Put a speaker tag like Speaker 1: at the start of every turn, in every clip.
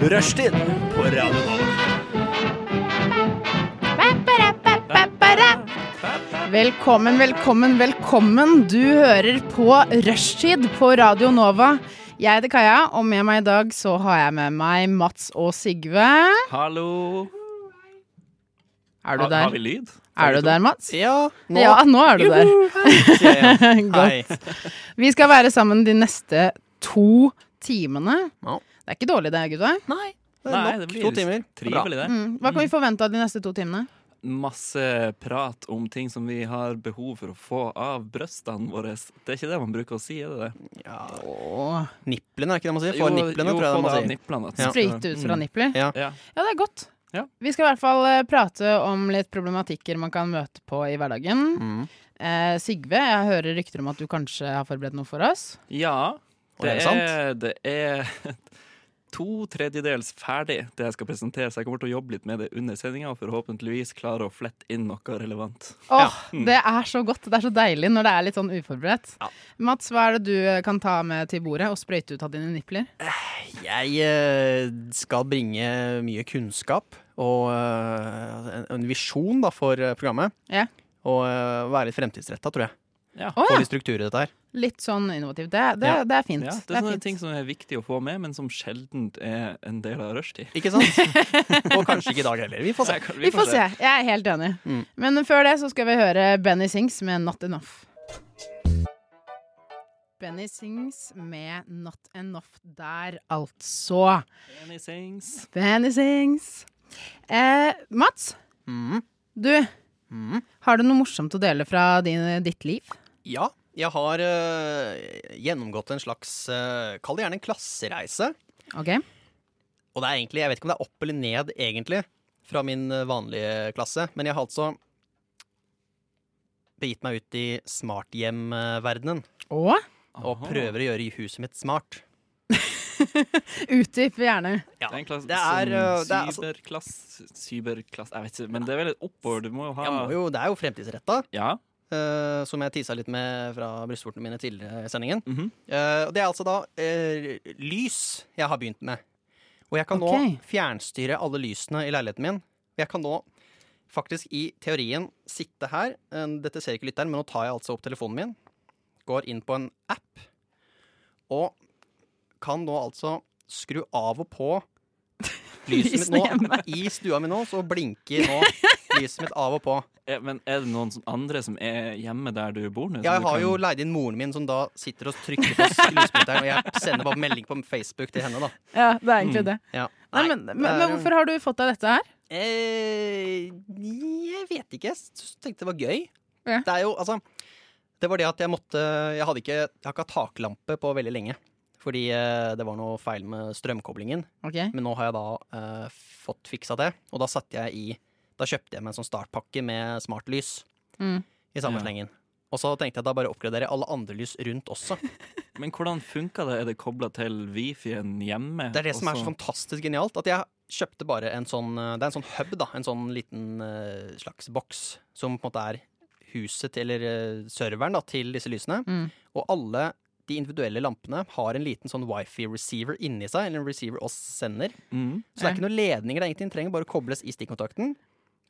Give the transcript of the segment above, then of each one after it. Speaker 1: Rushtid på Radio Nova.
Speaker 2: Velkommen, velkommen, velkommen. Du hører på Rushtid på Radio Nova. Jeg heter Kaja, og med meg i dag så har jeg med meg Mats og Sigve.
Speaker 1: Hallo.
Speaker 2: Er du
Speaker 1: Har- Har vi
Speaker 2: der?
Speaker 1: lyd?
Speaker 2: Er du der, Mats?
Speaker 1: Ja.
Speaker 2: Ja, nå er du der.
Speaker 1: Hei.
Speaker 2: Godt. Vi skal være sammen de neste to timene.
Speaker 3: Ja.
Speaker 2: Det er ikke dårlig det, gutta.
Speaker 3: Nei, det er
Speaker 1: Nei,
Speaker 3: nok
Speaker 1: det blir
Speaker 3: to timer.
Speaker 1: Trivelig, det.
Speaker 2: Mm. Hva kan vi forvente av de neste to timene?
Speaker 1: Masse prat om ting som vi har behov for å få av brystene våre. Det er ikke det man bruker å si, er det det?
Speaker 3: Ja,
Speaker 2: Åh,
Speaker 3: nipplene, er ikke det man sier? Få nipplene,
Speaker 1: jo, få
Speaker 3: tror jeg det
Speaker 1: det
Speaker 3: man
Speaker 1: av
Speaker 3: sier.
Speaker 1: nipplene.
Speaker 3: Ja.
Speaker 2: Sprøyte ut fra nippler.
Speaker 3: Ja.
Speaker 1: Ja.
Speaker 2: Ja, det er godt.
Speaker 1: Ja.
Speaker 2: Vi skal i hvert fall eh, prate om litt problematikker man kan møte på i hverdagen.
Speaker 3: Mm.
Speaker 2: Eh, Sigve, jeg hører rykter om at du kanskje har forberedt noe for oss.
Speaker 1: Ja,
Speaker 3: Og
Speaker 1: det
Speaker 3: er det
Speaker 1: er,
Speaker 3: sant?
Speaker 1: det er to tredjedels ferdig, det jeg skal presentere. Så jeg kommer til å jobbe litt med det under sendinga, og forhåpentligvis klare å flette inn noe relevant.
Speaker 2: Åh, Det er så godt. Det er så deilig når det er litt sånn uforberedt. Mats, hva er det du eh, kan ta med til bordet og sprøyte ut av dine nipler?
Speaker 3: Jeg eh, skal bringe mye kunnskap og eh, en, en visjon da, for eh, programmet.
Speaker 2: Ja.
Speaker 3: Og eh, være litt fremtidsretta, tror jeg.
Speaker 2: Å
Speaker 3: Få
Speaker 2: ja!
Speaker 3: litt struktur i dette her.
Speaker 2: Litt sånn innovativt. Det, det,
Speaker 3: Ja.
Speaker 2: det er fint.
Speaker 1: Ja, det
Speaker 2: det
Speaker 1: er
Speaker 2: er
Speaker 1: sånne
Speaker 2: fint.
Speaker 1: ting som er viktig å få med, men som sjelden er en del av rushtid.
Speaker 3: Ikke sant? og kanskje ikke i dag heller. Vi får se.
Speaker 1: Nei,
Speaker 2: Vi får se. Jeg er helt enig.
Speaker 3: Mm.
Speaker 2: Men før det så skal vi høre Benny Sings med Not Enough. Benny Sings med Not Enough der, altså.
Speaker 1: Any things?
Speaker 2: Benny Sings. Eh, Mats,
Speaker 3: Mm.
Speaker 2: du.
Speaker 3: Mm.
Speaker 2: Har du noe morsomt å dele fra din, ditt liv?
Speaker 3: Ja, jeg har eh, gjennomgått en slags eh, Kall det gjerne en klassereise.
Speaker 2: Ok?
Speaker 3: Og det er egentlig, jeg vet ikke om det er opp eller ned, egentlig, fra min eh, vanlige klasse. Men jeg har altså begitt meg ut i smarthjemverdenen
Speaker 2: Og
Speaker 3: og prøver å gjøre huset mitt smart.
Speaker 2: utdyp gjerne.
Speaker 3: Ja,
Speaker 1: Det er en klasse,
Speaker 3: det er, eh, det er, altså,
Speaker 1: cyberklasse Cyberklasse Jeg vet ikke, men det er vel et oppover. Du må jo ha
Speaker 3: jeg må jo, det er jo fremtidsretta,
Speaker 1: Ja.
Speaker 3: eh, som jeg tisa litt med fra brystvortene mine tidligere i sendingen.
Speaker 1: mhm.
Speaker 3: Eh, og det er altså da eh, lys jeg har begynt med. Og jeg kan
Speaker 2: Ok.
Speaker 3: nå fjernstyre alle lysene i leiligheten min. Og jeg kan nå faktisk i teorien sitte her. eh, Dette ser ikke lytteren, men nå tar jeg altså opp telefonen min. Går inn på en app. Og kan nå altså skru av og på lyset mitt
Speaker 2: Lysene
Speaker 3: nå. I stua mi nå, så blinker nå lyset mitt av og på.
Speaker 1: Eh, Men er det noen som- andre som er hjemme der du bor nå? som
Speaker 3: Jeg
Speaker 1: du
Speaker 3: har
Speaker 1: kan-
Speaker 3: jo leid inn moren min, som da sitter og trykker på lysbryteren. Og jeg sender bare melding på Facebook til henne, da.
Speaker 2: Ja, det er egentlig det.
Speaker 3: Ja.
Speaker 2: Nei, men, men,
Speaker 3: det er
Speaker 2: men
Speaker 3: jo-
Speaker 2: hvorfor har du fått deg dette her?
Speaker 3: Eh, jeg vet ikke. Jeg s- tenkte det var gøy.
Speaker 2: Ja.
Speaker 3: Det er jo, altså Det var det at jeg måtte Jeg hadde ikke, jeg har ikke hatt taklampe på veldig lenge. Fordi eh, det var noe feil med strømkoblingen.
Speaker 2: Ok.
Speaker 3: Men nå har jeg da eh, fått fiksa det. Og da satte jeg i Da kjøpte jeg meg en sånn startpakke med smartlys
Speaker 2: Mm.
Speaker 3: i samme
Speaker 1: Ja.
Speaker 3: slengen. Og så tenkte jeg da bare oppgraderer jeg alle andre lys rundt også.
Speaker 1: Men hvordan funker det? Er det kobla til wifi-en hjemme?
Speaker 3: Det er det som er sånn- så
Speaker 1: Også-
Speaker 3: fantastisk genialt. At jeg kjøpte bare en sånn eh, Det er en sånn hub, da. En sånn liten eh, slags boks som på en måte er huset til, eller eh, serveren da, til disse lysene.
Speaker 2: Mm.
Speaker 3: Og alle de individuelle lampene har en liten sånn wifi-receiver inni seg, eller en receiver oss sender.
Speaker 1: Mhm.
Speaker 3: Så det er ikke noen ledninger det er ingenting. Den trenger bare å kobles i stikkontakten,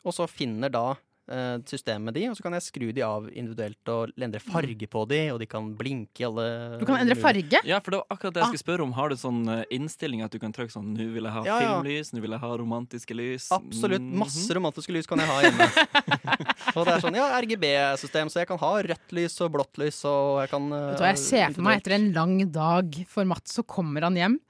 Speaker 3: og så finner da eh, systemet de, og så kan jeg skru de av individuelt og endre farge på de, og de kan blinke i alle
Speaker 2: Mm. Du kan endre farge.
Speaker 1: Ja, for det var akkurat
Speaker 3: Ah.
Speaker 1: det jeg skulle spørre om. Har du sånn eh, innstilling at du kan trykke sånn 'Nå vil jeg ha
Speaker 3: Ja, ja.
Speaker 1: filmlys', 'Nå vil jeg ha romantiske lys'?
Speaker 3: Absolutt.
Speaker 1: Mhm.
Speaker 3: Masse romantiske lys kan jeg ha hjemme. og det er sånn, ja, RGB-system, så jeg kan ha rødt lys og blått lys, og jeg kan eh,
Speaker 2: Vet du hva, jeg ser for meg etter en lang dag for Mats, så kommer han hjem.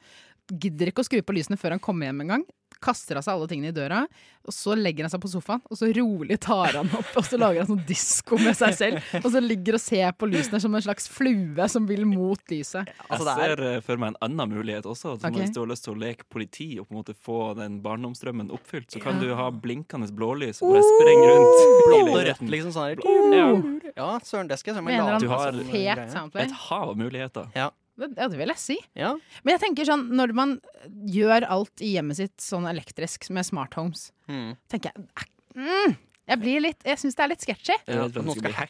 Speaker 2: Gidder ikke å skru på lysene før han kommer hjem engang. Kaster av seg alle tingene i døra, og så legger han seg på sofaen. Og så rolig tar han opp, og så lager han sånn disko med seg selv. Og så ligger og ser på lysene som en slags flue som vil mot lyset.
Speaker 3: Altså, det
Speaker 1: jeg
Speaker 3: er,
Speaker 1: ser eh, for meg en annen mulighet også. Som
Speaker 2: Ok.
Speaker 1: Hvis du har lyst til å leke politi og på en måte få den barndomsdrømmen oppfylt, så kan du ha blinkende blålys og bare sprenge rundt. i
Speaker 3: blå og rødt,
Speaker 1: leiligheten.
Speaker 3: liksom sånn her.
Speaker 1: Ja.
Speaker 3: Ja, søren, det skal jeg se meg
Speaker 2: Mener
Speaker 3: lage
Speaker 2: han
Speaker 1: Du har-
Speaker 3: en sånn
Speaker 2: fet
Speaker 3: greie.
Speaker 2: soundplay?
Speaker 1: Et hav av muligheter.
Speaker 2: Det, ja, det vil jeg si.
Speaker 3: Ja.
Speaker 2: Men jeg tenker sånn, når man gjør alt i hjemmet sitt sånn elektrisk med smart homes,
Speaker 3: Mm.
Speaker 2: tenker jeg "Æ, mm, Jeg blir litt Jeg syns det er litt sketchy.
Speaker 1: Jeg er redd for at
Speaker 3: Noen
Speaker 1: det skal
Speaker 3: skal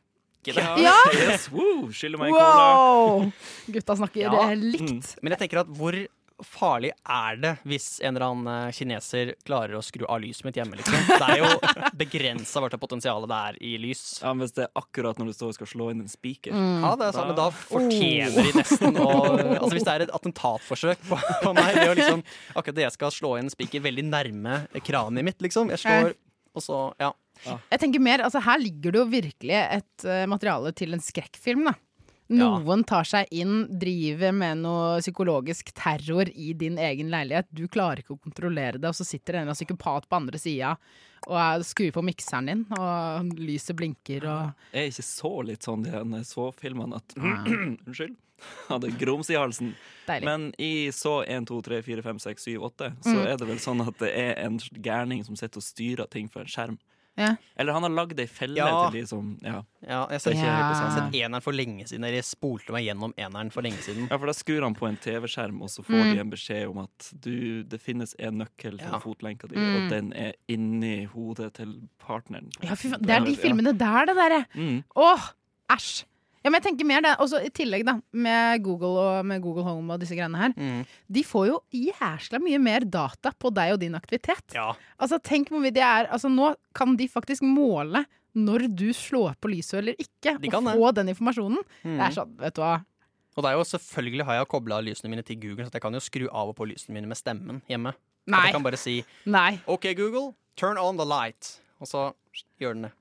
Speaker 1: bli
Speaker 3: hacke.
Speaker 1: Ja! yes, woo, skylder meg en cola.
Speaker 2: Wow! Gutta snakker
Speaker 3: Ja. Mm.
Speaker 2: eh, likt.
Speaker 3: Men jeg tenker at hvor farlig er det hvis en eller annen eh, kineser klarer å skru av lyset mitt hjemme? Liksom? Det er jo begrensa hva slags potensial det er i lys.
Speaker 1: Ja, men Hvis det er akkurat når du står og skal slå inn en spiker.
Speaker 3: Ja, det er sant, men da fortjener de nesten å Altså Hvis det er et attentatforsøk på, på meg Det er jo liksom akkurat det jeg skal slå inn en spiker veldig nærme kraniet mitt, liksom. Jeg slår, og så Ja.
Speaker 2: Jeg tenker mer, altså Her ligger det jo virkelig et eh, materiale til en skrekkfilm. da Noen tar seg inn, driver med noe psykologisk terror i din egen leilighet. Du klarer ikke å kontrollere det, og så sitter det en eller annen psykopat på andre sida og eh, skrur på mikseren din, og lyset blinker og
Speaker 1: Er ikke så litt sånn de her så-filmene at Unnskyld. Hadde grums i halsen.
Speaker 2: Deilig.
Speaker 1: Men i så 1, 2, 3, 4, 5, 6, 7, 8, så
Speaker 3: Mm.
Speaker 1: er det vel sånn at det er en gærning som sitter og styrer ting for en skjerm.
Speaker 2: ja.
Speaker 1: Eller han har lagd ei felle
Speaker 3: Ja.
Speaker 1: til de som ja.
Speaker 3: ja jeg ser ikke
Speaker 2: Ja.
Speaker 3: helt Jeg har sett eneren for lenge siden. Dere spolte meg gjennom eneren for lenge siden.
Speaker 1: ja, for da skrur han på en TV-skjerm, og så får de en beskjed om at du, det finnes en nøkkel til
Speaker 3: Mm. Ja. Mm.
Speaker 1: fotlenka di, og den er inni hodet til partneren.
Speaker 2: Ja, fy faen, det er de filmene der, det derre.
Speaker 1: Mm.
Speaker 2: Åh, æsj. Ja, men jeg tenker mer det. Og så i tillegg, da, med Google og med Google Home og disse greiene her.
Speaker 3: Mm.
Speaker 2: De får jo jæsla mye mer data på deg og din aktivitet.
Speaker 3: Ja.
Speaker 2: Altså, tenk hvor mye det er Altså, nå kan de faktisk måle når du slår på lyset eller ikke,
Speaker 3: De
Speaker 2: og
Speaker 3: kan det.
Speaker 2: få den informasjonen. Det
Speaker 3: Mm.
Speaker 2: er sånn, vet du hva.
Speaker 3: Og det er jo selvfølgelig har jeg kobla lysene mine til Google, så jeg kan jo skru av og på lysene mine med stemmen hjemme. At
Speaker 2: Nei.
Speaker 3: jeg kan bare si
Speaker 2: Nei.
Speaker 3: OK, Google, turn on the light. Og så gjør den det.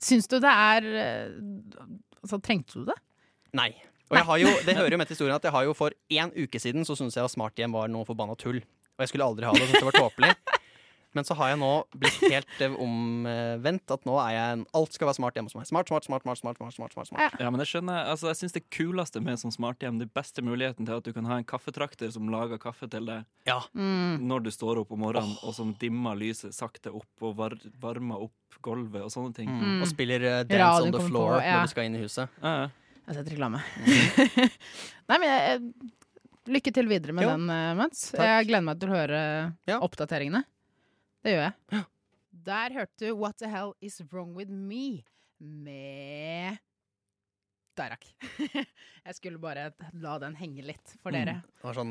Speaker 2: Syns du det er eh, Altså, trengte du det?
Speaker 3: Nei. Og jeg har jo, det hører jo med til historien at jeg har jo for én uke siden så syntes jeg at smarthjem var noe forbanna tull. Og jeg skulle aldri ha det, og syntes det var tåpelig. Men så har jeg nå blitt helt eh, omvendt. At nå er jeg en Alt skal være smart hjemme hos meg. Smart, smart, smart, smart, smart, smart, smart, smart, smart.
Speaker 1: Ja, men jeg skjønner, altså jeg syns det kuleste med sånn smarthjem, den beste muligheten til at du kan ha en kaffetrakter som lager kaffe til deg
Speaker 3: Ja.
Speaker 2: Mm.
Speaker 1: når du står opp om morgenen, og som dimmer lyset sakte opp og var varmer opp gulvet og sånne ting.
Speaker 3: Og spiller eh, Dance
Speaker 2: Mm. Radioen
Speaker 3: on the
Speaker 2: kommer
Speaker 3: floor
Speaker 2: på, ja.
Speaker 3: når du skal inn i huset.
Speaker 1: Mm. Ja, ja.
Speaker 2: Jeg setter reklame. Nei, men jeg, eh, lykke til videre med
Speaker 3: Mm. Jo.
Speaker 2: den, eh, Mats.
Speaker 3: Takk.
Speaker 2: Jeg gleder meg til å høre
Speaker 3: Ja.
Speaker 2: oppdateringene. Det gjør jeg. Der hørte du What the hell is wrong with me med Dairak. jeg skulle bare la den henge litt for dere.
Speaker 3: Det var sånn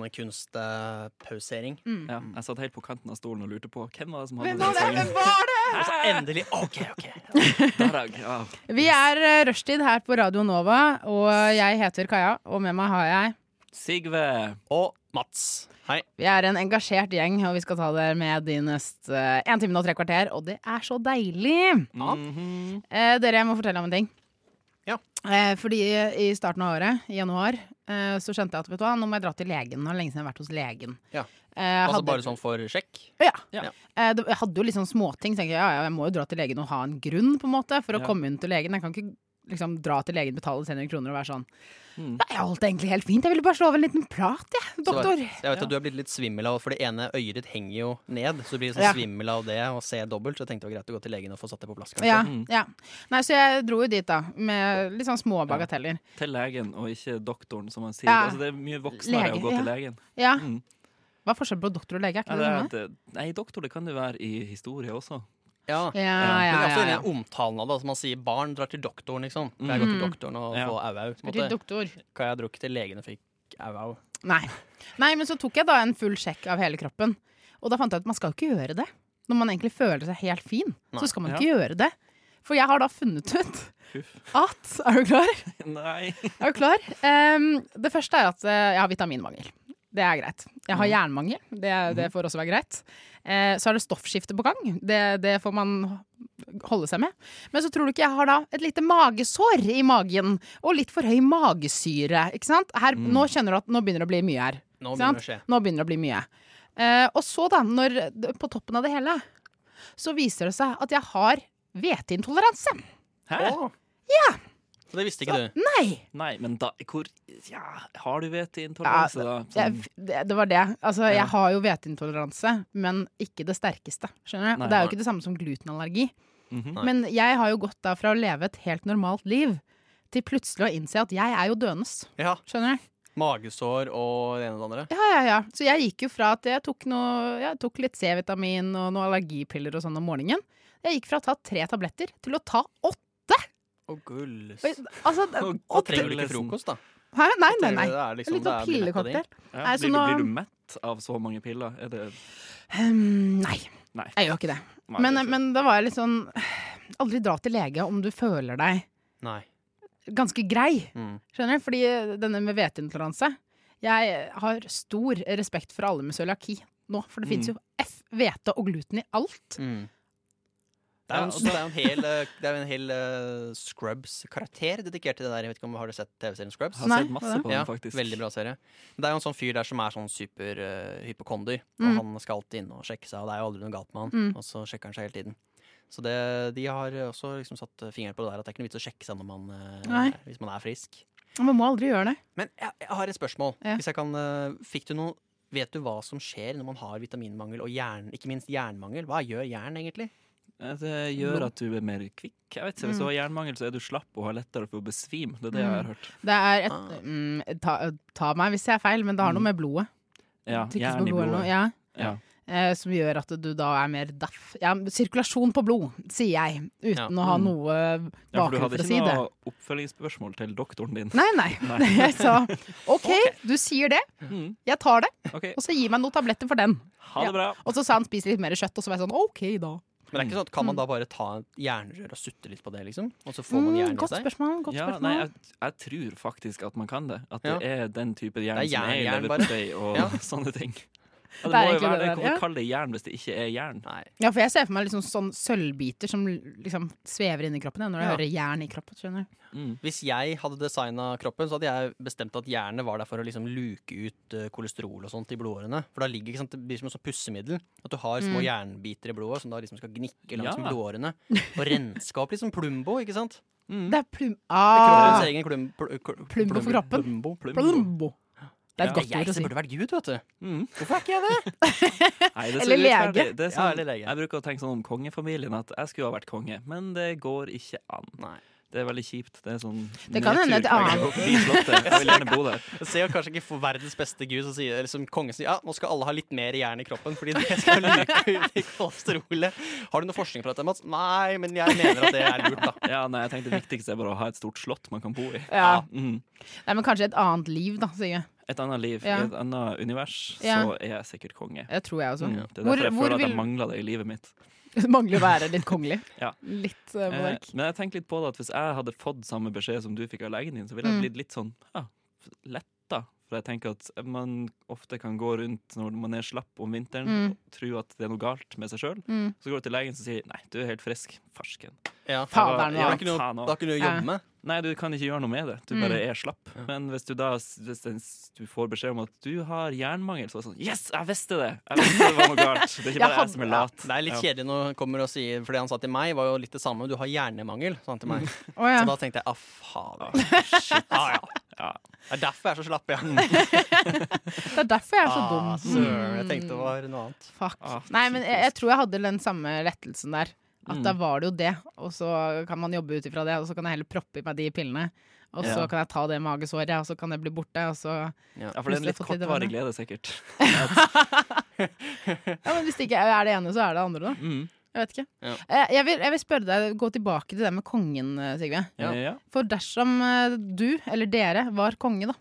Speaker 3: kunstpausering.
Speaker 2: Mm.
Speaker 1: Ja, jeg satt helt på kanten av stolen og lurte på hvem var det som hadde
Speaker 2: Hvem var det?
Speaker 1: den
Speaker 2: Hvem var det?
Speaker 3: Og så endelig OK, OK.
Speaker 1: sangen. Der, jeg, ja.
Speaker 2: Vi er eh, rushtid her på Radio Nova, og jeg heter Kaja, og med meg har jeg
Speaker 1: Sigve.
Speaker 3: Og Mats. Hei.
Speaker 2: Vi er en engasjert gjeng, og vi skal ta dere med de neste eh, en time og tre kvarter. Og det er så deilig!
Speaker 1: Mhm.
Speaker 2: Eh, dere, jeg må fortelle om en ting.
Speaker 3: Ja.
Speaker 2: Eh, fordi i starten av året, i januar, eh, så skjønte jeg at vet du hva, nå må jeg dra til legen. Nå har det lenge siden jeg har vært hos legen.
Speaker 3: Ja.
Speaker 2: Eh, jeg
Speaker 3: Altså
Speaker 2: hadde-
Speaker 3: bare sånn for sjekk.
Speaker 2: Ja.
Speaker 1: Ja.
Speaker 2: Eh, det- jeg hadde jo litt sånn småting. tenkte jeg, ja, ja, jeg må jo dra til legen og ha en grunn, på en måte, for å
Speaker 1: Ja.
Speaker 2: komme inn til legen. Jeg kan ikke liksom dra til legen, betale 300 kroner og være sånn
Speaker 1: Mm.
Speaker 2: Nei, jeg holdt det egentlig helt fint. Jeg ville bare slå av en liten prat, jeg,
Speaker 3: Så
Speaker 2: doktor.
Speaker 3: jeg vet at du er blitt litt svimmel av For det ene øyet ditt henger jo ned, så du blir sånn
Speaker 2: Ja.
Speaker 3: svimmel av det og ser dobbelt. Så jeg tenkte det var greit å gå til legen og få satt det på plass. kanskje.
Speaker 2: Ja, ja. Nei, så jeg dro jo dit, da, med litt sånn små bagateller.
Speaker 1: Til legen og ikke doktoren, som han sier.
Speaker 2: Ja.
Speaker 1: Altså, det er mye voksnere
Speaker 2: Lege,
Speaker 1: å gå til
Speaker 2: ja.
Speaker 1: legen.
Speaker 2: Ja.
Speaker 1: Mm.
Speaker 2: Hva er forskjellen på doktor og lege? Er
Speaker 1: Ja, det
Speaker 2: ikke det det
Speaker 1: er
Speaker 2: samme?
Speaker 1: at, det- nei, doktor det kan det være i historie også.
Speaker 3: Ja.
Speaker 2: Ja,
Speaker 1: Men
Speaker 2: ja,
Speaker 3: Men altså, også
Speaker 2: ja, ja. Mm.
Speaker 3: denne omtalen av det, som man sier barn drar til doktoren, liksom. Kan jeg gå til doktoren og
Speaker 1: Ja.
Speaker 3: få au-au? på en
Speaker 2: Skal til
Speaker 3: måte?
Speaker 2: doktor.
Speaker 3: Kan jeg dro ikke til legen og fikk au-au?
Speaker 2: Nei. Nei, men så tok jeg da en full sjekk av hele kroppen. Og da fant jeg ut at man skal jo ikke gjøre det. Når man egentlig føler seg helt fin,
Speaker 3: Nei.
Speaker 2: så skal man
Speaker 1: Ja.
Speaker 2: ikke gjøre det. For jeg har da funnet ut
Speaker 1: Huff.
Speaker 2: at Er du klar?
Speaker 1: Nei.
Speaker 2: Er du klar? Em, det første er at eh, jeg har vitaminmangel. Det er greit. Jeg har jernmangel. Det, det får også være greit. Eh, så er det stoffskifte på gang. Det, det får man holde seg med. Men så tror du ikke jeg har da et lite magesår i magen, og litt for høy magesyre. Ikke sant? Her, Nå kjenner du at nå begynner det å bli mye her.
Speaker 3: Nå
Speaker 2: Ikke
Speaker 3: begynner det å skje.
Speaker 2: sant? Nå begynner det å bli mye. Eh, og så, da, når, på toppen av det hele, så viser det seg at jeg har hveteintoleranse.
Speaker 1: Hæ?
Speaker 3: Å! Så det visste ikke du.
Speaker 2: Nei!
Speaker 1: Nei, men da hvor, ja, Har du hveteintoleranse, da?
Speaker 3: Mm.
Speaker 1: Sånn,
Speaker 2: Jeg, det, det var det. Altså, jeg har jo hveteintoleranse, men ikke det sterkeste. Skjønner
Speaker 1: Nei,
Speaker 2: du? Og det er jo
Speaker 1: nei.
Speaker 2: ikke det samme som glutenallergi.
Speaker 1: Mhm.
Speaker 3: Nei.
Speaker 2: Men jeg har jo gått da fra å leve et helt normalt liv til plutselig å innse at jeg er jo døende.
Speaker 3: Ja.
Speaker 2: Skjønner du?
Speaker 3: Magesår og det ene og det andre.
Speaker 2: Ja, ja, ja. Så jeg gikk jo fra at jeg tok, noe, jeg tok litt C-vitamin og noen allergipiller og sånn om morgenen. Jeg gikk fra å ta tre tabletter til å ta åtte!
Speaker 3: Og gulls.
Speaker 2: Altså,
Speaker 1: Og- og
Speaker 2: åtte
Speaker 3: Trenger du ikke frokost, da?
Speaker 2: Hæ? Nei, nei, nei.
Speaker 3: Det altså, er liksom-
Speaker 2: Litt sånn
Speaker 3: det er billetter
Speaker 2: pillecocktail.
Speaker 1: Ja,
Speaker 2: Nei, så
Speaker 1: blir, du,
Speaker 2: nå-
Speaker 1: blir du mett av så mange piller? Er det
Speaker 2: Hm, nei,
Speaker 1: Nei.
Speaker 2: jeg gjør ikke det.
Speaker 1: Nei,
Speaker 2: Men,
Speaker 1: det er ikke-
Speaker 2: men da var jeg litt sånn Aldri dra til lege om du føler deg
Speaker 3: Nei.
Speaker 2: ganske grei.
Speaker 3: Mm.
Speaker 2: Skjønner du? Fordi eh, denne med hveteintoleranse Jeg har stor respekt for alle med cøliaki nå, for det
Speaker 1: Mm.
Speaker 2: finnes jo F, hvete og gluten i alt.
Speaker 3: Mm. Det er jo
Speaker 1: Ja,
Speaker 3: en,
Speaker 1: altså-
Speaker 3: det er jo en hel, eh, det er jo en hel eh, Scrubs-karakter dedikert til det der. Jeg vet ikke om Har du sett TV-serien Scrubs?
Speaker 1: Jeg har
Speaker 2: Nei,
Speaker 1: sett masse
Speaker 2: hva da?
Speaker 1: på den, faktisk.
Speaker 3: Veldig bra serie. Men Det er jo en sånn fyr der som er sånn superhypokonder.
Speaker 2: Mm.
Speaker 3: Og han skal alltid inn og sjekke seg, og det er jo aldri noe galt med han.
Speaker 2: Mm.
Speaker 3: Og så sjekker han seg hele tiden. Så det, de har også liksom satt fingeren på det der at det er ikke noe vits å sjekke seg når man, eh,
Speaker 2: Nei.
Speaker 3: hvis man er frisk.
Speaker 2: Man må aldri gjøre det.
Speaker 3: Men jeg, jeg har et spørsmål.
Speaker 2: Ja.
Speaker 3: Hvis jeg kan, eh, fikk du noe Vet du hva som skjer når man har vitaminmangel og jern, ikke minst jernmangel? Hva gjør jern egentlig?
Speaker 1: Ja, Det gjør at du er mer kvikk. Jeg vet ikke, Hvis du har jernmangel, så er du slapp og har lettere for å besvime. Det er det jeg har hørt.
Speaker 2: Mm. Det er et
Speaker 3: Ah.
Speaker 2: mm, ta, ta meg hvis jeg er feil, men det har noe med blodet.
Speaker 1: Mm. Ja,
Speaker 2: Tykkelse på
Speaker 1: Jern i
Speaker 2: blodet eller noe,
Speaker 1: blodet.
Speaker 2: Ja.
Speaker 1: Ja.
Speaker 2: Eh, som gjør at du da er mer daff. Ja, sirkulasjon på blod, sier jeg, uten
Speaker 3: Ja.
Speaker 2: å ha
Speaker 1: Mm.
Speaker 2: noe
Speaker 1: Ja, for du hadde
Speaker 2: bakgrunn for å
Speaker 1: ikke
Speaker 2: si det.
Speaker 1: noe oppfølgingsspørsmål til doktoren din.
Speaker 2: Nei, nei. Jeg sa OK, du sier det,
Speaker 1: Mm,
Speaker 2: jeg tar det,
Speaker 1: OK,
Speaker 2: og så gi meg noen tabletter for den.
Speaker 1: ha det bra.
Speaker 2: Og så sa han spis litt mer kjøtt, og så var jeg sånn OK, da.
Speaker 3: Men det
Speaker 2: Mm.
Speaker 3: er ikke sånn at Kan man da bare ta et jernrør og sutte litt på det, liksom? Og så får man
Speaker 2: Mm,
Speaker 3: jern i
Speaker 2: godt
Speaker 3: seg?
Speaker 2: spørsmål. Godt
Speaker 1: Ja,
Speaker 2: spørsmål.
Speaker 1: nei, jeg, jeg tror faktisk at man kan det. At det er den type jern,
Speaker 3: Det er
Speaker 1: som er i
Speaker 3: jern, jern bare.
Speaker 1: leverpostei og
Speaker 3: Ja.
Speaker 1: sånne ting. Ja, det,
Speaker 2: Det er
Speaker 1: må jo
Speaker 2: egentlig
Speaker 1: være
Speaker 2: det
Speaker 1: det.
Speaker 2: der,
Speaker 1: Hvorfor
Speaker 2: ja.
Speaker 1: kalle det jern hvis det ikke er jern?
Speaker 3: Nei.
Speaker 2: Ja, for jeg ser for meg liksom sånn sølvbiter som liksom svever inni kroppen jeg, når jeg
Speaker 3: Ja.
Speaker 2: hører jern i kroppen. skjønner du?
Speaker 1: Mm.
Speaker 3: Hvis jeg hadde designa kroppen, så hadde jeg bestemt at jernet var der for å liksom luke ut eh, kolesterol og sånt i blodårene. For da ligger ikke sant, det blir som et sånt pussemiddel. At du har
Speaker 2: Mm.
Speaker 3: små jernbiter i blodet som da liksom skal gnikke
Speaker 1: Ja.
Speaker 3: langs med blodårene. Og renske opp liksom Plumbo, ikke sant?
Speaker 1: Mm.
Speaker 2: Det er plum... Ah,
Speaker 3: Kroppens egen klum, pl, kl,
Speaker 2: Plumbo for kroppen.
Speaker 3: Plumbo, plumbo.
Speaker 2: plumbo. Det er et
Speaker 1: Ja,
Speaker 2: godt
Speaker 3: jeg
Speaker 2: ord å
Speaker 3: som
Speaker 2: si.
Speaker 3: burde vært gud, vet du.
Speaker 1: Mm.
Speaker 3: Hvorfor er ikke jeg det?
Speaker 1: Nei, det er så
Speaker 2: Eller lege.
Speaker 1: urettferdig. Det er
Speaker 3: Ja,
Speaker 1: sånn,
Speaker 3: eller lege.
Speaker 1: Jeg bruker å tenke sånn om kongefamilien at jeg skulle ha vært konge, men det går ikke an.
Speaker 3: Nei.
Speaker 1: Det er veldig kjipt. Det er sånn
Speaker 2: Det kan hende et
Speaker 1: nedtur. Jeg
Speaker 2: annet-
Speaker 1: går forbi slottet. Jeg vil gjerne bo der.
Speaker 3: Jeg ser jo kanskje ikke for verdens beste gud som sier, eller som kongen sier ja, nå skal alle ha litt mer jern i kroppen fordi det skal luke ut i kolesterolet. Har du noe forskning på dette, Mats? Nei, men jeg mener at det er lurt, da.
Speaker 1: Ja, nei, jeg tenkte Det viktigste er bare å ha et stort slott man kan bo i.
Speaker 2: Ja.
Speaker 1: Mm.
Speaker 2: Nei, men kanskje et annet liv, da, sier jeg.
Speaker 1: Et annet liv,
Speaker 2: Ja.
Speaker 1: et annet univers,
Speaker 2: Ja.
Speaker 1: så er jeg sikkert konge.
Speaker 2: Det tror jeg også.
Speaker 1: Mm. Det er
Speaker 2: Hvor,
Speaker 1: derfor jeg
Speaker 2: hvor
Speaker 1: føler at jeg
Speaker 2: vil
Speaker 1: mangler det i livet mitt.
Speaker 2: Mangler å være litt kongelig.
Speaker 1: Ja.
Speaker 2: Litt eh,
Speaker 1: Eh,
Speaker 2: monark.
Speaker 1: men jeg tenker litt på det at hvis jeg hadde fått samme beskjed som du fikk av legen din, så ville
Speaker 2: Mm.
Speaker 1: jeg blitt litt sånn ja, letta. For jeg tenker at man ofte kan gå rundt når man er slapp om vinteren
Speaker 2: Mm.
Speaker 1: og tro at det er noe galt med seg sjøl.
Speaker 2: Mm.
Speaker 1: Så går du til legen som sier nei, du er helt frisk. Farsken.
Speaker 3: Ja,
Speaker 1: Jeg
Speaker 2: Faen, det
Speaker 1: var-
Speaker 2: er
Speaker 3: Det
Speaker 2: noe
Speaker 1: ja,
Speaker 3: er
Speaker 2: annet.
Speaker 3: ikke noe,
Speaker 1: faen
Speaker 3: det er
Speaker 1: også.
Speaker 3: ikke noe å jobbe med.
Speaker 1: Nei, du kan ikke gjøre noe med det.
Speaker 2: Mm.
Speaker 1: Du bare er slapp. Men hvis du da hvis den, du får beskjed om at du har jernmangel, så er det sånn Yes, jeg visste det! Jeg visste det var noe galt. Det er ikke
Speaker 2: Jeg
Speaker 1: bare
Speaker 2: hadde-
Speaker 1: jeg som er lat.
Speaker 3: Det er litt kjedelig når han kommer og sier For det han sa til meg, var jo litt det samme. Du har hjernemangel, sa han til meg.
Speaker 1: Eh,
Speaker 2: Å, ja.
Speaker 3: Så da tenkte jeg ah, faen. Shit. Ah, ja.
Speaker 1: Ja.
Speaker 3: Det er derfor jeg er så slapp, ja.
Speaker 2: Det er derfor jeg er så
Speaker 3: Ah,
Speaker 2: dum. Mm.
Speaker 3: søren. Jeg tenkte det var noe annet.
Speaker 2: Fuck.
Speaker 1: Ah,
Speaker 2: Nei, men jeg, jeg tror jeg hadde den samme lettelsen der. At
Speaker 1: Mm.
Speaker 2: da var det jo det, og så kan man jobbe ut ifra det, og så kan jeg heller proppe i meg de pillene. Og så
Speaker 1: Ja.
Speaker 2: kan jeg ta det magesåret, og så kan det bli borte, og så
Speaker 1: Ja, for det er en
Speaker 2: Plutselig
Speaker 1: litt
Speaker 2: fått litt
Speaker 1: kortvarig glede, sikkert.
Speaker 2: Ja, men hvis det ikke er det ene, så er det andre, da.
Speaker 1: Mm.
Speaker 2: Jeg vet ikke.
Speaker 3: Ja.
Speaker 2: Eh, Jeg, vil, jeg vil spørre deg, gå tilbake til det med kongen, eh, Sigve.
Speaker 1: Ja.
Speaker 3: Ja.
Speaker 1: Ja.
Speaker 2: For dersom eh, du, eller dere, var konge, da.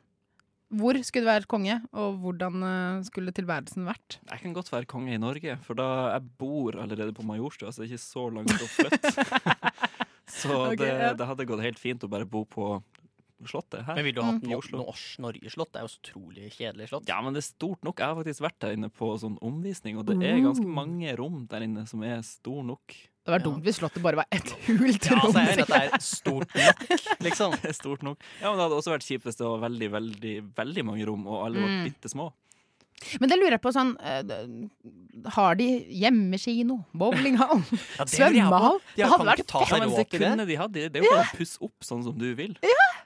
Speaker 2: Hvor skulle du være konge, og hvordan eh, skulle tilværelsen vært?
Speaker 1: Jeg kan godt være konge i Norge, for da jeg bor allerede på Majorstua, så det er ikke så langt å flytte. så
Speaker 2: Ok,
Speaker 1: det,
Speaker 2: ja.
Speaker 1: det hadde gått helt fint å bare bo på Slottet her.
Speaker 3: Men ville du hatt
Speaker 1: Mm.
Speaker 3: noe
Speaker 1: Oslo.
Speaker 3: noe Ors- Norgeslott? Det er jo så utrolig kjedelig slott.
Speaker 1: Ja, men det er stort nok. Jeg har faktisk vært der inne på sånn omvisning, og det er ganske mange rom der inne som er stor nok.
Speaker 2: Det var
Speaker 3: Ja.
Speaker 2: dumt hvis slottet bare var et hult
Speaker 3: Ja,
Speaker 2: rom.
Speaker 3: altså, jeg er enig i at det er stort nok, liksom.
Speaker 1: Det er stort nok. Ja, men det hadde også vært kjipt hvis det var veldig, veldig, veldig mange rom, og alle var
Speaker 2: Mm.
Speaker 1: bitte små.
Speaker 2: Men det lurer jeg på sånn eh, d- Har de hjemmekino? Bowlinghall?
Speaker 3: Ja, det lurer jeg på.
Speaker 2: Svømmehall?
Speaker 3: De
Speaker 2: Det
Speaker 3: kan
Speaker 2: hadde
Speaker 3: jo
Speaker 2: vært
Speaker 3: ikke ta
Speaker 1: Ja,
Speaker 3: seg
Speaker 1: men
Speaker 3: råd
Speaker 1: det
Speaker 3: til det.
Speaker 1: kunne de hatt. Det er jo bare å pusse opp sånn som du vil.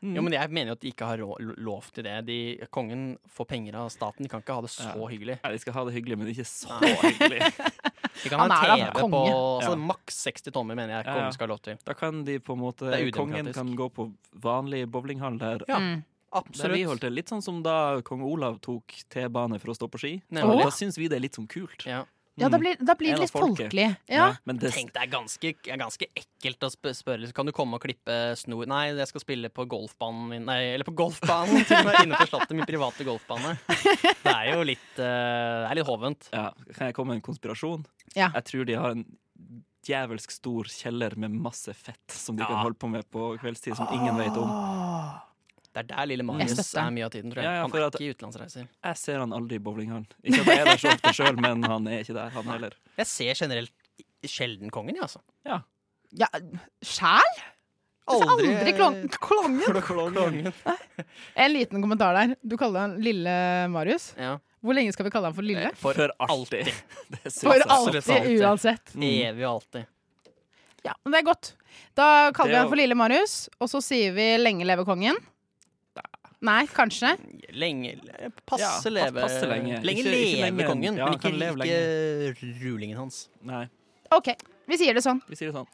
Speaker 1: Mm.
Speaker 3: Jo, men jeg mener jo at de ikke har råd, lov til det. De, kongen får penger av staten, de kan ikke ha det så
Speaker 1: Ja.
Speaker 3: hyggelig.
Speaker 1: Ja, de skal ha det hyggelig, men ikke så hyggelig.
Speaker 3: De kan ha
Speaker 2: Han er
Speaker 3: en
Speaker 2: da
Speaker 3: TV
Speaker 2: konge.
Speaker 3: på
Speaker 1: Ja.
Speaker 3: altså, maks 60 tommer, mener jeg
Speaker 1: Ja, ja.
Speaker 3: kongen skal ha lov til.
Speaker 1: Da kan de på en måte
Speaker 3: Det er
Speaker 1: Kongen
Speaker 3: udemokratisk.
Speaker 1: kan gå på vanlig bowlinghall der.
Speaker 3: Ja,
Speaker 2: Mm.
Speaker 1: Der vi holdt
Speaker 3: absolutt.
Speaker 1: til. Litt sånn som da kong Olav tok T-bane for å stå på ski.
Speaker 3: Nemlig.
Speaker 1: Da syns vi det er litt sånn kult.
Speaker 3: Ja.
Speaker 2: Ja, da blir, da blir
Speaker 1: En
Speaker 2: det litt
Speaker 1: av folket.
Speaker 2: folkelig. Ja.
Speaker 1: Men det,
Speaker 3: Tenk, det er ganske, det er ganske ekkelt å sp- spørre liksom, Kan du komme og klippe snor Nei, jeg skal spille på golfbanen min Nei, eller på golfbanen til og med inne på slottet Min private golfbane Det er jo litt, eh, det er litt hovent
Speaker 1: ja, kan jeg komme med en konspirasjon?
Speaker 2: Ja.
Speaker 1: Jeg tror de har en djevelsk stor kjeller med masse fett som de
Speaker 3: Ja.
Speaker 1: kan holde på med på kveldstid, som ingen vet om.
Speaker 2: Ah.
Speaker 3: Det er der lille
Speaker 2: Jeg
Speaker 3: Marius
Speaker 2: støtter.
Speaker 3: er mye av tiden, tror jeg
Speaker 1: Ja, ja,
Speaker 3: Han
Speaker 1: for
Speaker 3: er
Speaker 1: at-
Speaker 3: ikke i utenlandsreiser
Speaker 1: Jeg ser han aldri i bowlinghallen. Ikke at jeg er der så ofte sjøl, men han er ikke der, han heller.
Speaker 3: Jeg ser generelt sjelden kongen, ja, altså
Speaker 2: ja. Sjæl? Aldri, eh, aldri klon klongen!
Speaker 3: Klongen
Speaker 2: En liten kommentar der. Du kaller han Lille Marius.
Speaker 3: ja.
Speaker 2: Hvor lenge skal vi kalle han for Lille?
Speaker 1: For, alltid. Det synes
Speaker 2: For
Speaker 1: jeg også.
Speaker 3: absolutt
Speaker 2: alltid,
Speaker 3: alltid.
Speaker 2: uansett.
Speaker 1: Mm.
Speaker 3: Evig og alltid
Speaker 2: Ja, men Det er godt. Da kaller
Speaker 1: Det
Speaker 2: vi
Speaker 1: er
Speaker 2: han for Lille Marius, og så sier vi 'Lenge leve kongen'. Nei, kanskje.
Speaker 3: Lenge, passe
Speaker 1: Ja, pass-
Speaker 3: leve
Speaker 1: passe lenge.
Speaker 3: Lenge
Speaker 1: Ikke- ikke
Speaker 3: leve
Speaker 1: lenge-
Speaker 3: kongen,
Speaker 1: ja,
Speaker 3: men
Speaker 1: kan
Speaker 3: ikke,
Speaker 1: leve
Speaker 3: ikke rulingen hans
Speaker 1: Nei,
Speaker 2: OK, vi sier det sånn.
Speaker 1: vi sier det sånn.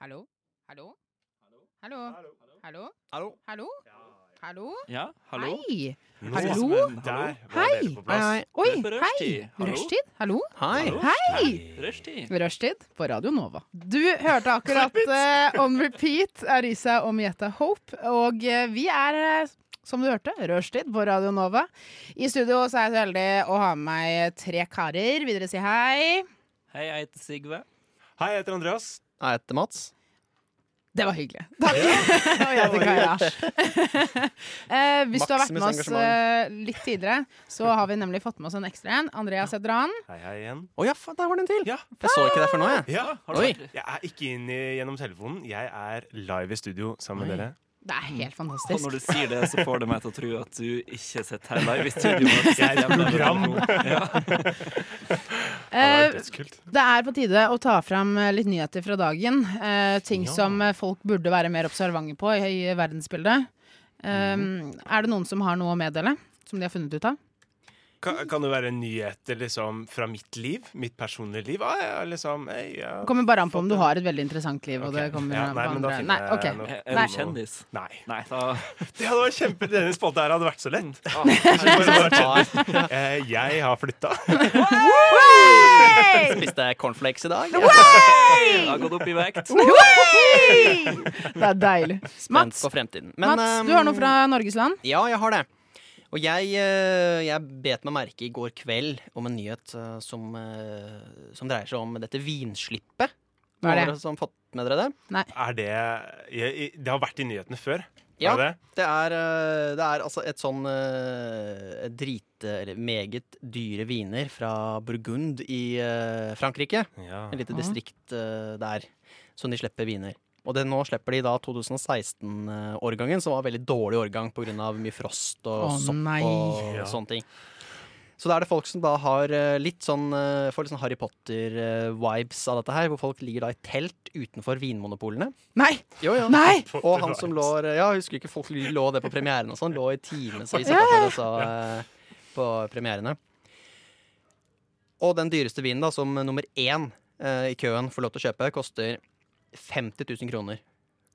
Speaker 2: Hallo? Hallo? Hallo? Hallo?
Speaker 3: Hallo
Speaker 2: Hallo? Hallo?
Speaker 1: Ja, hallo?
Speaker 2: Hei!
Speaker 4: Nå,
Speaker 2: Hallo?
Speaker 1: Men, hallo?
Speaker 4: Der var
Speaker 2: Hei.
Speaker 4: dere på plass.
Speaker 3: Hei,
Speaker 2: Oi,
Speaker 1: Det er på
Speaker 2: hei!
Speaker 1: rushtid. Hallo?
Speaker 2: Rushtid? Hallo?
Speaker 3: Hei.
Speaker 2: Hei!
Speaker 1: Rushtid.
Speaker 2: Rushtid på Radio Nova. Du hørte akkurat eh, On Repeat Arisa og Mieta Hope. Og eh, vi er, eh, som du hørte, rushtid på Radio Nova. I studio så er jeg så heldig å ha med meg tre karer. Vil dere si hei?
Speaker 1: Hei, jeg heter Sigve.
Speaker 4: Hei, jeg heter Andreas.
Speaker 3: Jeg heter Mats.
Speaker 2: Det var hyggelig. Takk. og jeg heter Kaja. Eh, hvis du har vært med
Speaker 3: Maximus
Speaker 2: oss eh, litt tidligere, så har vi nemlig fått med oss en ekstra en. Andreas heter han.
Speaker 4: Hei, hei igjen.
Speaker 3: Å ja, faen, der var den til!
Speaker 4: Ja.
Speaker 3: Jeg så ikke det før nå, jeg.
Speaker 4: Ja.
Speaker 1: Har du
Speaker 3: Oi.
Speaker 1: vært-
Speaker 4: Jeg er ikke inn i, gjennom telefonen. Jeg er live i studio sammen med dere.
Speaker 2: Det er helt
Speaker 4: Mm.
Speaker 1: Og
Speaker 2: fantastisk.
Speaker 1: når du sier det, så får det meg til å tro at du ikke sitter her live i studio. men at du sitter
Speaker 4: Jeg er et
Speaker 1: hjemme med
Speaker 4: program.
Speaker 1: telefonen.
Speaker 4: Ja, det
Speaker 2: Eh,
Speaker 4: er dødskult.
Speaker 2: Det er på tide å ta fram eh, litt nyheter fra dagen. Eh, ting
Speaker 4: Ja.
Speaker 2: som eh, folk burde være mer observante på i, i verdensbildet. Eh,
Speaker 4: Mm.
Speaker 2: Er det noen som har noe å meddele? Som de har funnet ut av?
Speaker 4: Kan, kan det være nyheter liksom, fra mitt liv? Mitt personlige liv? Ah, ja, liksom, hey, ja.
Speaker 2: Det kommer bare an på om du har et veldig interessant liv. Og
Speaker 4: Ok.
Speaker 2: det kommer
Speaker 4: Ja,
Speaker 2: an på
Speaker 4: nei, men da
Speaker 2: andre.
Speaker 4: finner
Speaker 2: Nei,
Speaker 4: jeg
Speaker 2: ok.
Speaker 4: noe.
Speaker 1: Er
Speaker 2: Nei.
Speaker 1: er du kjendis?
Speaker 4: Nei.
Speaker 1: Nei, da
Speaker 4: Det hadde vært kjempe Denne spalta her hadde vært så lett.
Speaker 1: Ah,
Speaker 3: Ja.
Speaker 4: Eh, jeg har flytta.
Speaker 2: Hey!
Speaker 3: Spiste jeg cornflakes i dag?
Speaker 1: Jeg har gått opp i vekt.
Speaker 2: Hey! Det er deilig.
Speaker 3: Vent
Speaker 2: Mats,
Speaker 3: på fremtiden. Men,
Speaker 2: Mats,
Speaker 3: ehm,
Speaker 2: du har noe fra Norges land?
Speaker 3: Ja, jeg har det. Og jeg, eh, jeg bet meg merke i går kveld om en nyhet eh, som, eh, som dreier seg om dette vinslippet.
Speaker 2: Hva er
Speaker 3: Har
Speaker 2: det?
Speaker 3: dere som fått med dere det?
Speaker 4: Er det jeg, i- Det har vært i nyhetene før.
Speaker 3: Ja.
Speaker 4: Er det?
Speaker 3: Det er, eh, det er altså et sånn eh, drit... Eller meget dyre viner fra Burgund i eh, Frankrike.
Speaker 4: Ja.
Speaker 3: Et lite
Speaker 2: Ja.
Speaker 3: distrikt eh, der som de slipper viner. Og det, nå slipper de da 2016-årgangen, som var en veldig dårlig årgang pga. mye frost og
Speaker 2: Å,
Speaker 3: sopp
Speaker 2: nei.
Speaker 3: og
Speaker 4: Ja.
Speaker 3: sånne ting. Så da er det folk som da har eh, litt sånn, eh, får litt sånn Harry Potter-vibes av dette her, hvor folk ligger da i telt utenfor vinmonopolene.
Speaker 2: Nei!
Speaker 3: Jo, jo.
Speaker 2: Nei!
Speaker 3: Og han som lå Ja, jeg husker ikke folk lå det på premieren og sånn. Lå i timevis
Speaker 2: Ja,
Speaker 3: utenfor og sa eh, på premierene. Og den dyreste vinen, da, som nummer én eh, i køen får lov til å kjøpe, koster 50 000 kroner.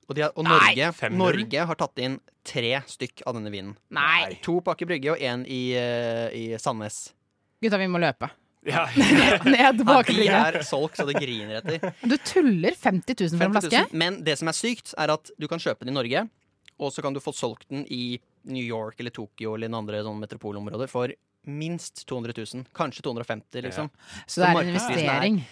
Speaker 3: Og, de har, og
Speaker 2: Nei,
Speaker 3: Norge,
Speaker 4: 500?
Speaker 3: Norge har tatt inn tre stykk av denne vinen.
Speaker 2: Nei!
Speaker 3: To på Aker Brygge og én i, eh, i Sandnes.
Speaker 2: Gutta, vi må løpe.
Speaker 4: Ja.
Speaker 2: Ned
Speaker 3: Ja, de
Speaker 2: bakbrygga.
Speaker 3: er solgt så det griner etter.
Speaker 2: Du tuller 50 000 for en
Speaker 3: 50
Speaker 2: flaske?
Speaker 3: 000. Men det som er sykt, er at du kan kjøpe den i Norge, og så kan du få solgt den i New York eller Tokyo eller noen andre sånne metropolområder for minst 200 000. Kanskje 250 liksom.
Speaker 2: Så det er en
Speaker 3: markedsprisen er-
Speaker 2: investering.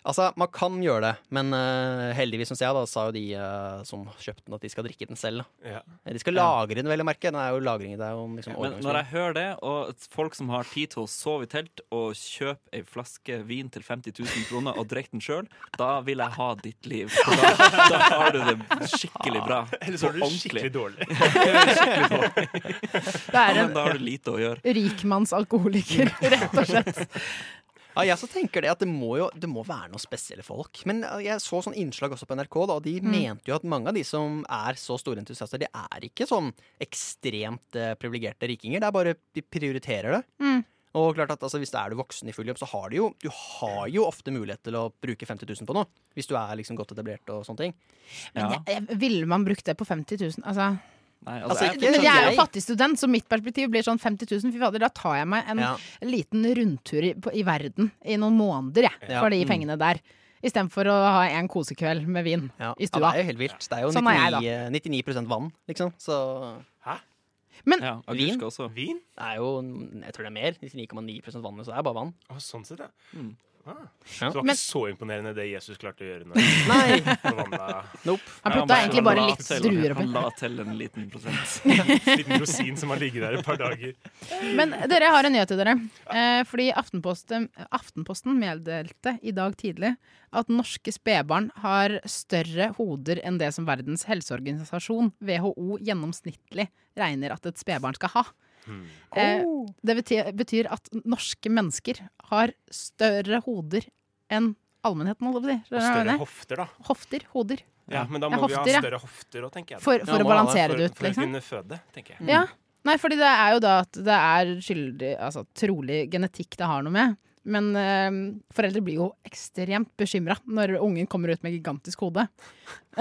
Speaker 3: Altså, man kan gjøre det, men eh, heldigvis, syns jeg, da, sa jo de eh, som kjøpte den, at de skal drikke den selv. Da.
Speaker 4: Ja.
Speaker 3: De skal lagre den, vel å merke. Den er jo lagring, det er jo liksom
Speaker 1: Men når jeg hører det, og at folk som har tid til å sove i telt og kjøpe ei flaske vin til 50 000 kroner og drikke den sjøl, da vil jeg ha ditt liv. For Da, da har du det skikkelig bra.
Speaker 4: Eller så
Speaker 1: På
Speaker 4: er du skikkelig dårlig.
Speaker 2: Det
Speaker 1: Ja,
Speaker 2: er
Speaker 1: men
Speaker 2: en
Speaker 1: da har du lite å gjøre.
Speaker 2: rikmannsalkoholiker, rett og slett.
Speaker 3: Ja, jeg så tenker det at det må jo det må være noen spesielle folk. Men eh, jeg så sånn innslag også på NRK, da, og de
Speaker 2: Mm.
Speaker 3: mente jo at mange av de som er så store entusiaster, de er ikke sånn ekstremt eh, privilegerte rikinger. Det er bare de prioriterer det.
Speaker 2: Mm.
Speaker 3: Og klart at altså, Hvis du er du voksen i full jobb, så har du jo, du har jo ofte mulighet til å bruke 50 000 på noe. Hvis du er liksom godt etablert og sånne ting.
Speaker 1: Ja.
Speaker 2: Men jeg- jeg- Ville man brukt det på 50 000? Altså,
Speaker 1: Nei,
Speaker 3: Altså,
Speaker 1: altså, jeg,
Speaker 3: ikke-
Speaker 2: Men jeg er
Speaker 3: jeg-
Speaker 2: jo fattig student, så mitt perspektiv blir sånn 50 000. Fy fader, da tar jeg meg en
Speaker 3: Ja.
Speaker 2: liten rundtur i, på, i verden i noen måneder, jeg,
Speaker 3: Ja.
Speaker 2: for de pengene der. Istedenfor å ha en kosekveld med vin i
Speaker 3: Ja. ja, det
Speaker 2: stua.
Speaker 3: er jo helt vilt. Det er jo
Speaker 2: Sånn er
Speaker 3: 99, 99 vann, liksom. Så
Speaker 4: Hæ?
Speaker 1: ja, agurk
Speaker 3: Vin?
Speaker 1: skal også.
Speaker 4: Vin?
Speaker 3: det er jo Jeg tror det er mer. 99,9 vann, så det er bare vann.
Speaker 4: Å, sånn sett, ja.
Speaker 1: Mm.
Speaker 4: Ah. Så
Speaker 3: Ja.
Speaker 4: det var
Speaker 2: Men-
Speaker 4: ikke så imponerende det Jesus klarte å gjøre. Når
Speaker 3: Nei!
Speaker 4: når vanna
Speaker 3: Nope.
Speaker 2: Han
Speaker 1: Ja,
Speaker 2: putta
Speaker 1: men
Speaker 2: egentlig
Speaker 1: han
Speaker 2: bare
Speaker 1: la
Speaker 2: litt
Speaker 1: til-
Speaker 2: druer oppi.
Speaker 1: Han la til en liten prosent.
Speaker 4: Liten rosin som har ligget der et par dager.
Speaker 2: Men dere jeg har en nyhet til dere. Eh, fordi Aftenposten, Aftenposten meddelte i dag tidlig at norske spedbarn har større hoder enn det som Verdens helseorganisasjon, WHO, gjennomsnittlig regner at et spedbarn skal ha.
Speaker 4: Hmm.
Speaker 2: Eh,
Speaker 4: Oh.
Speaker 2: det betyr, betyr at norske mennesker har større hoder enn allmennheten, holdt jeg på å si.
Speaker 4: Og
Speaker 2: Skjønner du hva jeg
Speaker 4: større
Speaker 2: mener?
Speaker 4: hofter, da.
Speaker 2: Hofter. Hoder.
Speaker 4: Ja, men da
Speaker 2: Ja,
Speaker 4: må vi
Speaker 2: hofter, ja.
Speaker 4: ha større hofter òg, tenker jeg. da.
Speaker 2: For, for å
Speaker 3: må ha det
Speaker 2: balansere det ut,
Speaker 4: for, for å
Speaker 2: liksom.
Speaker 4: kunne føde, tenker jeg.
Speaker 2: Ja. Nei, fordi det er jo da at det er skyldig Altså trolig genetikk det har noe med. Men eh, foreldre blir jo ekstremt bekymra når ungen kommer ut med gigantisk hode.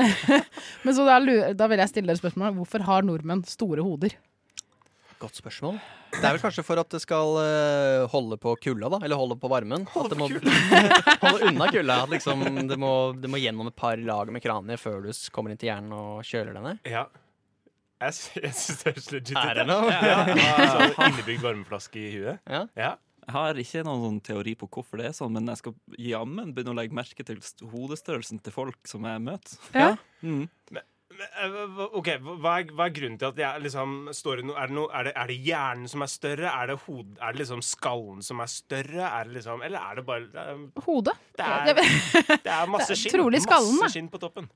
Speaker 2: Men så da, lu- da vil jeg stille dere spørsmålet hvorfor har nordmenn store hoder?
Speaker 3: Godt spørsmål. Det er vel kanskje for at det skal eh, holde på kulda, da. Eller holde på varmen. Holde, må, holde unna kulda. At liksom, det, må, det må gjennom et par lag med kranier før du s- kommer inn til hjernen og kjøler deg ned.
Speaker 4: Ja. Jeg, sy- jeg syns det høres legit ut.
Speaker 3: Er det
Speaker 4: ja.
Speaker 3: noe?
Speaker 4: Ja, sånn Innebygd varmeflaske i huet.
Speaker 3: Ja.
Speaker 4: Ja.
Speaker 1: Jeg har ikke noen sånn teori på hvorfor det er sånn, men jeg skal jammen begynne å legge merke til st- hodestørrelsen til folk som jeg møter.
Speaker 2: Ja.
Speaker 1: Mm.
Speaker 4: Men, eh, hva- Ok, hva er, hva er grunnen til at jeg liksom står i noe er, det noe- er, det, er det hjernen som er større? Er det, hod, er det liksom skallen som er større? Er det liksom, eller er det bare Det er,
Speaker 2: Hode?
Speaker 4: det er, det er masse
Speaker 2: Det er
Speaker 4: skinn.
Speaker 2: trolig skallen, da.
Speaker 4: masse skinn på toppen.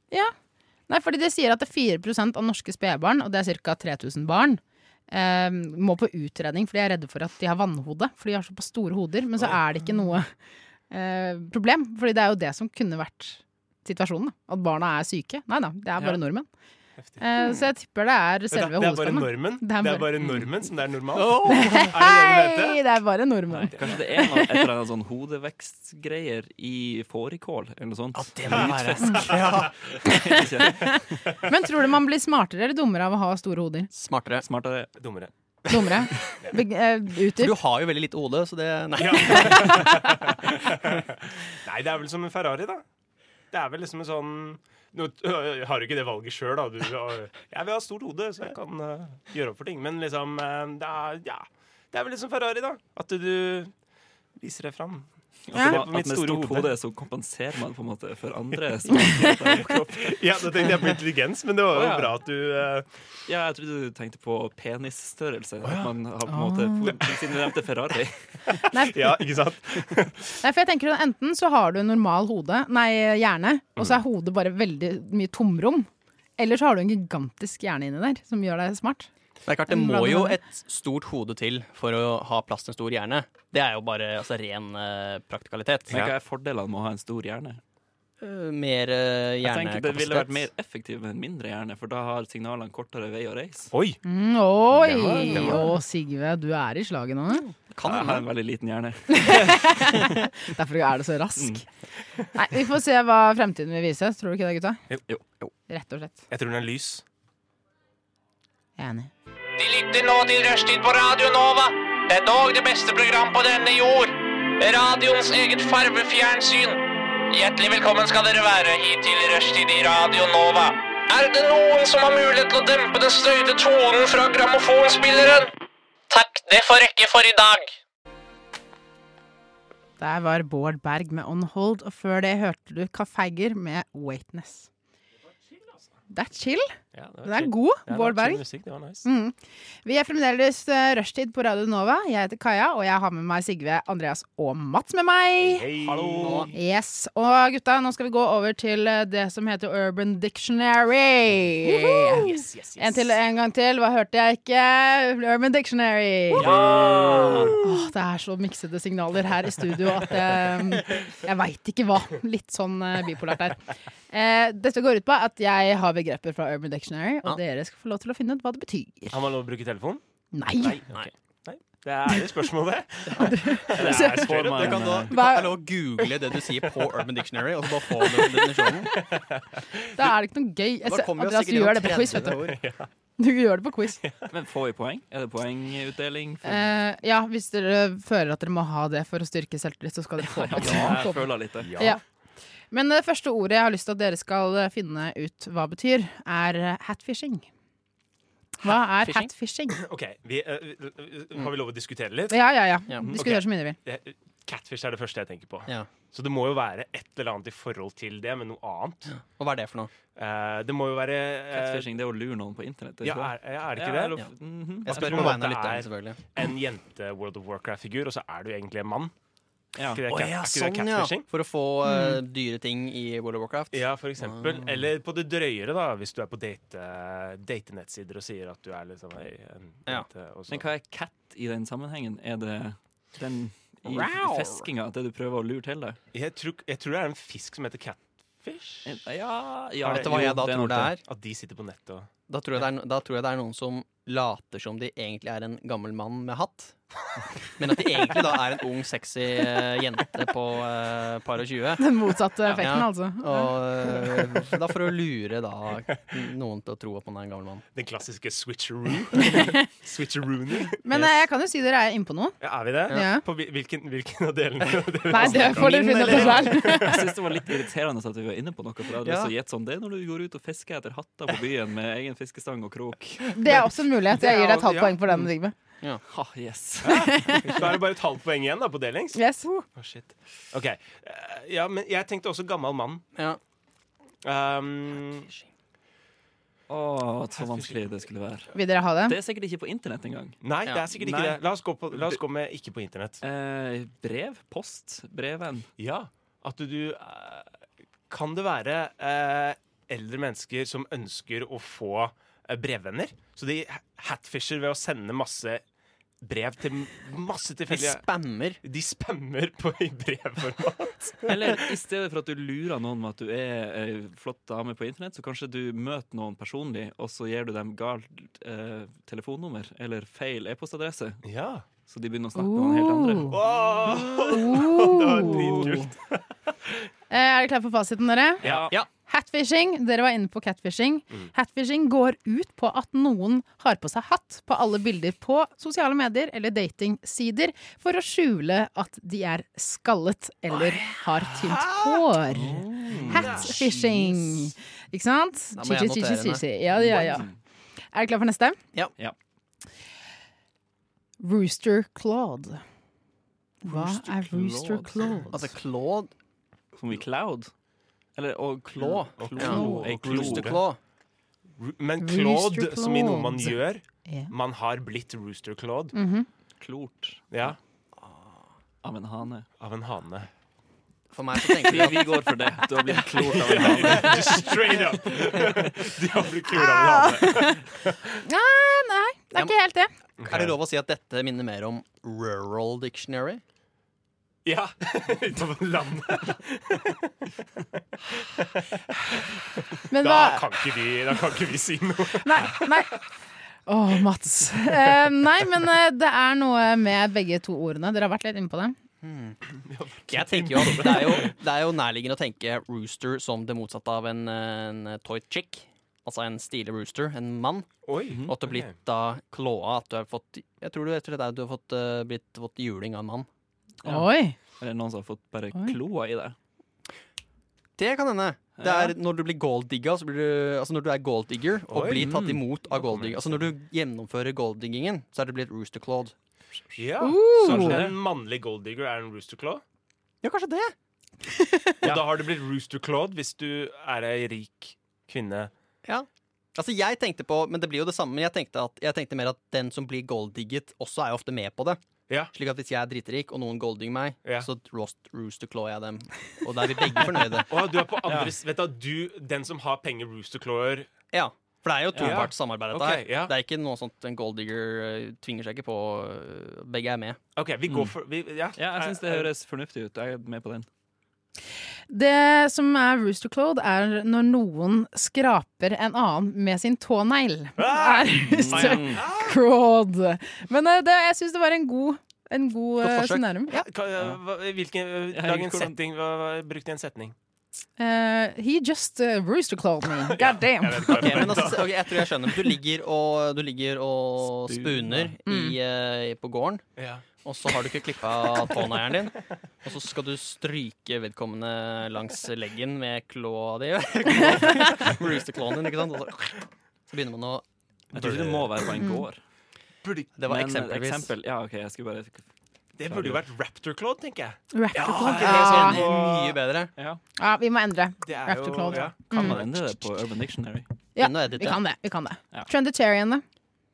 Speaker 2: Nei, fordi det sier at det er 4 av norske spedbarn, og det er ca. 3000 barn, eh, må på utredning, for de er redde for at de har vannhode. For de har såpass store hoder. Men så er det ikke noe eh, problem, fordi det er jo det som kunne vært situasjonen. da. At barna er syke. Nei da, det er bare
Speaker 1: Ja.
Speaker 2: nordmenn.
Speaker 4: Heftig.
Speaker 2: Eh, så jeg tipper det er
Speaker 4: Det, er-
Speaker 2: selve
Speaker 4: det er bare
Speaker 2: hodeskallen. da.
Speaker 4: normen.
Speaker 2: Det er
Speaker 4: Det
Speaker 2: bare-
Speaker 4: er bare normen som det er normalt.
Speaker 3: Åh!
Speaker 4: Er det det det heter?
Speaker 2: Hei, det er bare nordmenn.
Speaker 1: Kanskje det er noe, et eller annet sånn hodevekstgreier i fårikål eller noe sånt.
Speaker 3: det må det være.
Speaker 1: Ikke
Speaker 2: Men tror du man blir smartere eller dummere av å ha store hoder?
Speaker 3: Smartere.
Speaker 1: Smartere.
Speaker 4: Dummere.
Speaker 2: Dummere? Be eh,
Speaker 3: For
Speaker 2: utdyp.
Speaker 3: du har jo veldig lite hode, så det Nei.
Speaker 4: Ja. Nei, det er vel som en Ferrari, da. Det er vel liksom en sånn nå t- øh, har du ikke det valget sjøl, da. Du, øh, jeg vil ha stort hode, så jeg kan øh, gjøre opp for ting. Men liksom, øh, det er, ja, det er vel liksom Ferrari, da. At du, du viser deg fram.
Speaker 1: At, det
Speaker 4: Ja.
Speaker 1: var- at med
Speaker 4: Mitt store
Speaker 1: stort
Speaker 4: hode.
Speaker 1: hode så kompenserer man på en måte for andre. svakheter på kroppen.
Speaker 4: Ja, Da tenkte jeg på intelligens, men det var jo
Speaker 1: Å, ja.
Speaker 4: bra at du øh,
Speaker 1: Ja, jeg trodde du tenkte på penisstørrelse. At man har på en måte Siden du nevnte Ferrari.
Speaker 2: Nei,
Speaker 4: Ja, ikke sant?
Speaker 2: Nei, for jeg tenker at Enten så har du en normal hode, nei, hjerne, og
Speaker 4: Mm.
Speaker 2: så er hodet bare veldig mye tomrom. Eller så har du en gigantisk hjerne inni der som gjør deg smart.
Speaker 3: Det, er klart, det må jo et stort hode til for å ha plass til en stor hjerne. Det er jo bare altså, ren eh, praktikalitet.
Speaker 1: Men hva er fordelene med å ha en stor hjerne?
Speaker 3: Eh, Mer eh,
Speaker 1: Jeg tenker Det ville vært mer
Speaker 3: hjernekapasitet.
Speaker 1: effektivt med en mindre hjerne, for da har signalene kortere vei å reise.
Speaker 4: Oi!
Speaker 2: Mm, oi!
Speaker 4: Det var- det
Speaker 2: Å,
Speaker 4: var-
Speaker 2: Sigve, du er i slaget nå.
Speaker 3: Kan
Speaker 1: Jeg har en
Speaker 3: hende.
Speaker 1: veldig liten hjerne.
Speaker 2: Derfor er du så rask. Nei, Vi får se hva fremtiden vil vise. Tror du ikke det, gutta?
Speaker 4: Mm. Jo, jo, jo.
Speaker 2: Rett og slett.
Speaker 4: Jeg tror den er lys.
Speaker 2: Jeg er enig.
Speaker 5: De lytter nå til Rushtid på Radio Nova. Det er dog det beste program på denne jord. Radioens eget farvefjernsyn. Hjertelig velkommen skal dere være hit til Rushtid i Radio Nova. Er det noen som har mulighet til å dempe den støyte tonen fra grammofonspilleren? Takk, det får rekke for i dag.
Speaker 2: Der var Bård Berg med On Hold, og før det hørte du Kaffeiger med Waitness. Det er chill.
Speaker 4: Ja, det
Speaker 2: Den er god, Bård Berg.
Speaker 4: Musikk, det var nice.
Speaker 2: Vi er fremdeles eh, rushtid på Radio Nova. Jeg heter Kaja, og jeg har med meg Sigve, Andreas og Mats med meg.
Speaker 4: Hei.
Speaker 2: Yes, Og gutta, nå skal vi gå over til eh, det som heter Urban Dictionary.
Speaker 4: Yes, yes, yes.
Speaker 2: En til, en gang til. Hva hørte jeg ikke? Urban Dictionary. Åh, det er så miksede signaler her i studio at eh, jeg veit ikke hva. Litt sånn eh, bipolært her. Eh, dette går ut på at jeg har begreper fra Urban Dictionary, og dere skal få lov til å finne ut hva det betyr.
Speaker 4: Har man lov å bruke telefon?
Speaker 2: Nei!
Speaker 4: Nei. Det er ærlig spørsmål, det.
Speaker 1: Eller,
Speaker 4: Det er
Speaker 1: får
Speaker 4: straight up,
Speaker 1: man,
Speaker 3: Du kan da
Speaker 1: eh,
Speaker 3: du kan, eller, google det du sier på Urban Dictionary, og så bare få den definisjonen.
Speaker 2: Da er det ikke noe gøy.
Speaker 3: Da
Speaker 2: Altså,
Speaker 3: kommer jo
Speaker 2: Andreas, du
Speaker 3: sikkert
Speaker 2: gjør
Speaker 3: noen
Speaker 2: det på quiz, vet
Speaker 3: 30
Speaker 2: du.
Speaker 3: ord.
Speaker 2: Du gjør det på quiz.
Speaker 1: Men får vi poeng? Er det poengutdeling? Får-
Speaker 2: Eh, ja, hvis dere føler at dere må ha det for å styrke selvtillit, så skal dere få det.
Speaker 1: Ja, jeg føler litt det.
Speaker 2: Ja. Men det første ordet jeg har lyst til at dere skal eh, finne ut hva betyr, er eh, hatfishing. Hva er hatfishing?
Speaker 4: OK, vi, eh, eh, har vi lov å diskutere litt?
Speaker 2: Ja, ja, ja.
Speaker 3: Ja.
Speaker 2: Diskuter så mye dere vil.
Speaker 4: Det- Catfish er det første jeg tenker på.
Speaker 3: Ja.
Speaker 4: Så det må jo være et eller annet i forhold til det, men noe annet.
Speaker 3: Og hva er det for noe?
Speaker 4: Eh, det må jo være eh,
Speaker 1: Catfishing, det er å lure noen på internett.
Speaker 4: Ja, er, er det ikke det?
Speaker 1: Ja. Mhm.
Speaker 3: Jeg spør
Speaker 4: tror
Speaker 3: på vegne av
Speaker 4: det
Speaker 3: lytteren,
Speaker 4: er-
Speaker 3: selvfølgelig.
Speaker 4: En jente World of Warcraft-figur, og så er du egentlig en mann.
Speaker 1: Ja.
Speaker 4: Er ikke det,
Speaker 3: Å
Speaker 4: cat,
Speaker 3: ja,
Speaker 4: er ikke det
Speaker 3: sånn, ja.
Speaker 4: catfishing?
Speaker 3: For å få
Speaker 2: Mm.
Speaker 3: eh, dyre ting i World of Warcraft.
Speaker 4: Ja, for eksempel. Eller på det drøyere, da, hvis du er på date, eh, datenettsider og sier at du er liksom ei, en
Speaker 3: Ja.
Speaker 4: jente. og så-
Speaker 1: Men hva er cat i den sammenhengen? Er det den i
Speaker 3: Wow.
Speaker 1: feskinga, det du prøver å lure til deg?
Speaker 4: jeg, tror, jeg tror det er en fisk som heter catfish.
Speaker 1: Eh, Ja, ja
Speaker 3: Vet du hva
Speaker 1: jo,
Speaker 3: jeg da
Speaker 1: er nok
Speaker 3: tror det er?
Speaker 4: At de sitter på nettet og
Speaker 3: Da tror, jeg det er, no- da tror jeg det er noen som later som de egentlig er en gammel mann med hatt. Men at de egentlig da er en ung, sexy eh, jente på uh, par og tjue.
Speaker 2: Den motsatte effekten,
Speaker 3: Ja.
Speaker 2: altså.
Speaker 3: Og eh, da for å lure da noen til å tro at man er en gammel mann.
Speaker 4: Den klassiske switcheroo. Switcheroony.
Speaker 2: Men eh, jeg kan jo si dere er innpå noe.
Speaker 4: Ja, er vi det?
Speaker 2: Ja.
Speaker 4: På hvil- hvilken, hvilken av delene?
Speaker 2: Nei, det får dere
Speaker 3: Min,
Speaker 2: finne ut av
Speaker 3: eller?
Speaker 2: selv.
Speaker 1: Jeg synes det var litt irriterende at vi var inne på noe. For jeg hadde lyst til å gjette sånn, Det er når du går ut og fisker etter hatter på byen med egen fiskestang og krok.
Speaker 2: Det er også en mulighet. Jeg gir deg et halvt
Speaker 4: Ja.
Speaker 2: poeng for den. Rigve.
Speaker 1: Ha, yes.
Speaker 4: Da er det bare et halvt poeng igjen da, på delings.
Speaker 2: Yes.
Speaker 4: Å, shit. Ok, eh, ja, men jeg tenkte også gammel mann.
Speaker 3: Ja.
Speaker 4: Um,
Speaker 1: Å, så vanskelig det skulle være.
Speaker 2: Vil dere ha det?
Speaker 1: Det er sikkert ikke på internett engang.
Speaker 4: nei, det er sikkert ikke
Speaker 1: Nei.
Speaker 4: det. La oss, gå på, la oss gå med ikke på internett.
Speaker 1: Eh, brev? Post? Breven?
Speaker 4: Ja, at du, du eh, Kan det være eh, eldre mennesker som ønsker å få eh, brevvenner? Så de hatfisher ved å sende masse brev til masse
Speaker 3: De
Speaker 4: tilfeldige
Speaker 3: spammer.
Speaker 4: De spammer på i brevformat.
Speaker 1: Eller i stedet for at du lurer noen med at du er ei flott dame på internett, så kanskje du møter noen personlig, og så gir du dem galt eh, telefonnummer eller feil e-postadresse,
Speaker 4: Ja.
Speaker 1: så de begynner å snakke med noen helt andre.
Speaker 4: det var
Speaker 2: Oh.
Speaker 4: dritkult.
Speaker 2: Eh, Er dere klare for fasiten, dere?
Speaker 4: Ja.
Speaker 3: Ja.
Speaker 2: Hatfishing, dere var inne på catfishing.
Speaker 3: Mm.
Speaker 2: Hatfishing går ut på at noen har på seg hatt på alle bilder på sosiale medier eller datingsider for å skjule at de er skallet eller har tynt hår. Hatfishing. Ikke sant?
Speaker 3: Mm. Da må
Speaker 2: Chi, chi, chi,
Speaker 3: jeg notere
Speaker 2: chi,
Speaker 3: meg.
Speaker 2: chi. Ja, ja, ja. Er dere klare for neste?
Speaker 3: Ja.
Speaker 1: Ja.
Speaker 2: Rooster Claude. Hva er Rooster Claude?
Speaker 3: Altså Claude
Speaker 1: Som i Cloud. Eller og
Speaker 3: Klå.
Speaker 1: Klå.
Speaker 4: Klå.
Speaker 1: Ei klo.
Speaker 3: Rooster Claw.
Speaker 4: Ru- Men
Speaker 2: Rooster
Speaker 4: Claude, som i noe man
Speaker 2: Claude.
Speaker 4: gjør
Speaker 2: Ja.
Speaker 4: Man har blitt Rooster Claude
Speaker 1: Klort
Speaker 4: ja,
Speaker 1: av en hane.
Speaker 4: av en hane.
Speaker 3: For meg så tenker
Speaker 1: Vi,
Speaker 3: jeg
Speaker 1: vi går for det. Du har blitt klort av en hane.
Speaker 4: Just straight up! De har blitt kula av en hane.
Speaker 2: Ah, Nei, nei, det er ikke helt det.
Speaker 3: Er det lov å si at dette minner mer om Rural Dictionary?
Speaker 4: Ja, utover landet.
Speaker 2: Men hva
Speaker 4: Da kan ikke vi, da kan ikke vi si noe.
Speaker 2: Nei. nei. Å, Mats. Eh, nei, men eh, det er noe med begge to ordene. Dere har vært litt inne på det.
Speaker 3: Jeg tenker jo at det er jo, det er jo nærliggende å tenke rooster som det motsatte av en, en toy chick. Altså en stilig rooster, en mann.
Speaker 4: Oi,
Speaker 3: Og at du har blitt da klåa. At du har fått Jeg tror du vet det er at du har fått, eh, blitt fått juling av en mann.
Speaker 1: Ja.
Speaker 2: Oi.
Speaker 1: Er det noen som har fått bare kloa i det?
Speaker 3: Det kan hende. Det
Speaker 1: Ja.
Speaker 3: er når du blir golddigga, så blir du Altså når du er golddigger og
Speaker 4: Oi.
Speaker 3: blir tatt
Speaker 1: Mm.
Speaker 3: imot av golddigger. Altså når du gjennomfører golddiggingen, så er det blitt rooster clawed.
Speaker 4: Ja. Så
Speaker 2: Uh.
Speaker 4: en mannlig golddigger er en rooster claw.
Speaker 3: Ja, kanskje det.
Speaker 4: Og da har du blitt rooster clawed hvis du er ei rik kvinne.
Speaker 3: Altså jeg tenkte på, men det blir jo det samme, men jeg tenkte, at, jeg tenkte mer at den som blir golddigget, også er jo ofte med på det.
Speaker 4: Ja.
Speaker 3: Slik at hvis jeg er dritrik, og noen golddigger meg,
Speaker 4: Ja.
Speaker 3: så roast, rooster claw jeg dem. Og da er vi begge fornøyde.
Speaker 4: Å, du er på andre s- Vet du, du, den som har penger, rooster clawer
Speaker 3: Ja. For det er jo toparts samarbeid, dette
Speaker 4: Ok,
Speaker 3: her.
Speaker 4: ja.
Speaker 3: Det er ikke noe sånt en golddigger eh, tvinger seg ikke på. eh, Begge er med.
Speaker 4: OK, vi går for vi, ja. Eh,
Speaker 1: Ja, jeg syns det høres fornuftig ut. Jeg er med på den.
Speaker 2: Det som er rooster clode, er når noen skraper en annen med sin tånegl. Er rooster
Speaker 4: Ah,
Speaker 2: Fraud. Men eh, det, jeg syns det var en god, en god
Speaker 3: Godt
Speaker 2: eh,
Speaker 3: forsøk.
Speaker 2: sånn nærmere. Ja.
Speaker 4: Hva- hva- Hvilken
Speaker 1: Jeg
Speaker 4: eh,
Speaker 1: vet ikke
Speaker 4: Lag en
Speaker 1: hvordan-
Speaker 4: setting. Hva, hva, bruk det i en setning.
Speaker 2: Eh, he just eh, rooster clawed me. God damn.
Speaker 4: Jeg vet ikke hva
Speaker 3: Ok,
Speaker 4: jeg
Speaker 3: men
Speaker 4: mener.
Speaker 3: altså, ok, jeg tror jeg skjønner. Du ligger og, du ligger og
Speaker 1: Spune.
Speaker 3: spuner i, eh, på gården,
Speaker 4: Ja.
Speaker 3: og så har du ikke klippa tåneieren din. Og så skal du stryke vedkommende langs leggen med klåa di. Roosterklåen din, ikke sant. Og så, så begynner man å
Speaker 1: Jeg tror ikke det må være på en gård.
Speaker 3: Det var
Speaker 1: Men,
Speaker 3: eksempelvis.
Speaker 1: Eksempel, ja, ok, jeg skulle bare
Speaker 4: Det burde jo vært Raptor Claw, tenker jeg.
Speaker 2: Raptor clawed.
Speaker 3: Det er sånn så
Speaker 2: Ja.
Speaker 3: mye mye bedre.
Speaker 1: ja.
Speaker 2: Ah. ja, Mm. vi må endre.
Speaker 4: Det er
Speaker 2: Raptor
Speaker 4: jo
Speaker 2: clawed.
Speaker 4: ja.
Speaker 1: Kan man endre det på Urban Dictionary?
Speaker 2: Ja,
Speaker 3: Inn og edit
Speaker 2: vi
Speaker 3: det.
Speaker 2: kan det. vi kan det
Speaker 1: Ja.
Speaker 2: Trendetarian, da.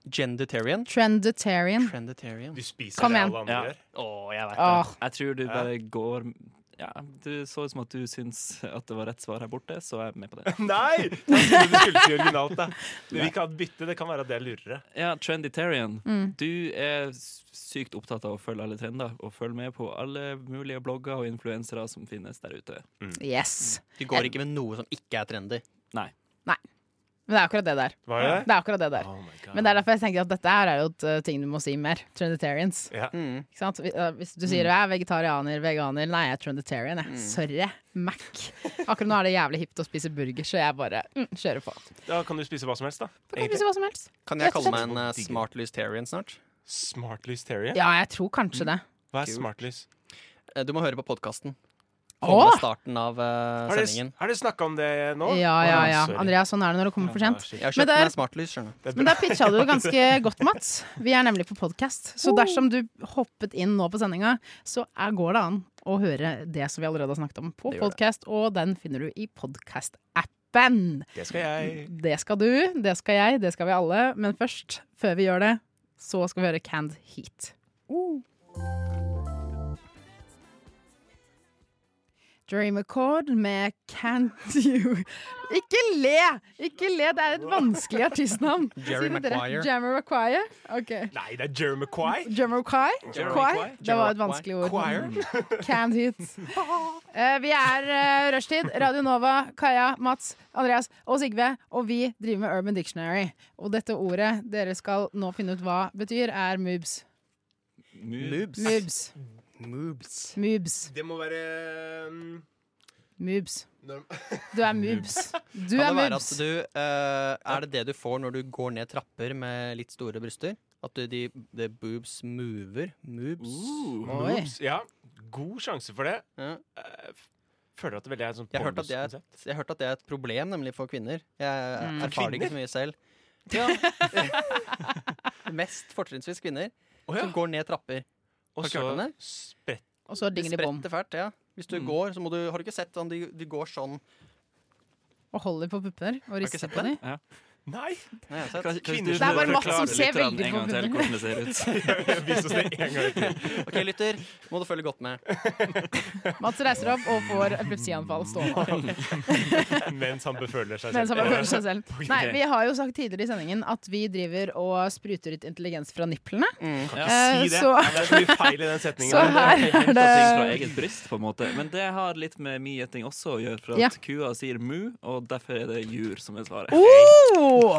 Speaker 3: Genditarian.
Speaker 2: Trendetarian.
Speaker 3: Trenditarian.
Speaker 4: Du spiser
Speaker 2: Kom
Speaker 4: det
Speaker 2: igjen.
Speaker 4: alle andre
Speaker 1: Ja.
Speaker 4: gjør.
Speaker 3: Å, jeg vet det.
Speaker 2: Åh,
Speaker 1: Jeg tror du
Speaker 4: Ja.
Speaker 1: bare går ja, Du så ut som at du syns at det var rett svar her borte, så jeg er med på det.
Speaker 4: Nei! Det skulle du skulle si originalt, da. Du vil ikke ha et bytte. Det kan være at det er lurere.
Speaker 1: Ja, Trenditarian. Du er s- sykt opptatt av å følge alle trender og følge med på alle mulige blogger og influensere som finnes der ute.
Speaker 2: yes.
Speaker 3: Du går ikke med noe som ikke er trendy.
Speaker 1: Nei.
Speaker 2: Men det er akkurat det der.
Speaker 4: Var det
Speaker 2: Det er akkurat det der.
Speaker 4: Oh my God.
Speaker 2: Men det er derfor jeg tenker at dette her er jo et eh, ting du må si mer. Trendetarians.
Speaker 4: Ja.
Speaker 3: Mm.
Speaker 2: Ikke sant? Vi- eh, Hvis du sier
Speaker 4: Mm.
Speaker 2: jeg er vegetarianer, veganer Nei, jeg er trendetarian. Jeg. Sorry. Mac. Akkurat nå er det jævlig hipt å spise burger, så jeg bare mm, kjører på.
Speaker 4: Da kan du spise hva som helst, da.
Speaker 2: Du kan spise hva som helst.
Speaker 3: Kan
Speaker 2: Rett
Speaker 3: jeg
Speaker 2: og
Speaker 3: kalle
Speaker 2: slett.
Speaker 3: meg en eh, smartlystarian snart?
Speaker 4: Smartlys Terry?
Speaker 2: Ja, jeg tror kanskje
Speaker 4: Mm.
Speaker 2: det.
Speaker 4: Hva er
Speaker 3: Kult.
Speaker 4: smartlys?
Speaker 3: Eh, Du må høre på podkasten.
Speaker 2: Åh!
Speaker 3: Kommer starten av eh,
Speaker 4: Har dere,
Speaker 3: sendingen.
Speaker 4: har dere snakka om det nå?
Speaker 2: Ja, ja,
Speaker 4: Å,
Speaker 2: ja.
Speaker 4: sorry.
Speaker 2: Andreas, sånn er det når det kommer for sent.
Speaker 4: Ja, shit.
Speaker 3: Jeg har
Speaker 2: Men
Speaker 3: kjøpt
Speaker 2: der-
Speaker 3: meg smartlys, skjønner du.
Speaker 4: Det er
Speaker 2: Men
Speaker 4: bra.
Speaker 2: der pitcha du det ganske godt, Mats. Vi er nemlig på podkast. Så dersom du hoppet inn nå på sendinga, så er, går det an å høre det som vi allerede har snakket om på
Speaker 3: Det gjør det.
Speaker 2: podkast, og den finner du i podkast-appen.
Speaker 4: Det skal jeg
Speaker 2: Det skal du, det skal jeg, det skal vi alle. Men først, før vi gjør det, så skal vi høre Canned Heat. Uh. Dream Accord med Can't You Ikke le! Ikke le, det er et vanskelig artistnavn.
Speaker 3: Jerry
Speaker 2: Sier dere-
Speaker 3: Maguire.
Speaker 2: Jammer Maguire? Ok.
Speaker 4: Nei, det er Jeremy Quay.
Speaker 2: Jammer Quai?
Speaker 4: Jerry
Speaker 2: Quai?
Speaker 4: Maguire.
Speaker 2: Det var
Speaker 3: Jerry
Speaker 2: et vanskelig ord.
Speaker 4: Choir.
Speaker 2: Canned Heat. Eh, vi er uh, Rushtid, Radio Nova, Kaja, Mats, Andreas og Sigve. Og vi driver med Urban Dictionary. Og dette ordet dere skal nå finne ut hva betyr, er moobs.
Speaker 1: Moobs.
Speaker 2: Moobs.
Speaker 3: Moobs.
Speaker 2: Moobs.
Speaker 4: Det må være um,
Speaker 2: Moobs.
Speaker 4: når-
Speaker 2: Du er moobs. Du
Speaker 3: Kan
Speaker 2: er
Speaker 3: det være at
Speaker 2: moobs.
Speaker 3: du eh, Er det det du får når du går ned trapper med litt store bryster? At du, de, de boobs mover? Moobs?
Speaker 1: Uh.
Speaker 2: Oi.
Speaker 4: Oops, Ja, god sjanse for det.
Speaker 3: Ja.
Speaker 4: Eh, f- Føler at det veldig er et sånt
Speaker 3: Jeg har hørt at det er-
Speaker 4: pornoskonsept.
Speaker 3: Jeg hørte at det er et problem nemlig for kvinner. Jeg
Speaker 2: Mm.
Speaker 3: erfarer det ikke så mye selv. Ja. Mest fortrinnsvis kvinner
Speaker 4: Å
Speaker 3: som
Speaker 4: ja.
Speaker 3: går ned trapper.
Speaker 4: Og
Speaker 3: Har du ikke hørt om
Speaker 4: så
Speaker 3: det?
Speaker 4: spredt
Speaker 2: Og så
Speaker 3: De
Speaker 2: dingelibom.
Speaker 3: spretter fælt. ja Hvis du
Speaker 1: Mm.
Speaker 3: går, så må du Har du ikke sett sånn? De, de går sånn.
Speaker 2: Og holder på pupper og rister
Speaker 3: sett
Speaker 2: på dem.
Speaker 4: Nei!
Speaker 3: Nei, jeg har sett.
Speaker 1: Kan- kan
Speaker 4: Det
Speaker 1: du
Speaker 4: er bare
Speaker 2: Mats som
Speaker 1: forklare
Speaker 2: ser
Speaker 1: lytterne en
Speaker 2: veldig
Speaker 1: gang til
Speaker 2: forvirret.
Speaker 1: hvordan det ser ut?
Speaker 4: Vis oss det en gang til.
Speaker 3: Ok, lytter, må du følge godt med.
Speaker 2: Mats reiser opp og får epilepsianfall stående.
Speaker 4: Mens han beføler seg
Speaker 2: Mens
Speaker 4: selv.
Speaker 2: han bare føler seg selv.
Speaker 1: Ok.
Speaker 2: Nei, vi har jo sagt tidligere i sendingen at vi driver og spruter ut intelligens fra nipplene.
Speaker 3: Mm.
Speaker 1: Ja.
Speaker 2: Eh,
Speaker 4: Si det.
Speaker 2: så-
Speaker 4: Det er så mye feil i den setningen.
Speaker 2: Så her
Speaker 1: Jeg henter
Speaker 2: er
Speaker 1: ting fra
Speaker 2: det
Speaker 1: eget bryst, på en måte. Men det har litt med min gjetting også å gjøre, for at
Speaker 2: Ja.
Speaker 1: kua sier mu, og derfor er det jur som er svaret.
Speaker 2: oh! OK,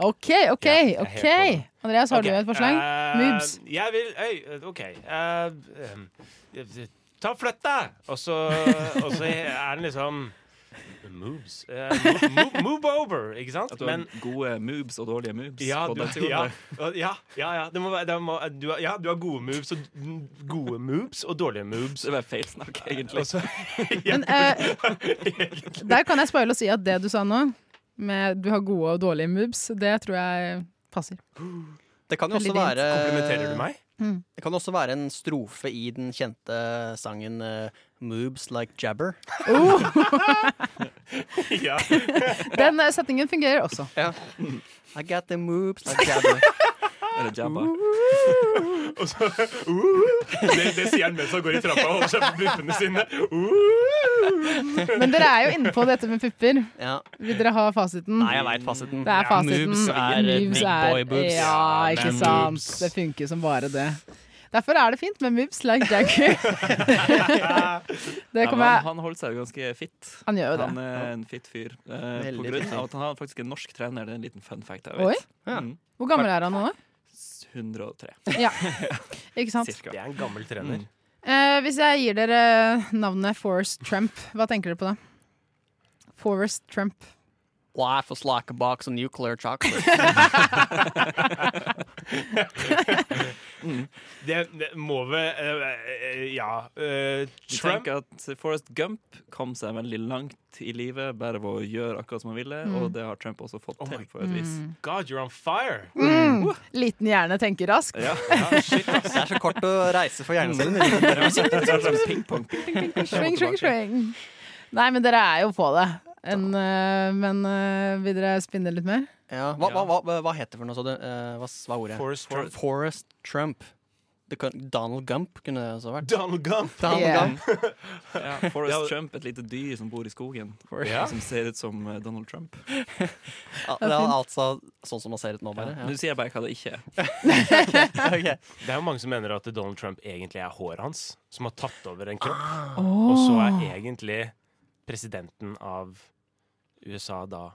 Speaker 2: OK,
Speaker 4: Ja, jeg er helt
Speaker 2: OK.
Speaker 4: på det.
Speaker 2: Andreas, har
Speaker 4: Ok,
Speaker 2: du et forslag?
Speaker 4: eh,
Speaker 2: Moobs.
Speaker 4: Jeg vil øy, OK. eh, em, eh, ta og flytt deg! Og så og så er den liksom Moves. eh, move, move, move over, ikke sant?
Speaker 1: At du har gode moves og dårlige moves.
Speaker 4: ja,
Speaker 1: på
Speaker 4: du,
Speaker 1: den siden
Speaker 4: ja,
Speaker 1: der.
Speaker 4: ja, ja, ja, det må være, det må, du, har- ja, du har gode moves og, mm, gode moves og dårlige moves.
Speaker 1: Så det er bare feilsnakk, egentlig.
Speaker 4: Og så,
Speaker 2: Men eh, der kan jeg spoile og si at det du sa nå, med du har gode og dårlige moobs, det tror jeg passer.
Speaker 3: Det kan jo også
Speaker 2: Veldig fint.
Speaker 3: være
Speaker 4: komplimenterer du meg?
Speaker 3: Det kan også være en strofe i den kjente sangen eh, Moves like jabber.
Speaker 2: Oh,
Speaker 4: Ja.
Speaker 2: den eh, setningen fungerer også.
Speaker 3: I got the moves like jabber.
Speaker 1: Eller jabba.
Speaker 4: Og så uh, det, det sier han mens han går i trappa og holder seg på puppene sine. Uh.
Speaker 2: Men dere er jo inne på dette med pupper.
Speaker 3: Ja.
Speaker 2: Vil dere ha fasiten?
Speaker 3: Nei, jeg veit fasiten.
Speaker 2: Det er fasiten.
Speaker 3: Moves er eh,
Speaker 2: Moves
Speaker 3: big
Speaker 2: er-
Speaker 3: boy boobs.
Speaker 2: Ja,
Speaker 4: Ja,
Speaker 2: ikke
Speaker 4: men
Speaker 2: sant.
Speaker 4: moves.
Speaker 2: Det funker som bare det. Derfor er det fint med moves like Jagger. det
Speaker 1: Ja, men
Speaker 2: kommer
Speaker 1: han,
Speaker 2: jeg
Speaker 1: han holder seg jo ganske fit.
Speaker 2: Han gjør jo det.
Speaker 1: Han er en fit fyr. Eh,
Speaker 3: Veldig
Speaker 1: på grunn
Speaker 3: fit fyr.
Speaker 1: av at han har faktisk en norsk trener. Det er en liten fun fact jeg
Speaker 2: Oi.
Speaker 1: vet. Mm.
Speaker 2: Hvor gammel er han nå? da?
Speaker 1: 103,
Speaker 2: Ja, ikke sant?
Speaker 1: cirka.
Speaker 4: Det er en gammel trener.
Speaker 1: Mm.
Speaker 2: Eh, hvis jeg gir dere navnet Forrest Trump, hva tenker dere på da? Forrest Trump.
Speaker 3: Life is like a box of nuclear chocolate.
Speaker 4: Det, det må vi eh, eh, Ja. eh,
Speaker 1: Vi
Speaker 4: Trump
Speaker 1: tenker at Forrest Gump kom seg veldig langt i livet bare ved å gjøre akkurat som han ville,
Speaker 2: Mm.
Speaker 1: og det har Trump også fått
Speaker 4: Oh my
Speaker 1: til på et vis.
Speaker 4: God, you're on fire!
Speaker 2: Uh, Liten hjerne tenker raskt.
Speaker 1: Ja.
Speaker 4: Ja, shit, ass.
Speaker 3: Det er så kort å reise for hjernecellen.
Speaker 1: Det er sånn ping-pong.
Speaker 2: Swing, swing, swing. Nei, men dere er jo på det. En, eh, men eh, vil dere spinne litt mer?
Speaker 3: Ja. Hva, hva, hva, hva heter det for noe, så du? Eh, hva, s- hva er ordet?
Speaker 4: Forrest Trump.
Speaker 3: Forrest Trump. Det kan, Donald Gump kunne det også vært.
Speaker 4: Donald Gump.
Speaker 3: Donald
Speaker 2: Yeah.
Speaker 3: Gump.
Speaker 1: Ja, Forrest Trump, et lite dyr som bor i skogen,
Speaker 4: Ja.
Speaker 1: som ser ut som eh, Donald Trump.
Speaker 3: Ja, det er altså sånn som man ser ut nå, bare.
Speaker 1: Nå sier jeg bare hva det ikke er.
Speaker 3: Ja. Ok.
Speaker 4: Det er jo mange som mener at Donald Trump egentlig er håret hans, som har tatt over en kropp. Og så er egentlig presidenten av USA da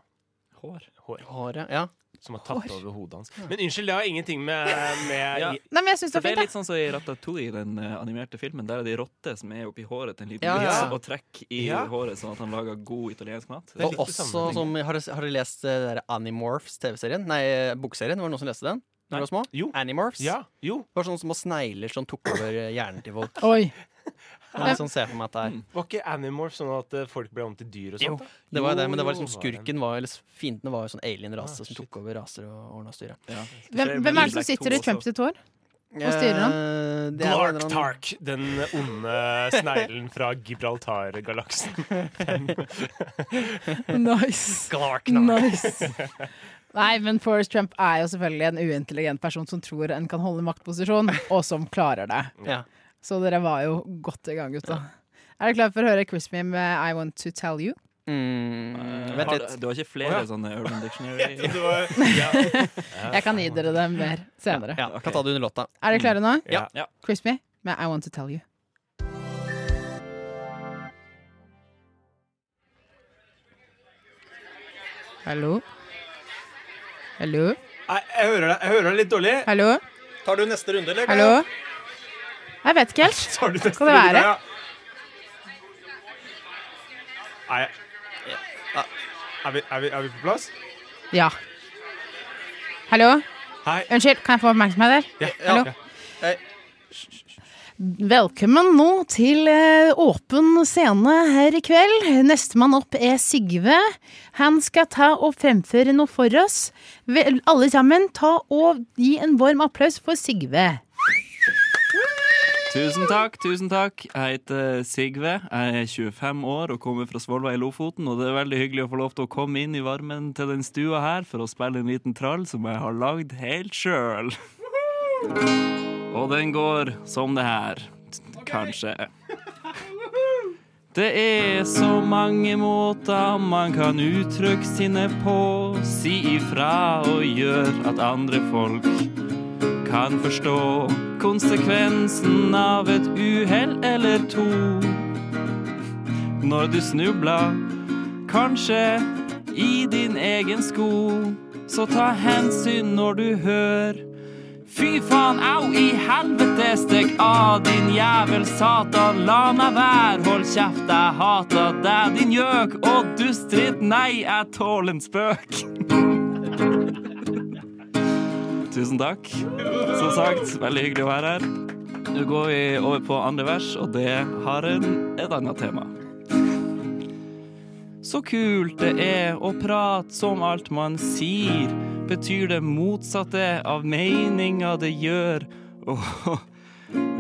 Speaker 1: Hår.
Speaker 4: hår,
Speaker 3: Håret, ja.
Speaker 4: som har tatt over hodet hans. Men unnskyld, det har ingenting med, med
Speaker 1: Ja.
Speaker 2: Nei, men jeg syns det
Speaker 1: For
Speaker 2: er
Speaker 1: det er
Speaker 2: fint,
Speaker 1: litt sånn som i Ratatouille, den eh, animerte filmen. Der er det ei rotte som er oppi håret til en liten
Speaker 3: Ja,
Speaker 1: mus,
Speaker 4: ja.
Speaker 1: og trekker i
Speaker 4: Ja.
Speaker 1: håret sånn at han lager god italiensk mat.
Speaker 4: Det er
Speaker 3: Og
Speaker 4: litt det
Speaker 3: også
Speaker 4: samme,
Speaker 3: som Har du, har du lest eh, det der Animorphs TV-serien? Nei, eh, bokserien. Var det noen som leste den? Når vi var små?
Speaker 4: Jo.
Speaker 3: Animorphs.
Speaker 4: Ja, jo.
Speaker 3: Det var sånne små snegler som tok over eh, hjernen til folk.
Speaker 2: da. Oi.
Speaker 3: Jeg liksom ser for meg at det er
Speaker 4: Var ikke Animorph sånn at eh, folk ble om til dyr og sånt? da?
Speaker 3: Det var jo det,
Speaker 4: Jo,
Speaker 3: men det var
Speaker 4: jo,
Speaker 3: liksom
Speaker 4: var det.
Speaker 3: skurken var, eller fiendene var jo sånn alien-rase
Speaker 4: Ah,
Speaker 3: som
Speaker 4: shit.
Speaker 3: tok over raser og ordna og styra.
Speaker 1: Ja.
Speaker 2: Hvem, hvem er det som sitter i Trump sitt hår? Hva styrer han?
Speaker 3: Eh, Det er jo en
Speaker 4: Glark
Speaker 3: eller annen-
Speaker 4: Tark, den onde sneglen fra Gibraltar-galaksen.
Speaker 2: Nice. nice. Nei, men Forrest Trump er jo selvfølgelig en uintelligent person som tror en kan holde maktposisjon, og som klarer det.
Speaker 3: Ja.
Speaker 2: Så dere var jo godt i gang, gutta. Er dere klare for å høre Crispy med I Want To Tell You?
Speaker 4: Eh,
Speaker 3: Mm, vent
Speaker 1: Har-
Speaker 3: litt.
Speaker 1: Du har ikke flere
Speaker 4: Å,
Speaker 1: sånne Urban Dictionary?
Speaker 4: Det var, ja.
Speaker 2: Jeg kan gi dere det mer senere.
Speaker 3: Ja, Kan ta det under låta.
Speaker 2: Er dere klare nå?
Speaker 4: Ja.
Speaker 1: Ja.
Speaker 2: Crispy med I Want To Tell You. Hallo? Hallo?
Speaker 4: Nei, Jeg hører deg, jeg hører deg litt dårlig.
Speaker 2: Hallo?
Speaker 3: Tar du neste runde, eller?
Speaker 2: Hallo? Jeg vet ikke helt.
Speaker 4: Tar du neste
Speaker 2: Kan det
Speaker 4: runde,
Speaker 2: være?
Speaker 4: ja? Nei, er vi, er, vi, er vi på plass?
Speaker 2: Ja. Hallo?
Speaker 4: Hei.
Speaker 2: Unnskyld, kan jeg få oppmerksomhet der?
Speaker 4: Ja,
Speaker 2: Hallo?
Speaker 4: ja.
Speaker 2: Velkommen nå til eh, åpen scene her i kveld. Nestemann opp er Sigve. Han skal ta og fremføre noe for oss. Vel, alle sammen, ta og gi en varm applaus for Sigve.
Speaker 1: Tusen takk, tusen takk. Jeg heter Sigve. Jeg er 25 år og kommer fra Svolvær i Lofoten. Og det er veldig hyggelig å få lov til å komme inn i varmen til den stua her for å spille en liten trall som jeg har lagd helt sjøl. Og den går som det her. Kanskje. Det er så mange måter man kan uttrykke sine på. Si ifra og gjør at andre folk kan forstå konsekvensen av et uhell eller to. Når du snubler, kanskje i din egen sko. Så ta hensyn når du hører. Fy faen, au i helvete, stikk av, din jævel satan. La meg være, hold kjeft, jeg hater deg, din gjøk. Og dustdritt, nei, jeg tåler en spøk. Tusen takk. Som sagt, veldig hyggelig å være her. Nå går vi over på andre vers, og det har en, et annet tema. Så kult det er å prate som alt man sier, betyr det motsatte av meninga det gjør. Å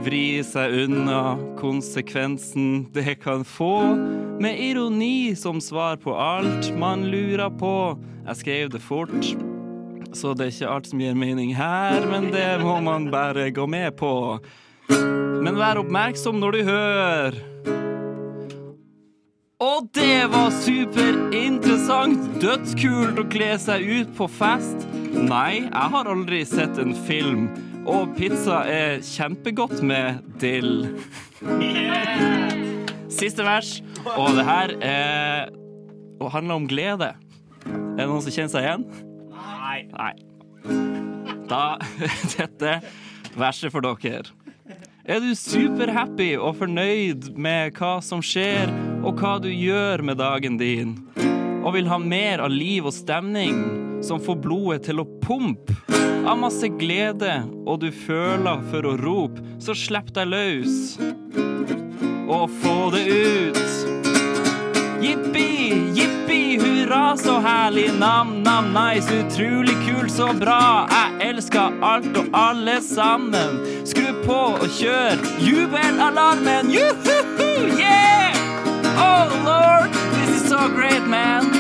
Speaker 1: vri seg unna konsekvensen det kan få, med ironi som svar på alt man lurer på. Jeg skrev det fort, så det er ikke alt som gir mening her, men det må man bare gå med på. Men vær oppmerksom når du hører. Og det var superinteressant! Dødskult å kle seg ut på fest. Nei, jeg har aldri sett en film. Og pizza er kjempegodt med dill. Siste vers, og det her er, og handler om glede. Er det noen som kjenner seg igjen? Nei. Da dette verset for dere. Er du superhappy og fornøyd med hva som skjer, og hva du gjør med dagen din, og vil ha mer av liv og stemning som får blodet til å pumpe av masse glede, og du føler for å rope, så slipp deg løs og få det ut. Jippi, jippi, hurra, så herlig. Nam, nam, nice, utrolig kul, så bra. Jeg elsker alt og alle sammen. Skru på og kjør jubelalarmen. Juhuhu, yeah! Oh lord, this is so great, man.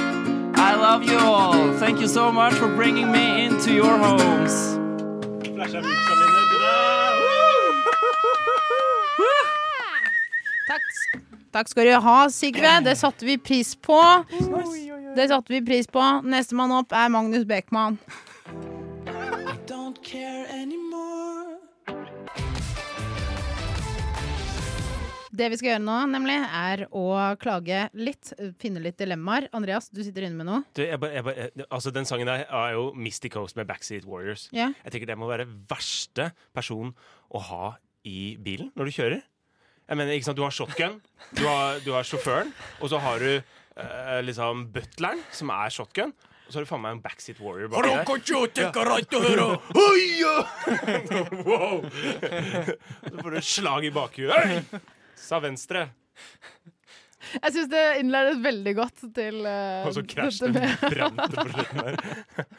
Speaker 1: I love you all. Thank you so much for bringing me into your homes.
Speaker 4: Flasha miksa mine. Woo!
Speaker 2: Takk, s- takk skal du ha, Sigve. Det satte vi pris på. Det satte vi pris på. Nestemann opp er Magnus Beckmann. Det vi skal gjøre nå, nemlig, er å klage litt. Finne litt dilemmaer. Andreas, du sitter inne med noe.
Speaker 4: Du, jeg bare, jeg bare, jeg, altså Den sangen der er jo Misty Coast med Backseat Warriors.
Speaker 2: Ja.
Speaker 4: Jeg tenker Det må være verste person å ha i bilen når du kjører. Jeg mener, ikke sant, Du har shotgun, du har, du har sjåføren, og så har du eh, liksom butleren, som er shotgun. Og så har du faen meg en Backseat Warrior baki der. Wow! Så får du et slag i bakhuet. Hei! Sa venstre.
Speaker 2: Jeg syns det innledes veldig godt til eh,
Speaker 4: Og så krasjet det brant det på slutten der.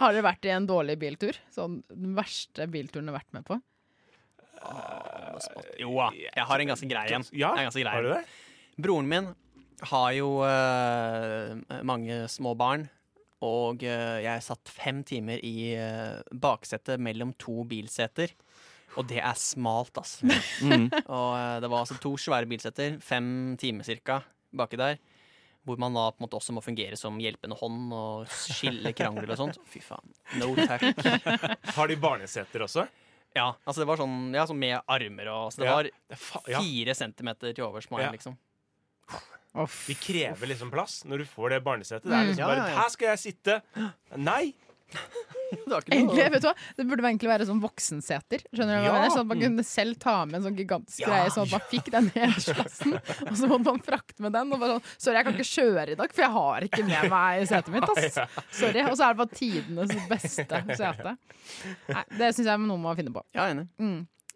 Speaker 2: Har dere vært i en dårlig biltur? Sånn den verste bilturen du har vært med på?
Speaker 3: Jo da, jeg har en ganske grei en.
Speaker 4: Eh, Ja,
Speaker 3: Jeg er ganske grei.
Speaker 4: har du det?
Speaker 3: Broren min har jo eh, mange små barn, og eh, jeg satt fem timer i eh, baksetet mellom to bilseter. Og det er smalt, ass. og eh, det var altså to svære bilseter, fem timer cirka, baki der. Hvor man da på en måte også må fungere som hjelpende hånd og skille krangler og sånt. Fy faen. No takk.
Speaker 4: Har de barneseter også?
Speaker 3: Ja, altså det var sånn, ja, sånn med armer og så Det
Speaker 4: Ja.
Speaker 3: var
Speaker 4: Det er fa ja.
Speaker 3: fire centimeter til overs meg,
Speaker 4: Ja.
Speaker 3: liksom.
Speaker 2: Uff.
Speaker 4: De krever liksom plass når du får det barnesetet. Det er liksom
Speaker 3: Ja,
Speaker 4: bare
Speaker 3: ja, ja.
Speaker 4: Her skal jeg sitte! Nei!
Speaker 3: Det var ikke
Speaker 2: Egentlig, vet du hva? Det burde egentlig være sånn voksenseter. Skjønner du hva jeg
Speaker 4: Ja.
Speaker 2: mener? Sånn at man kunne selv ta med en sånn gigantisk
Speaker 3: Ja.
Speaker 2: greie, sånn at man fikk den nederstplassen. Og så måtte man frakte med den. Og bare sånn Sorry, jeg kan ikke kjøre i dag, for jeg har ikke med meg setet mitt. Ass. Sorry. Og så er det bare tidenes beste sete. Nei, det syns jeg noen må finne på.
Speaker 3: Ja, enig.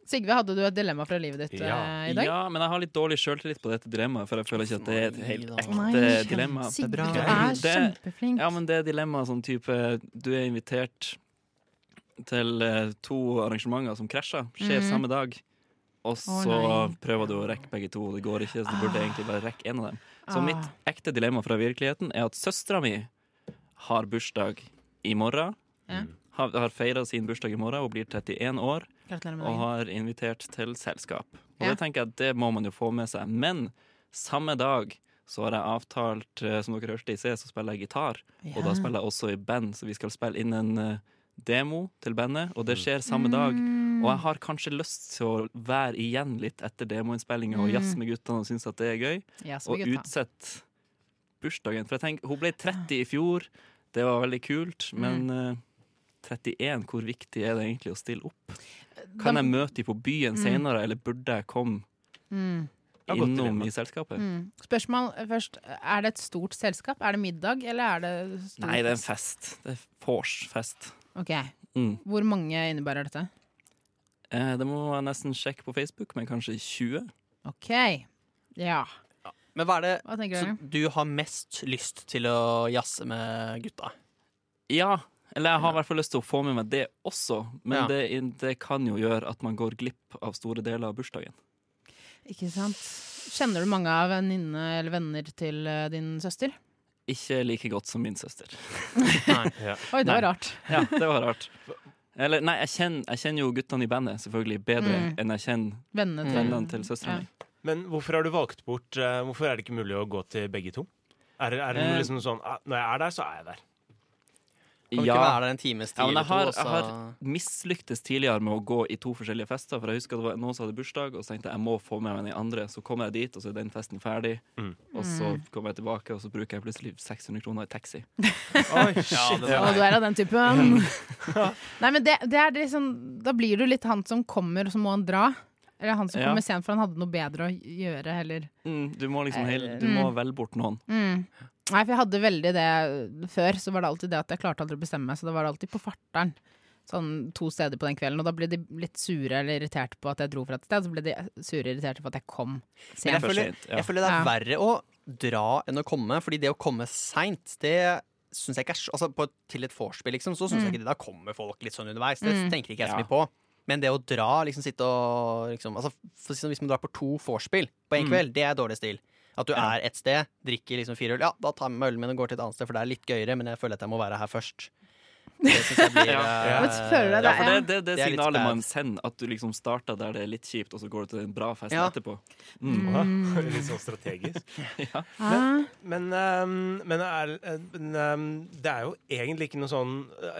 Speaker 2: Sigve, hadde du et dilemma fra livet ditt
Speaker 4: Ja.
Speaker 2: eh, i dag?
Speaker 1: Ja, men jeg har litt dårlig sjøltillit på dette dilemmaet, for jeg føler ikke at det er et helt
Speaker 2: Nei,
Speaker 1: ekte dilemma.
Speaker 2: Sigve,
Speaker 3: Bra.
Speaker 2: du er
Speaker 1: Det-
Speaker 2: kjempeflink.
Speaker 1: Ja, men det er dilemma sånn type Du er invitert til eh, to arrangementer som krasjer, skjer
Speaker 2: Mhm.
Speaker 1: samme dag. Og så
Speaker 2: nei.
Speaker 1: prøver du å rekke begge to, og det går ikke, så du burde egentlig bare rekke én av dem. Så
Speaker 2: Ah.
Speaker 1: mitt ekte dilemma fra virkeligheten er at søstera mi har bursdag i morgen.
Speaker 2: Ja.
Speaker 1: Har, har feira sin bursdag i morgen og blir 31 år
Speaker 2: Gratulerer med
Speaker 1: og
Speaker 2: dagen.
Speaker 1: har invitert til selskap. Og
Speaker 2: Ja.
Speaker 1: det tenker jeg at det må man jo få med seg. Men samme dag så har jeg avtalt, eh, som dere hørte i sted, så spiller jeg gitar. Og da
Speaker 2: Ja.
Speaker 1: spiller jeg også i band, så vi skal spille inn en eh, demo til bandet, og det skjer samme dag.
Speaker 2: Mm.
Speaker 1: Og jeg har kanskje lyst til å være igjen litt etter demoinnspillinga og jazze med guttene og synes at det er gøy.
Speaker 2: Ja, Mm. så
Speaker 1: Og
Speaker 2: gutta.
Speaker 1: utsett bursdagen. For jeg tenker, hun ble 30 i fjor, det var veldig kult, men
Speaker 2: Mm.
Speaker 1: eh, 31, hvor viktig er det egentlig å stille opp? Kan jeg møte de på byen
Speaker 2: Mm.
Speaker 1: senere, eller burde jeg komme
Speaker 4: Ja, godt
Speaker 1: innom
Speaker 4: dilemma.
Speaker 1: i
Speaker 2: Mm.
Speaker 1: selskapet?
Speaker 2: Spørsmål først. Er det et stort selskap? Er det middag, eller er det stor
Speaker 1: Nei, det er en
Speaker 2: fest?
Speaker 1: fest. Det er vors-fest.
Speaker 2: Ok.
Speaker 1: Mm.
Speaker 2: Hvor mange innebærer dette?
Speaker 1: Eh, det må jeg nesten sjekke på Facebook, men kanskje 20?
Speaker 2: Ok. Ja.
Speaker 3: Men hva er det
Speaker 2: Hva tenker
Speaker 3: Så
Speaker 2: dere?
Speaker 3: du har mest lyst til å jazze med gutta?
Speaker 1: Ja. Eller jeg har i hvert fall lyst til å få med meg det også, men
Speaker 3: Ja.
Speaker 1: det, det kan jo gjøre at man går glipp av store deler av bursdagen.
Speaker 2: Ikke sant? Kjenner du mange av venninnene eller venner til eh, din søster?
Speaker 1: Ikke like godt som min søster.
Speaker 2: Oi, det
Speaker 1: Nei.
Speaker 2: var rart.
Speaker 1: Ja, det var rart. Eller, nei, jeg kjenner, jeg kjenner jo guttene i bandet selvfølgelig bedre
Speaker 2: Mm.
Speaker 1: enn jeg kjenner
Speaker 2: Vennene til
Speaker 1: vennene til søstera
Speaker 2: Ja.
Speaker 1: mi.
Speaker 4: Men hvorfor har du valgt bort eh, Hvorfor er det ikke mulig å gå til begge to? "Ah, Er, det- er det
Speaker 1: Eh,
Speaker 4: liksom sånn eh, Når jeg er der, så er jeg der.
Speaker 3: Kan vi ikke være der en times tid
Speaker 1: Ja, men jeg har,
Speaker 3: eller to,
Speaker 1: jeg har mislyktes tidligere med å gå i to forskjellige fester. For jeg husker det var noen som hadde bursdag, og så tenkte jeg jeg må få med meg den andre. Så kommer jeg dit, og så er den festen ferdig.
Speaker 4: Mm.
Speaker 1: Og så kommer jeg tilbake, og så bruker jeg plutselig 600 kroner i taxi.
Speaker 4: Oi, shit.
Speaker 3: det
Speaker 2: Og du er av den typen.
Speaker 1: Mm.
Speaker 2: Nei, men det, det er litt sånn- da blir du litt han som kommer, og så må han dra. Eller han som
Speaker 1: Ja.
Speaker 2: kommer sent, for han hadde noe bedre å gjøre heller.
Speaker 1: Mm, du må liksom hele, du må velge bort noen.
Speaker 2: Mm. Nei, for jeg hadde veldig det før. Så var det alltid det at jeg klarte aldri å bestemme meg, så det var alltid på farteren. Sånn to steder på den kvelden, og da ble de litt sure eller irriterte på at jeg dro fra et sted. Så ble de sure og irriterte på at jeg kom
Speaker 3: Men jeg
Speaker 2: sent.
Speaker 1: for
Speaker 3: føler,
Speaker 1: sent, ja.
Speaker 3: jeg føler det er
Speaker 2: Ja.
Speaker 3: verre å dra enn å komme, fordi det å komme seint, det syns jeg ikke er så- altså, på, Til et vorspiel, liksom, så
Speaker 2: Mm.
Speaker 3: syns jeg ikke det. Da kommer folk litt sånn underveis. Det tenker ikke jeg så
Speaker 1: Ja.
Speaker 3: mye på. Men det å dra, liksom sitte og liksom altså, for, å si det sånn, Hvis man drar på to vorspiel på
Speaker 1: Mm.
Speaker 3: én kveld, det er dårlig stil. At du er et sted, drikker liksom fire øl. Ja, da tar jeg med meg ølen min og går til et annet sted, for det er litt gøyere, men jeg føler at jeg må være her først. Det syns jeg blir
Speaker 1: Ja.
Speaker 2: Men føler du deg
Speaker 3: eh,
Speaker 1: Ja, for det er det, det,
Speaker 3: Det er litt
Speaker 1: signalet
Speaker 3: bad.
Speaker 1: man sender, at du liksom starter der det er litt kjipt, og så går du til en bra fest
Speaker 3: Ja.
Speaker 1: etterpå. Mm.
Speaker 4: Ja, Litt sånn strategisk.
Speaker 2: Ah,
Speaker 4: Men, ehm, men, er, eh, men ehm, det er jo egentlig ikke noe sånn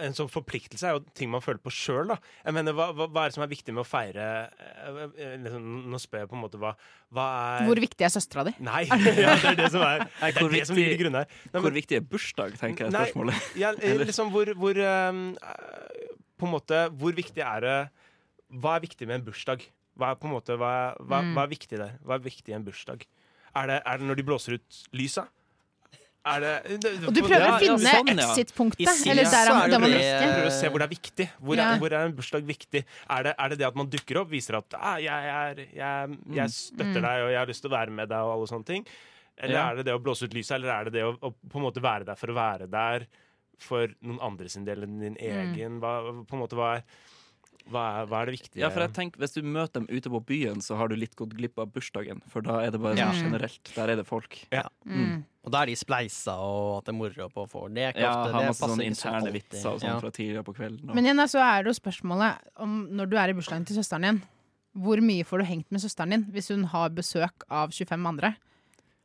Speaker 4: En sånn forpliktelse er jo ting man føler på sjøl, da. Jeg mener, hva, hva, hva er det som er viktig med å feire eh, eh, liksom, Nå spør jeg på en måte hva, hva er
Speaker 2: hvor viktig er søstera di?
Speaker 4: Nei! Ja, det er det som er Det
Speaker 1: hvor
Speaker 4: er det som ligger
Speaker 1: viktig-
Speaker 4: til grunn her. Nei,
Speaker 1: Hvor
Speaker 4: men-
Speaker 1: viktig er bursdag, tenker jeg er
Speaker 4: Nei,
Speaker 1: spørsmålet.
Speaker 4: ja, eh,
Speaker 1: Eller-
Speaker 4: liksom hvor, hvor ehm, eh, På en måte, hvor viktig er det Hva er viktig med en bursdag? Hva er, på en måte, hva, er- hva,
Speaker 2: Mm.
Speaker 4: hva er viktig der? Hva er viktig i en bursdag? Er det, er det når de blåser ut lysa? Er det,
Speaker 2: Og du prøver
Speaker 1: Ja, ja,
Speaker 2: å finne
Speaker 1: sånn, ja.
Speaker 3: I
Speaker 2: exit-punktet,
Speaker 3: Sims
Speaker 2: eller der
Speaker 3: så
Speaker 2: han-
Speaker 3: er
Speaker 2: der
Speaker 3: det
Speaker 2: man
Speaker 3: det-
Speaker 2: rekker.
Speaker 4: prøver å eh, se hvor det er viktig. Hvor,
Speaker 2: Ja.
Speaker 4: er, hvor er en bursdag viktig? Er det, er det det at man dukker opp, viser at ah, jeg, er, jeg,
Speaker 2: Mm.
Speaker 4: jeg støtter deg og jeg har lyst til å være med deg og alle sånne ting? Eller
Speaker 1: Ja.
Speaker 4: er det det å blåse ut lyset, eller er det det å, å på en måte være der for å være der for noen andre sin del enn din
Speaker 2: Mm.
Speaker 4: egen? Hva, på en måte, hva, er, hva, er, hva er det viktige?
Speaker 1: Ja, for jeg tenker, Hvis du møter dem ute på byen, så har du litt gått glipp av bursdagen. For da er det bare
Speaker 3: Ja.
Speaker 1: sånn generelt. Der er det folk.
Speaker 2: Mm.
Speaker 3: Og da er de spleisa, og at det er moro på å få det. er ikke
Speaker 1: Ja,
Speaker 3: ofte,
Speaker 1: har
Speaker 3: det
Speaker 1: masse
Speaker 3: passer
Speaker 1: sånne
Speaker 3: ikke sånn
Speaker 1: interne
Speaker 3: alltid.
Speaker 1: vitser og sånn
Speaker 3: Ja.
Speaker 1: fra tidligere på kvelden. Og.
Speaker 2: Men igjen da, så er det jo spørsmålet om når du er i bursdagen til søsteren din, hvor mye får du hengt med søsteren din hvis hun har besøk av 25 andre?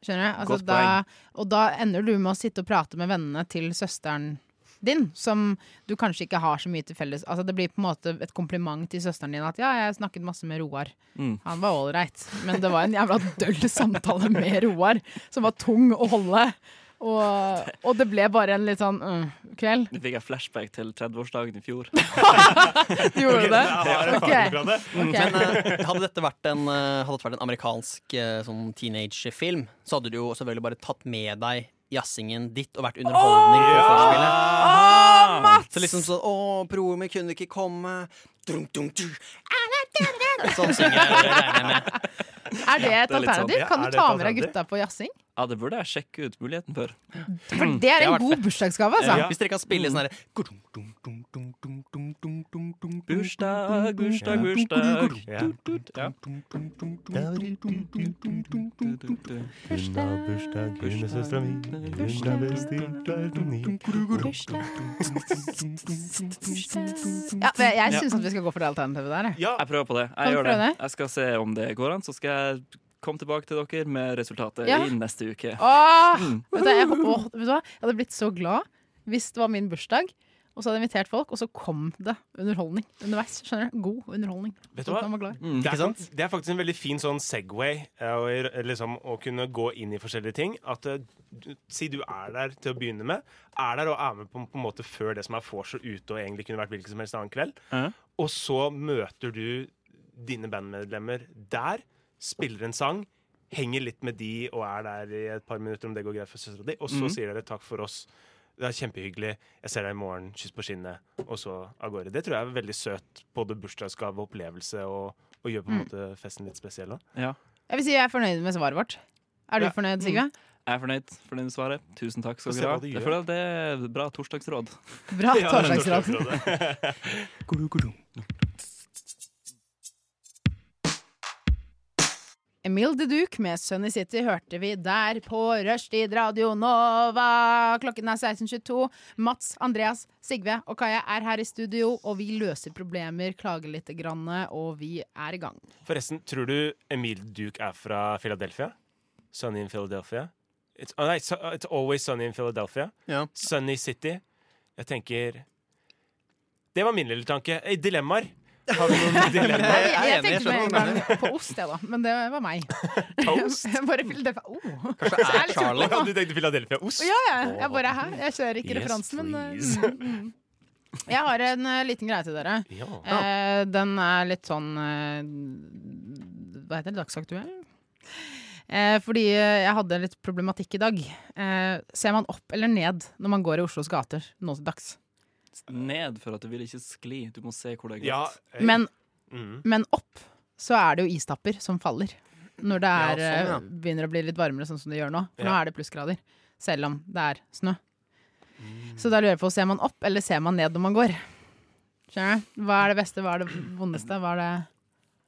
Speaker 2: Skjønner du? Altså,
Speaker 1: Godt
Speaker 2: da, og da ender du med å sitte og prate med vennene til søsteren din, som du kanskje ikke har så mye til felles. Altså, det blir på en måte et kompliment til søsteren din at ja, jeg snakket masse med Roar.
Speaker 1: Mm.
Speaker 2: Han var ålreit, men det var en jævla døll samtale med Roar, som var tung å holde. Og, og det ble bare en litt sånn mm, kveld.
Speaker 1: Nå fikk jeg flashback til 30-årsdagen i fjor.
Speaker 2: Du gjorde det?
Speaker 4: Jeg har
Speaker 2: Ok.
Speaker 4: erfaring fra det.
Speaker 2: Ok.
Speaker 3: Men eh, hadde dette vært en, eh, hadde dette vært en amerikansk eh, sånn teenage-film, så hadde du jo selvfølgelig bare tatt med deg jazzingen ditt og vært underholdning på forspillet. Så liksom sånn Å, broren min kunne ikke komme. Dun, dun, dun. Sånn synger jeg, regner jeg med.
Speaker 2: Er det et
Speaker 1: det er litt
Speaker 2: alternativ?
Speaker 4: sånn, ja,
Speaker 2: kan du
Speaker 4: er
Speaker 2: ta med
Speaker 4: det et
Speaker 2: deg
Speaker 4: alternativ? Mm,
Speaker 2: gutta på jazzing?
Speaker 1: Ja, det burde jeg sjekke ut muligheten for.
Speaker 2: For det er
Speaker 3: har
Speaker 2: en
Speaker 3: vært
Speaker 2: god bursdagsgave, altså.
Speaker 4: Ja.
Speaker 3: Hvis dere kan spille sånn herre
Speaker 1: Bursdag, bursdag, bursdag.
Speaker 4: Ja.
Speaker 1: Ja.
Speaker 4: Bursdag, bursdag, hundesøstera mi. Hun har bestilt deg til ni.
Speaker 2: Ja, men jeg syns at vi skal gå for det alternativet der. jeg.
Speaker 4: Ja,
Speaker 1: Jeg prøver på det.
Speaker 2: Kan
Speaker 1: Jeg
Speaker 2: du
Speaker 1: gjør
Speaker 2: prøve
Speaker 1: det.
Speaker 2: det?
Speaker 1: Jeg skal se om det går an, så skal jeg komme tilbake til dere med resultatet
Speaker 2: Ja.
Speaker 1: i neste uke.
Speaker 2: Åh,
Speaker 4: Mm.
Speaker 2: vet, du, hva, jeg, åh, vet du hva? Jeg hadde blitt så glad hvis det var min bursdag. Og så hadde jeg invitert folk, og så kom det underholdning underveis. Skjønner du? God underholdning.
Speaker 4: Vet du hva? Mm.
Speaker 2: Så man var glad.
Speaker 4: Det er,
Speaker 3: Mm, Ikke sant?
Speaker 4: fakt- det er faktisk en veldig fin sånn Segway eh, å gjøre- liksom, å kunne gå inn i forskjellige ting. At eh, du- Si du er der til å begynne med. Er der og er med på, på en måte før det som er vors og ute, og egentlig kunne vært hvilken som helst annen kveld.
Speaker 1: Ja.
Speaker 4: Og så møter du dine bandmedlemmer der, spiller en sang, henger litt med de og er der i et par minutter om det går greit for søstera di, og
Speaker 3: Mhm.
Speaker 4: så sier dere takk for oss. Det er kjempehyggelig. Jeg ser deg i morgen. Kyss på kinnet. Og så av gårde. Det tror jeg er veldig søt. Både bursdagsgave og opplevelse, og, og gjør på en
Speaker 2: Mm.
Speaker 4: måte festen litt spesiell. Da.
Speaker 1: Ja.
Speaker 2: Jeg vil si jeg er fornøyd med svaret vårt. Er du
Speaker 4: Ja. Mm.
Speaker 2: fornøyd, Sigve?
Speaker 1: Jeg er fornøyd for det svaret. Tusen takk skal
Speaker 4: Få se
Speaker 1: dere ha.
Speaker 4: hva du
Speaker 1: Jeg
Speaker 4: gjør.
Speaker 1: føler at det er bra torsdagsråd.
Speaker 2: Bra torsdagsråd. Emil de Duke med Sunny City hørte vi der på Rushtid Radio Nova. Klokken er 16.22. Mats, Andreas, Sigve og Kaja er her i studio, og vi løser problemer, klager litt, grann, og vi er i gang.
Speaker 4: Forresten, tror du Emil Duke er fra Philadelphia? Sunny in Philadelphia? It's, oh, nei, so- it's always sunny in Philadelphia.
Speaker 3: Ja.
Speaker 4: Sunny City. Jeg tenker Det var min lille tanke. Eh, Dilemmaer. Har vi noen dilemmaer?
Speaker 2: Jeg, jeg
Speaker 3: er enig, jeg
Speaker 2: tenkte med
Speaker 3: skjønner
Speaker 2: en gang på ost, jeg, da. Men det var meg.
Speaker 4: Toast?
Speaker 2: Jeg bare Philadelphia oh.
Speaker 3: Kanskje det
Speaker 2: Jeg er
Speaker 3: er
Speaker 2: litt
Speaker 3: Charlie.
Speaker 4: Ja, du tenkte Philadelphia-ost?
Speaker 2: Ja, ja. Jeg bare er her. Jeg kjører ikke
Speaker 4: Yes,
Speaker 2: referansen, men
Speaker 4: please.
Speaker 2: eh, mm, mm. Jeg har en eh, liten greie til dere.
Speaker 4: Ja.
Speaker 2: Eh, den er litt sånn eh, Hva heter det? Dagsaktuell? Eh, fordi eh, jeg hadde litt problematikk i dag. Eh, ser man opp eller ned når man går i Oslos gater nå til dags?
Speaker 1: Ned for at det vil ikke skli. Du må se hvor det er
Speaker 4: Ja,
Speaker 1: glatt.
Speaker 4: eh,
Speaker 2: Men,
Speaker 4: mm.
Speaker 2: men opp så er det jo istapper som faller. Når det
Speaker 3: Ja,
Speaker 2: er,
Speaker 3: sånn, ja.
Speaker 2: eh, begynner å bli litt varmere, sånn som det gjør nå. For nå
Speaker 4: Ja.
Speaker 2: er det plussgrader. Selv om det er snø.
Speaker 3: Mm.
Speaker 2: Så da lurer jeg på, ser man opp eller ser man ned når man går? Skjønner du? Hva er det beste, hva er det vondeste? Hva er det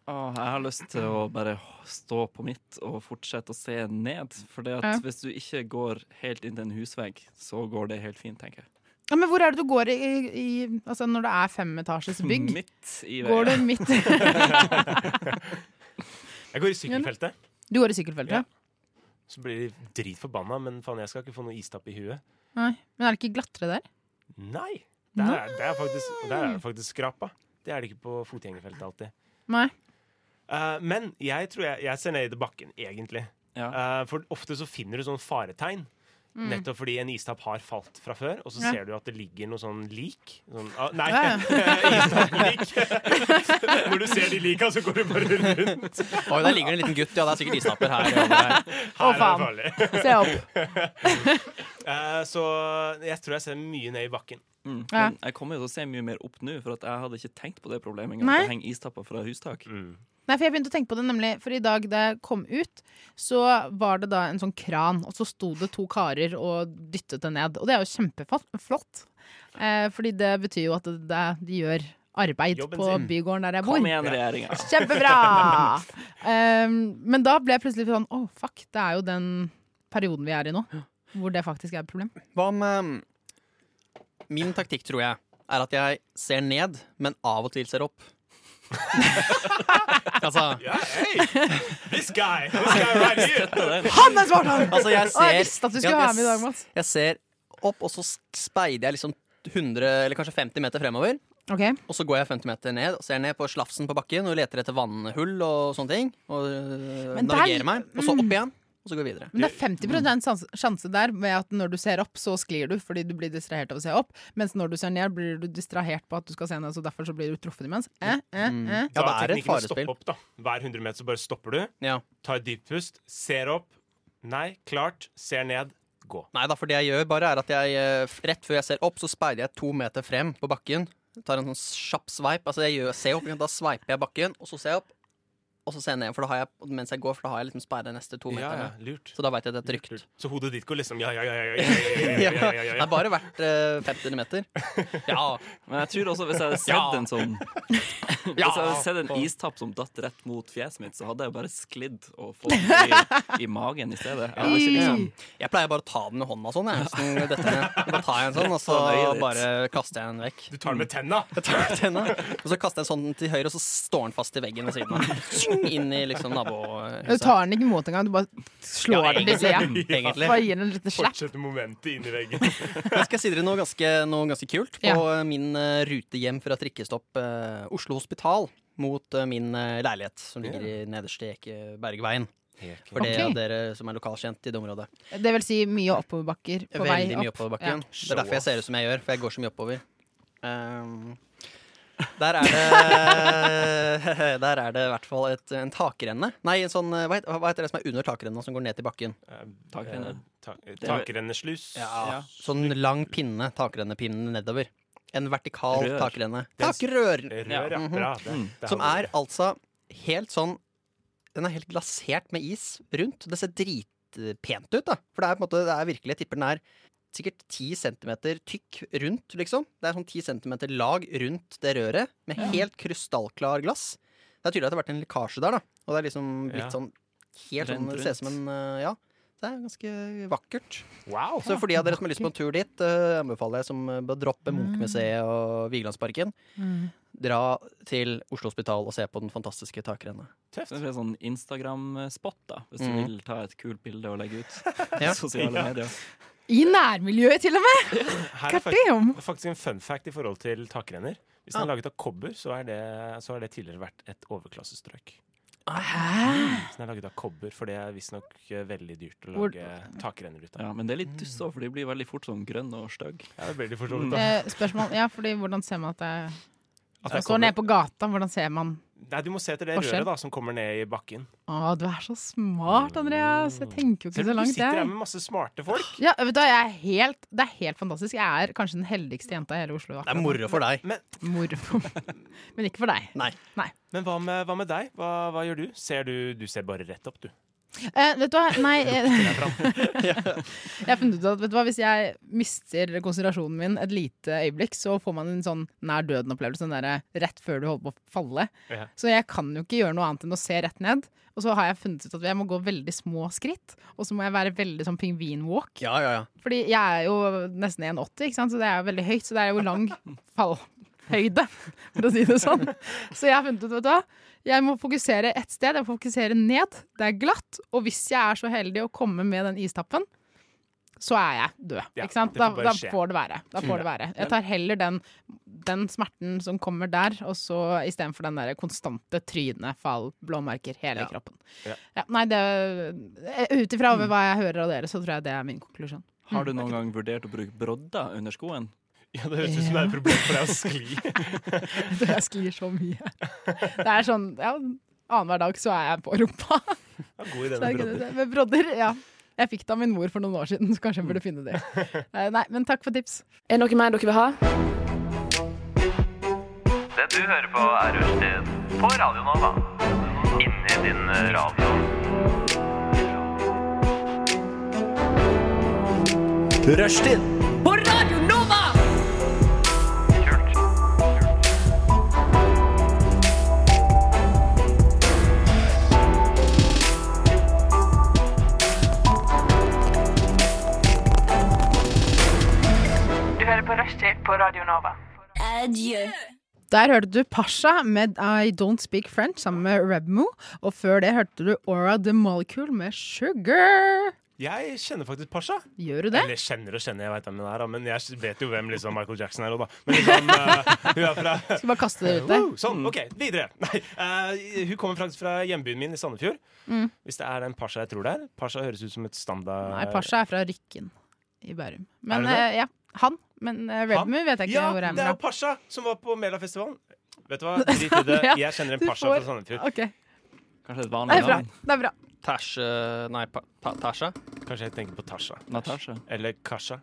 Speaker 1: Åh, jeg har lyst til å bare stå på mitt og fortsette å se ned. For det at
Speaker 2: Ja.
Speaker 1: hvis du ikke går helt inn til en husvegg, så går det helt fint, tenker jeg.
Speaker 2: Ja, men hvor er det du går i, i, i Altså når det er femetasjes bygg?
Speaker 1: Midt i
Speaker 2: Går
Speaker 1: veien.
Speaker 2: du midt
Speaker 4: Jeg går i sykkelfeltet.
Speaker 2: Du går i sykkelfeltet?
Speaker 4: Ja. Så blir de dritforbanna, men faen, jeg skal ikke få noe istapp i huet.
Speaker 2: Nei. Men er det ikke glattere der?
Speaker 4: Nei! Der er, der er, faktisk, der er det faktisk skrapa. Det er det ikke på fotgjengerfeltet alltid.
Speaker 2: Nei.
Speaker 4: Eh, men jeg tror jeg, jeg ser ned i bakken, egentlig.
Speaker 1: Ja.
Speaker 4: Eh, for ofte så finner du sånn faretegn. Nettopp fordi en istapp har falt fra før, og så
Speaker 2: Mm. Ja.
Speaker 4: ser du at det ligger noe sånn lik. Sånn, ah, nei,
Speaker 2: Ja, ja.
Speaker 4: istapplik. Når du ser de lika, så går du bare rundt.
Speaker 3: Oi, der ligger det en liten gutt. Ja, det er sikkert isnapper her. og der.
Speaker 4: Her er det
Speaker 2: faen.
Speaker 4: farlig.
Speaker 2: Se opp.
Speaker 4: Eh, så jeg tror jeg ser mye ned i bakken.
Speaker 1: Mm.
Speaker 2: Ja.
Speaker 1: Men jeg kommer jo til å se mye mer opp nå, for at jeg hadde ikke tenkt på det problemet. engang,
Speaker 2: Nei.
Speaker 1: At det henger istapper fra hustak.
Speaker 3: Mm.
Speaker 2: Nei, for jeg begynte å tenke på det nemlig, for i dag da jeg kom ut, så var det da en sånn kran, og så sto det to karer og dyttet det ned. Og det er jo kjempeflott, eh, fordi det betyr jo at det, det, de gjør arbeid
Speaker 4: Jobben
Speaker 2: på
Speaker 4: sin.
Speaker 2: bygården der jeg bor.
Speaker 1: Kom igjen, regjeringa!
Speaker 2: Kjempebra! Ehm, men da ble jeg plutselig sånn Å, fuck, det er jo den perioden vi er i nå. Hvor det faktisk er et problem.
Speaker 3: Hva med Min taktikk, tror jeg, er at jeg ser ned, men av og til ser opp. altså,
Speaker 4: Ja, hey, this guy! This guy right here!
Speaker 2: Han er svart, han!
Speaker 3: altså, jeg
Speaker 2: Å, jeg
Speaker 3: ser
Speaker 2: visste at du
Speaker 3: Ja,
Speaker 2: skulle
Speaker 3: jeg
Speaker 2: være med i dag, Mats.
Speaker 3: Jeg ser opp, og så speider jeg liksom 100 eller kanskje 50 meter fremover.
Speaker 2: Ok,
Speaker 3: Og så går jeg 50 meter ned og ser ned på slafsen på bakken og leter etter vannhull og sånne ting. Og øh,
Speaker 2: Men der-
Speaker 3: navigerer meg. Og så
Speaker 2: mm.
Speaker 3: opp igjen, og så går jeg videre.
Speaker 2: Men det er 50 sans- sjanse der med at når du ser opp, så sklir du fordi du blir distrahert av å se opp. Mens når du ser ned, blir du distrahert på at du skal se ned, så derfor så blir du truffet imens. Eh, eh, eh.
Speaker 3: Ja,
Speaker 4: Da
Speaker 3: det er et
Speaker 4: teknikken å stoppe
Speaker 3: farespill.
Speaker 4: Opp, da. Hver 100 meter så bare stopper du,
Speaker 3: Ja.
Speaker 4: tar et dypt pust, ser opp. Nei, klart. Ser ned. Gå.
Speaker 3: Nei da, for det jeg gjør, bare er at jeg øh, f- rett før jeg ser opp, så speider jeg to meter frem på bakken. Tar en sånn kjapp sveip. Altså, jeg gjør, ser opp, ikke sant? da sveiper jeg bakken, og så ser jeg opp. Og så ser jeg ned, for da har jeg, mens jeg går, for da har jeg liksom sperret neste to
Speaker 4: Ja, ja,
Speaker 3: meterne.
Speaker 4: Eh, lurt.
Speaker 3: Så da veit jeg at det er trygt.
Speaker 4: Så hodet ditt går liksom ja, ja, ja, ja, ja, ja, ja, ja, ja,
Speaker 3: Det
Speaker 4: ja,
Speaker 3: er bare verdt eh, 50 meter. Ja.
Speaker 1: Men jeg tror også hvis jeg hadde sett
Speaker 3: Ja.
Speaker 1: en sånn Hvis jeg hadde sett en istapp som datt rett mot fjeset mitt, så hadde jeg bare sklidd og fått den i, i magen i stedet. Jeg hadde ikke liksom
Speaker 3: Jeg pleier bare å ta den i hånda sånn. Jeg. Sånn, dette ned. Da tar jeg en sånn, og så
Speaker 1: Rett på øyet ditt.
Speaker 3: bare kaster jeg den vekk.
Speaker 4: Du tar den med tenna.
Speaker 3: Jeg tar den, og så kaster jeg en sånn til høyre, og så står den fast i veggen ved siden av. Tjing! Inn i liksom
Speaker 2: Du
Speaker 3: nabohuset.
Speaker 2: tar den ikke imot engang, du bare slår den til sida.
Speaker 3: egentlig. egentlig.
Speaker 2: Bare gir den et lite slapp.
Speaker 4: Fortsetter momentet inn i veggen.
Speaker 3: Jeg skal si dere noe ganske, noe ganske kult. På
Speaker 2: Ja.
Speaker 3: min eh, rute hjem fra trikkestopp eh, Oslo Hospital mot eh, min eh, leilighet, som ligger i nederste Ekebergveien. For det
Speaker 2: Ok.
Speaker 3: er dere som er lokalkjent i det området.
Speaker 2: Det vil si mye oppoverbakker på vei
Speaker 3: Veldig mye
Speaker 2: opp.
Speaker 3: oppoverbakken.
Speaker 2: Ja.
Speaker 3: Det er derfor jeg ser ut som jeg gjør, for jeg går så mye oppover. Ehm, der er det Der er det i hvert fall et, en takrenne. Nei, en sånn eh, hva heter, hva heter det som er under takrenna, som går ned til bakken?
Speaker 1: Takrenne.
Speaker 4: Eh, Takrenneslus.
Speaker 3: Ja, Sånn lang pinne, takrennepinnen nedover. En vertikal
Speaker 1: Rør.
Speaker 3: takrenne. Takrør!
Speaker 4: Rør, ja.
Speaker 3: Mhm.
Speaker 4: Bra. Det- det
Speaker 3: Som
Speaker 4: holder.
Speaker 3: er altså helt sånn Den er helt glasert med is rundt. Det ser dritpent ut, da. For det er på en måte, det er virkelig, jeg tipper den er sikkert 10 centimeter tykk rundt, liksom. Det er sånn 10 centimeter lag rundt det røret, med helt krystallklar glass. Det er tydelig at det har vært en lekkasje der, da. Og det er liksom
Speaker 4: Ja.
Speaker 3: blitt sånn helt sånn
Speaker 1: Rent
Speaker 3: Det ser ut som en
Speaker 1: rundt.
Speaker 3: eh, Ja. Det er ganske vakkert.
Speaker 4: Wow.
Speaker 3: Så for de av dere som har lyst på en tur dit, eh, anbefaler jeg som eh, bør droppe Munchmuseet og Vigelandsparken.
Speaker 2: Mm.
Speaker 3: Dra til Oslo Hospital og se på den fantastiske takrenna.
Speaker 1: Så Det er en sånn Instagram-spot, da, hvis du
Speaker 3: Mhm.
Speaker 1: vil ta et kult bilde og legge ut på
Speaker 3: Ja.
Speaker 1: sosiale medier.
Speaker 2: I nærmiljøet, til og med!
Speaker 4: Her er
Speaker 2: Goddamn!
Speaker 4: faktisk, faktisk en fun fact i forhold til takrenner. Hvis den er laget av kobber, så er det, så har det tidligere vært et overklassestrøk. Hvis den er laget av kobber, for det er visstnok eh, veldig dyrt å
Speaker 2: Hvor-
Speaker 4: lage takrenner ut av.
Speaker 1: Ja, men det er litt dust òg, for de blir veldig fort sånn grønne og stygge.
Speaker 4: Ja, det blir de for så vidt,
Speaker 3: Mm.
Speaker 4: da.
Speaker 2: Eh, spørsmål Ja, fordi hvordan ser man at det er
Speaker 4: At det
Speaker 2: Man
Speaker 4: er sånn,
Speaker 2: står
Speaker 4: kobber.
Speaker 2: nede på gata, hvordan ser man
Speaker 4: Nei, du må se etter det
Speaker 2: Forskjell.
Speaker 4: røret da, som kommer ned i bakken.
Speaker 2: Å, du er så smart, Andreas! Jeg tenker jo ikke
Speaker 4: Ser du,
Speaker 2: så
Speaker 4: du
Speaker 2: langt,
Speaker 4: sitter her
Speaker 2: jeg.
Speaker 4: med masse smarte folk.
Speaker 2: Ja, vet du, hva, jeg er helt, det er helt fantastisk. Jeg er kanskje den heldigste jenta i hele Oslo.
Speaker 3: Det er moro for deg.
Speaker 4: Men,
Speaker 2: Mor for meg. Men ikke for deg.
Speaker 3: Nei.
Speaker 4: men hva, med, hva med deg? Hva, hva gjør du? Ser du? Du ser bare rett opp, du.
Speaker 2: Eh, vet du hva, nei eh, Jeg har funnet ut at vet du hva, hvis jeg mister konsentrasjonen min et lite øyeblikk, så får man en sånn nær døden-opplevelse den derre rett før du holder på å falle.
Speaker 4: Ja.
Speaker 2: Så jeg kan jo ikke gjøre noe annet enn å se rett ned. Og så har jeg funnet ut at jeg må gå veldig små skritt, og så må jeg være veldig sånn pingvin-walk.
Speaker 3: Ja, ja, ja.
Speaker 2: Fordi jeg er jo nesten 1,80, ikke sant? så det er jo veldig høyt. Så det er jo lang fallhøyde, for å si det sånn. Så jeg har funnet ut, vet du hva. Jeg må fokusere ett sted. Jeg må fokusere ned. Det er glatt. Og hvis jeg er så heldig å komme med den istappen, så er jeg død.
Speaker 4: Ja,
Speaker 2: ikke sant?
Speaker 4: det
Speaker 2: Da,
Speaker 4: får bare
Speaker 2: da
Speaker 4: skje.
Speaker 2: får det være. Da får det være. Jeg tar heller den, den smerten som kommer der, og så istedenfor den der konstante tryne, fall, blåmerker, hele
Speaker 3: Ja.
Speaker 2: kroppen.
Speaker 4: Ja.
Speaker 2: Ja, nei, det Ut ifra hva jeg hører av dere, så tror jeg det er min konklusjon.
Speaker 1: Har
Speaker 3: Mm.
Speaker 1: du noen gang vurdert å bruke brodder under skoen?
Speaker 4: Ja, Det høres ut som det er et problem for deg å skli.
Speaker 2: Du, jeg sklir så mye. Det er sånn ja, Annenhver dag så er jeg på rumpa.
Speaker 4: Ja, god idé
Speaker 2: Så er
Speaker 4: med
Speaker 2: ikke det
Speaker 4: brodder.
Speaker 2: det? Med brodder. Ja. Jeg fikk det av min mor for noen år siden, så kanskje jeg burde finne det. Eh, Nei, men takk for tips.
Speaker 6: Er det noe mer dere vil ha?
Speaker 7: Det du hører på er Rushtid på Radio Nova. Inni din radio.
Speaker 8: Du hører på Rushtid på Radio Nova.
Speaker 2: Der hørte du Pasha med I Don't Speak French sammen med Rebmo. Og før det hørte du Aura The Molecule med Sugar.
Speaker 4: Jeg kjenner faktisk Pasha.
Speaker 2: Gjør du det?
Speaker 4: Eller kjenner og kjenner, jeg vet hvem hun er, da, men jeg vet jo hvem liksom Michael Jackson er. og Da. Men liksom, eh, hun er fra
Speaker 2: Skal bare kaste det ut der.
Speaker 4: Woo! Sånn, ok, videre. Nei, eh, hun kommer faktisk fra hjembyen min i Sandefjord. Hvis det er den Pasha jeg tror det er. Pasha høres ut som et standard
Speaker 2: Nei, Pasha er fra Rykken i Bærum. Men
Speaker 4: Er det
Speaker 2: eh, ja, han. Men eh, Rebmo vet jeg ikke
Speaker 4: Ja,
Speaker 2: hvor er
Speaker 4: det er jo
Speaker 2: fra.
Speaker 4: Pasha som var på Melafestivalen. Vet du hva, drit i det. Jeg kjenner en
Speaker 2: Du
Speaker 4: Pasha
Speaker 2: får-
Speaker 4: fra Sandefjord.
Speaker 2: Ok,
Speaker 1: Kanskje et
Speaker 2: det
Speaker 1: vanlig
Speaker 2: er bra.
Speaker 1: navn?
Speaker 2: Det er bra.
Speaker 3: Tasje Nei, pa, pa, Tasha.
Speaker 4: Kanskje jeg tenker på Tasha.
Speaker 1: Natasha?
Speaker 4: Eller Kasha.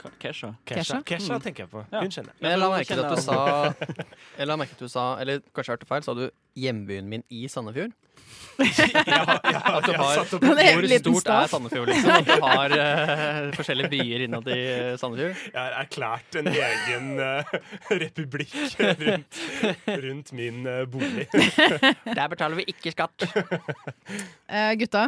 Speaker 1: Ka- Kesha?
Speaker 2: Kesha?
Speaker 4: Kesha,
Speaker 2: Mm.
Speaker 4: Kesha tenker jeg på.
Speaker 1: Ja.
Speaker 4: Hun kjenner jeg.
Speaker 3: Men jeg la
Speaker 1: Ja,
Speaker 3: merke til at
Speaker 1: kjenner
Speaker 3: du sa Jeg la merke til at du sa Eller kanskje jeg hørte feil, sa du hjembyen min i Sandefjord? At du har,
Speaker 2: en helt
Speaker 3: hvor
Speaker 2: liten
Speaker 3: stort
Speaker 2: stav.
Speaker 3: er Sandefjord, liksom? At du har eh, forskjellige byer innad i eh, Sandefjord?
Speaker 4: Jeg har erklært en egen eh, republikk rundt, rundt min eh, bolig.
Speaker 3: Der betaler vi ikke skatt.
Speaker 2: Eh, gutta,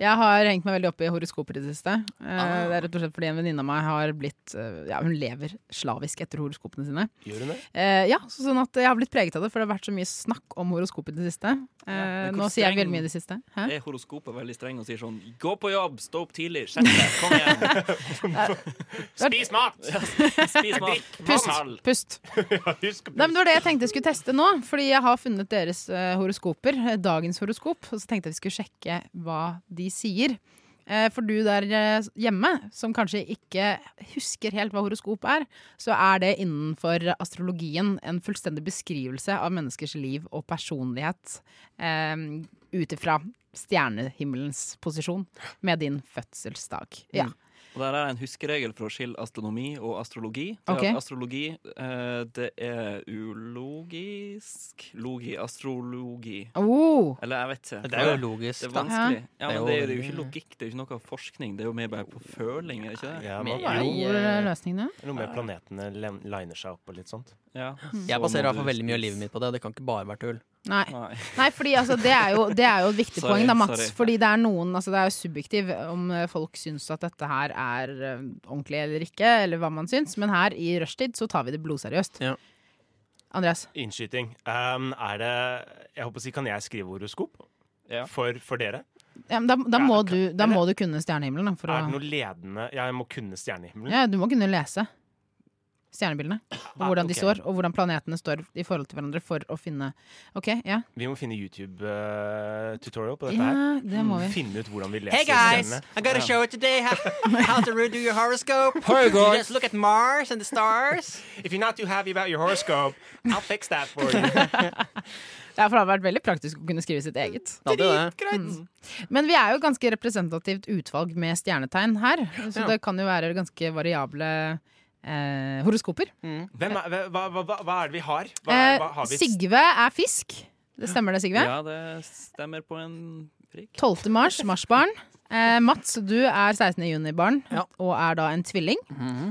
Speaker 2: jeg har hengt meg veldig opp i horoskoper i det siste. Eh,
Speaker 3: Ah.
Speaker 2: Det er rett og slett fordi en venninne av meg har blitt eh, Ja, hun lever slavisk etter horoskopene sine.
Speaker 4: Gjør hun det?
Speaker 2: Eh, ja, så sånn at jeg har blitt preget av det, for det har vært så mye snakk om horoskop i det siste. Eh,
Speaker 1: men hvor
Speaker 2: nå sier jeg
Speaker 1: streng-
Speaker 2: veldig mye i det siste. Hæ?
Speaker 1: Er horoskopet veldig streng og sier sånn Gå på jobb, stå opp tidlig, sett deg, kom igjen,
Speaker 4: Spis mat!
Speaker 1: spis mat,
Speaker 2: Pust!
Speaker 1: Mann.
Speaker 2: Pust.
Speaker 4: Ja, husk å
Speaker 2: Nei, men det var det jeg tenkte jeg skulle teste nå, fordi jeg har funnet deres eh, horoskoper. eh, Dagens horoskop. Og så tenkte jeg vi skulle sjekke hva de sier. Eh, for du der eh, hjemme, som kanskje ikke husker helt hva horoskop er, så er det innenfor astrologien en fullstendig beskrivelse av menneskers liv og personlighet eh, ut ifra stjernehimmelens posisjon med din fødselsdag. Ja.
Speaker 4: Mm.
Speaker 1: Og der er en huskeregel for å skille astronomi og astrologi. Det
Speaker 2: Ok.
Speaker 1: er at astrologi eh, det er ulogisk Logi, astrologi
Speaker 2: Oh,
Speaker 1: Eller jeg vet ikke.
Speaker 3: Det er jo logisk,
Speaker 1: Det er
Speaker 3: da.
Speaker 1: vanskelig. Ja,
Speaker 3: Det er
Speaker 1: men
Speaker 3: jo
Speaker 1: det er, det er jo
Speaker 3: veldig-
Speaker 1: ikke logikk, det er jo ikke noe forskning. Det er jo mer bare på føling, er det ikke det?
Speaker 4: Ja,
Speaker 3: Men-
Speaker 4: man,
Speaker 2: hva
Speaker 3: Jo,
Speaker 2: er
Speaker 3: eh,
Speaker 2: løsningene?
Speaker 4: Noe med planetene len- liner seg opp og litt sånt.
Speaker 1: Ja.
Speaker 3: Jeg baserer i hvert fall veldig mye av livet mitt på det. Det kan ikke bare være tull.
Speaker 2: Nei.
Speaker 1: Nei.
Speaker 2: Nei, fordi altså, det, er jo, det er jo et viktig
Speaker 1: Sorry,
Speaker 2: poeng, da, Mats.
Speaker 1: sorry.
Speaker 2: Fordi det er noen altså, Det er jo subjektiv om eh, folk syns at dette her er eh, ordentlig eller ikke, eller hva man syns. Men her i rushtid så tar vi det blodseriøst.
Speaker 3: Ja.
Speaker 2: Andreas,
Speaker 4: Innskyting. Um, er det Jeg håper å si, Kan jeg skrive horoskop
Speaker 1: Ja.
Speaker 4: for, for dere?
Speaker 2: Ja, men da, da,
Speaker 4: Ja,
Speaker 2: må
Speaker 4: ok.
Speaker 2: du, da må du kunne stjernehimmelen. Da, for
Speaker 4: Er det
Speaker 2: å,
Speaker 4: noe ledende Jeg må kunne stjernehimmelen.
Speaker 2: ja, du må kunne lese stjernebildene. Og
Speaker 4: Ah,
Speaker 2: hvordan de
Speaker 4: ok.
Speaker 2: står, og hvordan planetene står i forhold til hverandre for å finne OK, ja.
Speaker 4: Vi må finne YouTube-tutorial på dette
Speaker 2: ja
Speaker 4: her.
Speaker 2: det må vi.
Speaker 4: Finne ut hvordan vi leser
Speaker 3: Hey guys,
Speaker 4: stjernene.
Speaker 3: I got a show today how, how to redo your horoscope.
Speaker 4: Hey, guys.
Speaker 3: You just look at Mars and the stars.
Speaker 4: If you're not too happy about your horoscope, I'll fix that for you.
Speaker 2: Ja, for det hadde vært veldig praktisk å kunne skrive sitt eget.
Speaker 3: Ja, det er det.
Speaker 2: Men vi er jo et ganske representativt utvalg med stjernetegn her, så det kan jo være ganske variable eh, horoskoper.
Speaker 4: Hvem er, hva, hva, hva, hva er det vi har? Hva,
Speaker 2: Eh,
Speaker 4: hva har vi?
Speaker 2: Sigve er fisk. Det stemmer det, Sigve?
Speaker 1: Ja, det stemmer på en prikk.
Speaker 2: 12. mars, marsbarn. Eh, Mats, du er 16. juni-barn og er da en tvilling.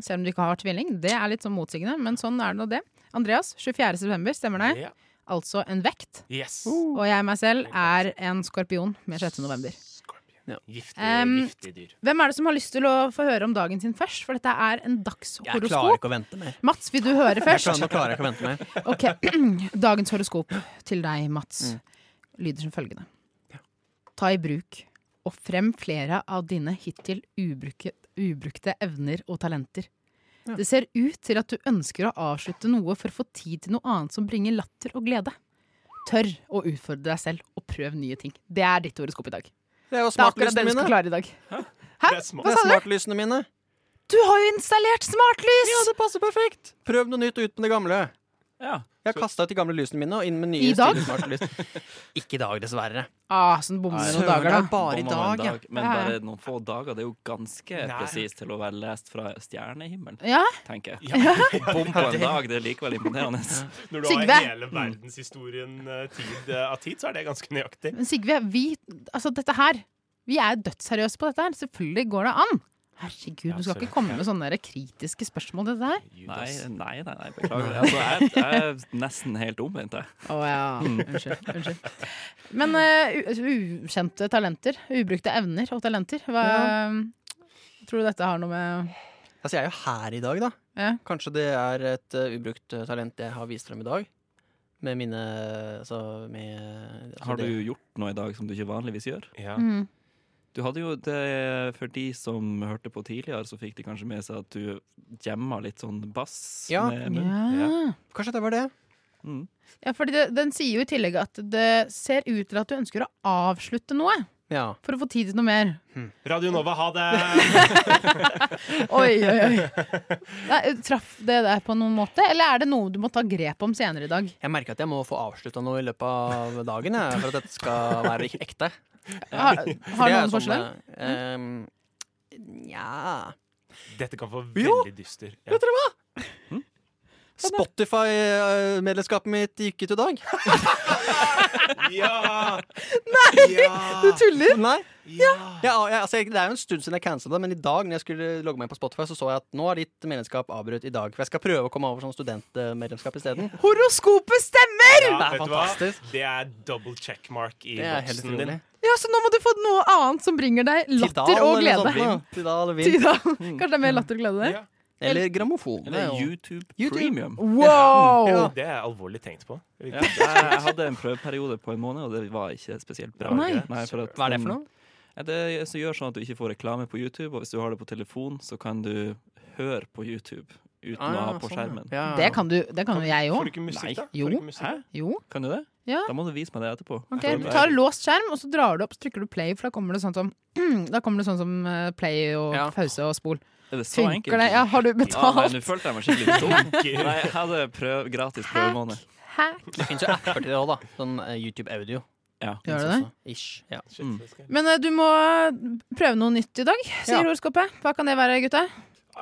Speaker 2: Selv om du ikke har tvilling. Det er litt sånn motsigende, men sånn er det nå det. Andreas, 24. september, stemmer det?
Speaker 4: Ja.
Speaker 2: Altså en vekt.
Speaker 4: Yes.
Speaker 2: Og jeg meg selv er en skorpion med 6. november.
Speaker 4: Skorpion.
Speaker 3: Ja.
Speaker 4: Giftig,
Speaker 2: Um,
Speaker 4: giftig dyr.
Speaker 2: Hvem er det som har lyst til å få høre om dagen sin først? For dette er en
Speaker 3: Jeg klarer
Speaker 2: dagshoroskop.
Speaker 3: ikke å vente mer.
Speaker 2: Mats, vil du høre
Speaker 3: Jeg
Speaker 2: først?
Speaker 3: klarer, nå klarer jeg ikke å vente mer.
Speaker 2: Ok, Dagens horoskop til deg, Mats, lyder som følgende. Ta i bruk og frem flere av dine hittil ubruke, ubrukte evner og talenter. Det ser ut til at du ønsker å avslutte noe for å få tid til noe annet som bringer latter og glede. Tør å utfordre deg selv og prøv nye ting. Det er ditt horoskop i dag.
Speaker 3: Det er jo
Speaker 2: Det er akkurat
Speaker 3: smartlysene
Speaker 2: det du skal
Speaker 3: mine.
Speaker 2: klare i dag.
Speaker 4: Det er
Speaker 2: Hva
Speaker 4: smart.
Speaker 3: Det er
Speaker 2: sa du?
Speaker 3: smartlysene mine.
Speaker 2: Du har jo installert smartlys!
Speaker 3: Ja, det passer perfekt. Prøv noe nytt og ut med det gamle.
Speaker 1: Ja.
Speaker 3: Jeg har kasta ut de gamle lysene mine og inn med
Speaker 2: I
Speaker 3: nye.
Speaker 2: dag?
Speaker 3: stille smarte lys. Ikke i dag, dessverre.
Speaker 2: Ah, så den bommer med noen
Speaker 3: Søren, det
Speaker 2: dager,
Speaker 3: er
Speaker 2: da.
Speaker 3: bare i
Speaker 1: Bomma med en
Speaker 3: dag, ja.
Speaker 1: Men
Speaker 2: Ja, ja.
Speaker 1: bare noen få dager. Det er jo ganske
Speaker 4: Nei.
Speaker 1: presist til å være lest fra stjernehimmelen,
Speaker 2: Ja,
Speaker 1: tenker jeg.
Speaker 4: Ja.
Speaker 1: Bom på en dag, det er likevel imponerende.
Speaker 4: Når du
Speaker 2: Sigve.
Speaker 4: har hele verdenshistorien eh, tid, eh, av tid, så er det ganske nøyaktig.
Speaker 2: Men Sigve, vi, altså dette her Vi er dødsseriøse på dette her. Selvfølgelig går det an. Herregud, du skal ikke komme med sånne der kritiske spørsmål til dette her.
Speaker 1: Nei, nei, nei, nei beklager. Altså, jeg, jeg er nesten helt omvendt, jeg.
Speaker 2: Å ja. Mm. Unnskyld. unnskyld. Men eh, u- ukjente talenter. Ubrukte evner og talenter. Hva, Tror du dette har noe med
Speaker 3: Altså, jeg er jo her i dag, da.
Speaker 2: Ja.
Speaker 3: Kanskje det er et eh, ubrukt eh, talent jeg har vist frem i dag. Med mine altså, med, altså,
Speaker 1: Har du
Speaker 3: det-
Speaker 1: gjort noe i dag som du ikke vanligvis gjør?
Speaker 4: Ja.
Speaker 2: mm.
Speaker 1: Du hadde jo det For de som hørte på tidligere, så fikk de kanskje med seg at du gjemma litt sånn bass
Speaker 3: Ja.
Speaker 1: med munnen.
Speaker 2: ja.
Speaker 3: Kanskje det var det?
Speaker 1: Mm.
Speaker 2: ja, fordi det, den sier jo i tillegg at det ser ut til at du ønsker å avslutte noe
Speaker 3: Ja.
Speaker 2: for å få tid til noe mer.
Speaker 4: Radio Nova, ha det!
Speaker 2: Oi, oi, oi. Nei, traff det deg på noen måte, eller er det noe du må ta grep om senere i dag?
Speaker 3: Jeg merker at jeg må få avslutta noe i løpet av dagen jeg, for at dette skal være ek- ekte.
Speaker 2: Har, har
Speaker 3: Det er
Speaker 2: noen
Speaker 3: sånn,
Speaker 2: forslag?
Speaker 3: eh, em, Nja
Speaker 4: Dette kan få
Speaker 3: Jo,
Speaker 4: veldig dyster. Ja.
Speaker 3: Vet dere hva?
Speaker 1: Hm?
Speaker 3: Spotify-medlemskapet mitt gikk ut i dag.
Speaker 4: Ja! Nei! Ja!
Speaker 3: tuller? Nei.
Speaker 4: ja.
Speaker 3: Ja, og jeg, altså, jeg, det er jo en stund siden jeg cancela det, men i dag når jeg skulle logge meg inn på Spotify, så så jeg at nå er ditt medlemskap avbrutt i dag. For jeg skal prøve å komme over sånn studentmedlemskap isteden.
Speaker 2: Horoskopet stemmer!
Speaker 4: Ja,
Speaker 3: Det er
Speaker 4: vet du hva?
Speaker 3: fantastisk.
Speaker 4: Det er double checkmark i
Speaker 3: Det er helt
Speaker 4: boksen din.
Speaker 3: utrolig.
Speaker 2: Ja, Så nå må du få noe annet som bringer deg latter
Speaker 3: Tidal
Speaker 2: og
Speaker 3: eller
Speaker 2: glede.
Speaker 3: sånt Mm. noe. Tidal, Vim.
Speaker 2: Tidal. Kanskje det er mer latter og glede der?
Speaker 4: Ja.
Speaker 3: Eller grammofon. Det er
Speaker 1: Eller
Speaker 3: jo-
Speaker 1: YouTube,
Speaker 3: YouTube.
Speaker 1: Premium.
Speaker 2: Wow!
Speaker 4: Det er alvorlig tenkt på.
Speaker 1: Ja, jeg, jeg hadde en prøveperiode på en måned, og det var ikke spesielt bra.
Speaker 2: Nei.
Speaker 1: for at
Speaker 3: Hva er det
Speaker 1: den-
Speaker 3: for noe?
Speaker 1: Ja, Det er- så gjør sånn at du ikke får reklame på YouTube, og hvis du har det på telefon, så kan du høre på YouTube uten å ha
Speaker 3: Ah,
Speaker 1: på
Speaker 3: sånn, ja.
Speaker 1: skjermen.
Speaker 3: Ja.
Speaker 2: Det kan, du, det kan jo jeg
Speaker 4: Får du
Speaker 2: òg.
Speaker 4: ikke musikk,
Speaker 1: Nei.
Speaker 4: da? Får
Speaker 2: Jo.
Speaker 4: du ikke musikk, da?
Speaker 1: Hæ?
Speaker 2: Jo.
Speaker 1: Kan du det?
Speaker 2: Ja. Ah,
Speaker 1: Da må du vise meg det etterpå.
Speaker 2: Ok,
Speaker 1: Jeg tror
Speaker 2: Du
Speaker 1: det er-
Speaker 2: tar låst skjerm, og så drar du opp, så trykker du play, for da kommer det sånn som Da kommer det sånn som eh, play og
Speaker 3: Ja.
Speaker 2: pause og spol.
Speaker 1: er det så enkelt?
Speaker 2: Funker det? Ja, har du
Speaker 1: Ja, nei,
Speaker 2: betalt?
Speaker 1: nå følte jeg meg skikkelig dum. Nei, jeg hadde prøv, gratis prøvemåned.
Speaker 2: Hæ?
Speaker 3: Det fins jo apper til det òg, da. Sånn eh, YouTube Audio.
Speaker 1: Ja.
Speaker 2: Gjør det
Speaker 3: finnes
Speaker 2: det?
Speaker 3: også. Ish. Ja.
Speaker 4: Shit,
Speaker 1: Mm.
Speaker 4: det skal jeg-
Speaker 2: Men eh, du må prøve noe nytt i dag, sier
Speaker 3: Ja.
Speaker 2: horoskopet. Hva kan det være, gutta?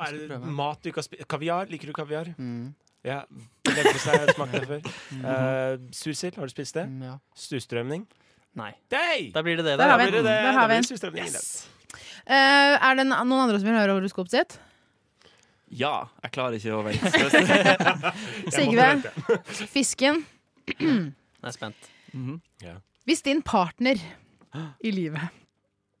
Speaker 4: Er det
Speaker 3: prøve.
Speaker 4: mat du kan spise? Kaviar? Liker du kaviar?
Speaker 3: Mm.
Speaker 4: Ja. Leverpostei, smakte det før. Eh, Sursild, har du spist det?
Speaker 3: Mm, ja.
Speaker 4: Surstrømning?
Speaker 3: Nei.
Speaker 4: Nei!
Speaker 3: Da blir det
Speaker 2: Der
Speaker 3: det, da.
Speaker 2: har vi
Speaker 4: blir det
Speaker 2: den. Der har
Speaker 4: da
Speaker 2: vi
Speaker 4: blir
Speaker 2: den.
Speaker 4: det surstrømning. i det.
Speaker 2: Eh, er det en- noen andre som vil høre horoskopet sitt?
Speaker 1: ja, jeg klarer ikke å vente.
Speaker 4: Jeg måtte
Speaker 2: Sigve,
Speaker 4: vente.
Speaker 2: fisken.
Speaker 3: Jeg er spent.
Speaker 2: Hvis din partner i livet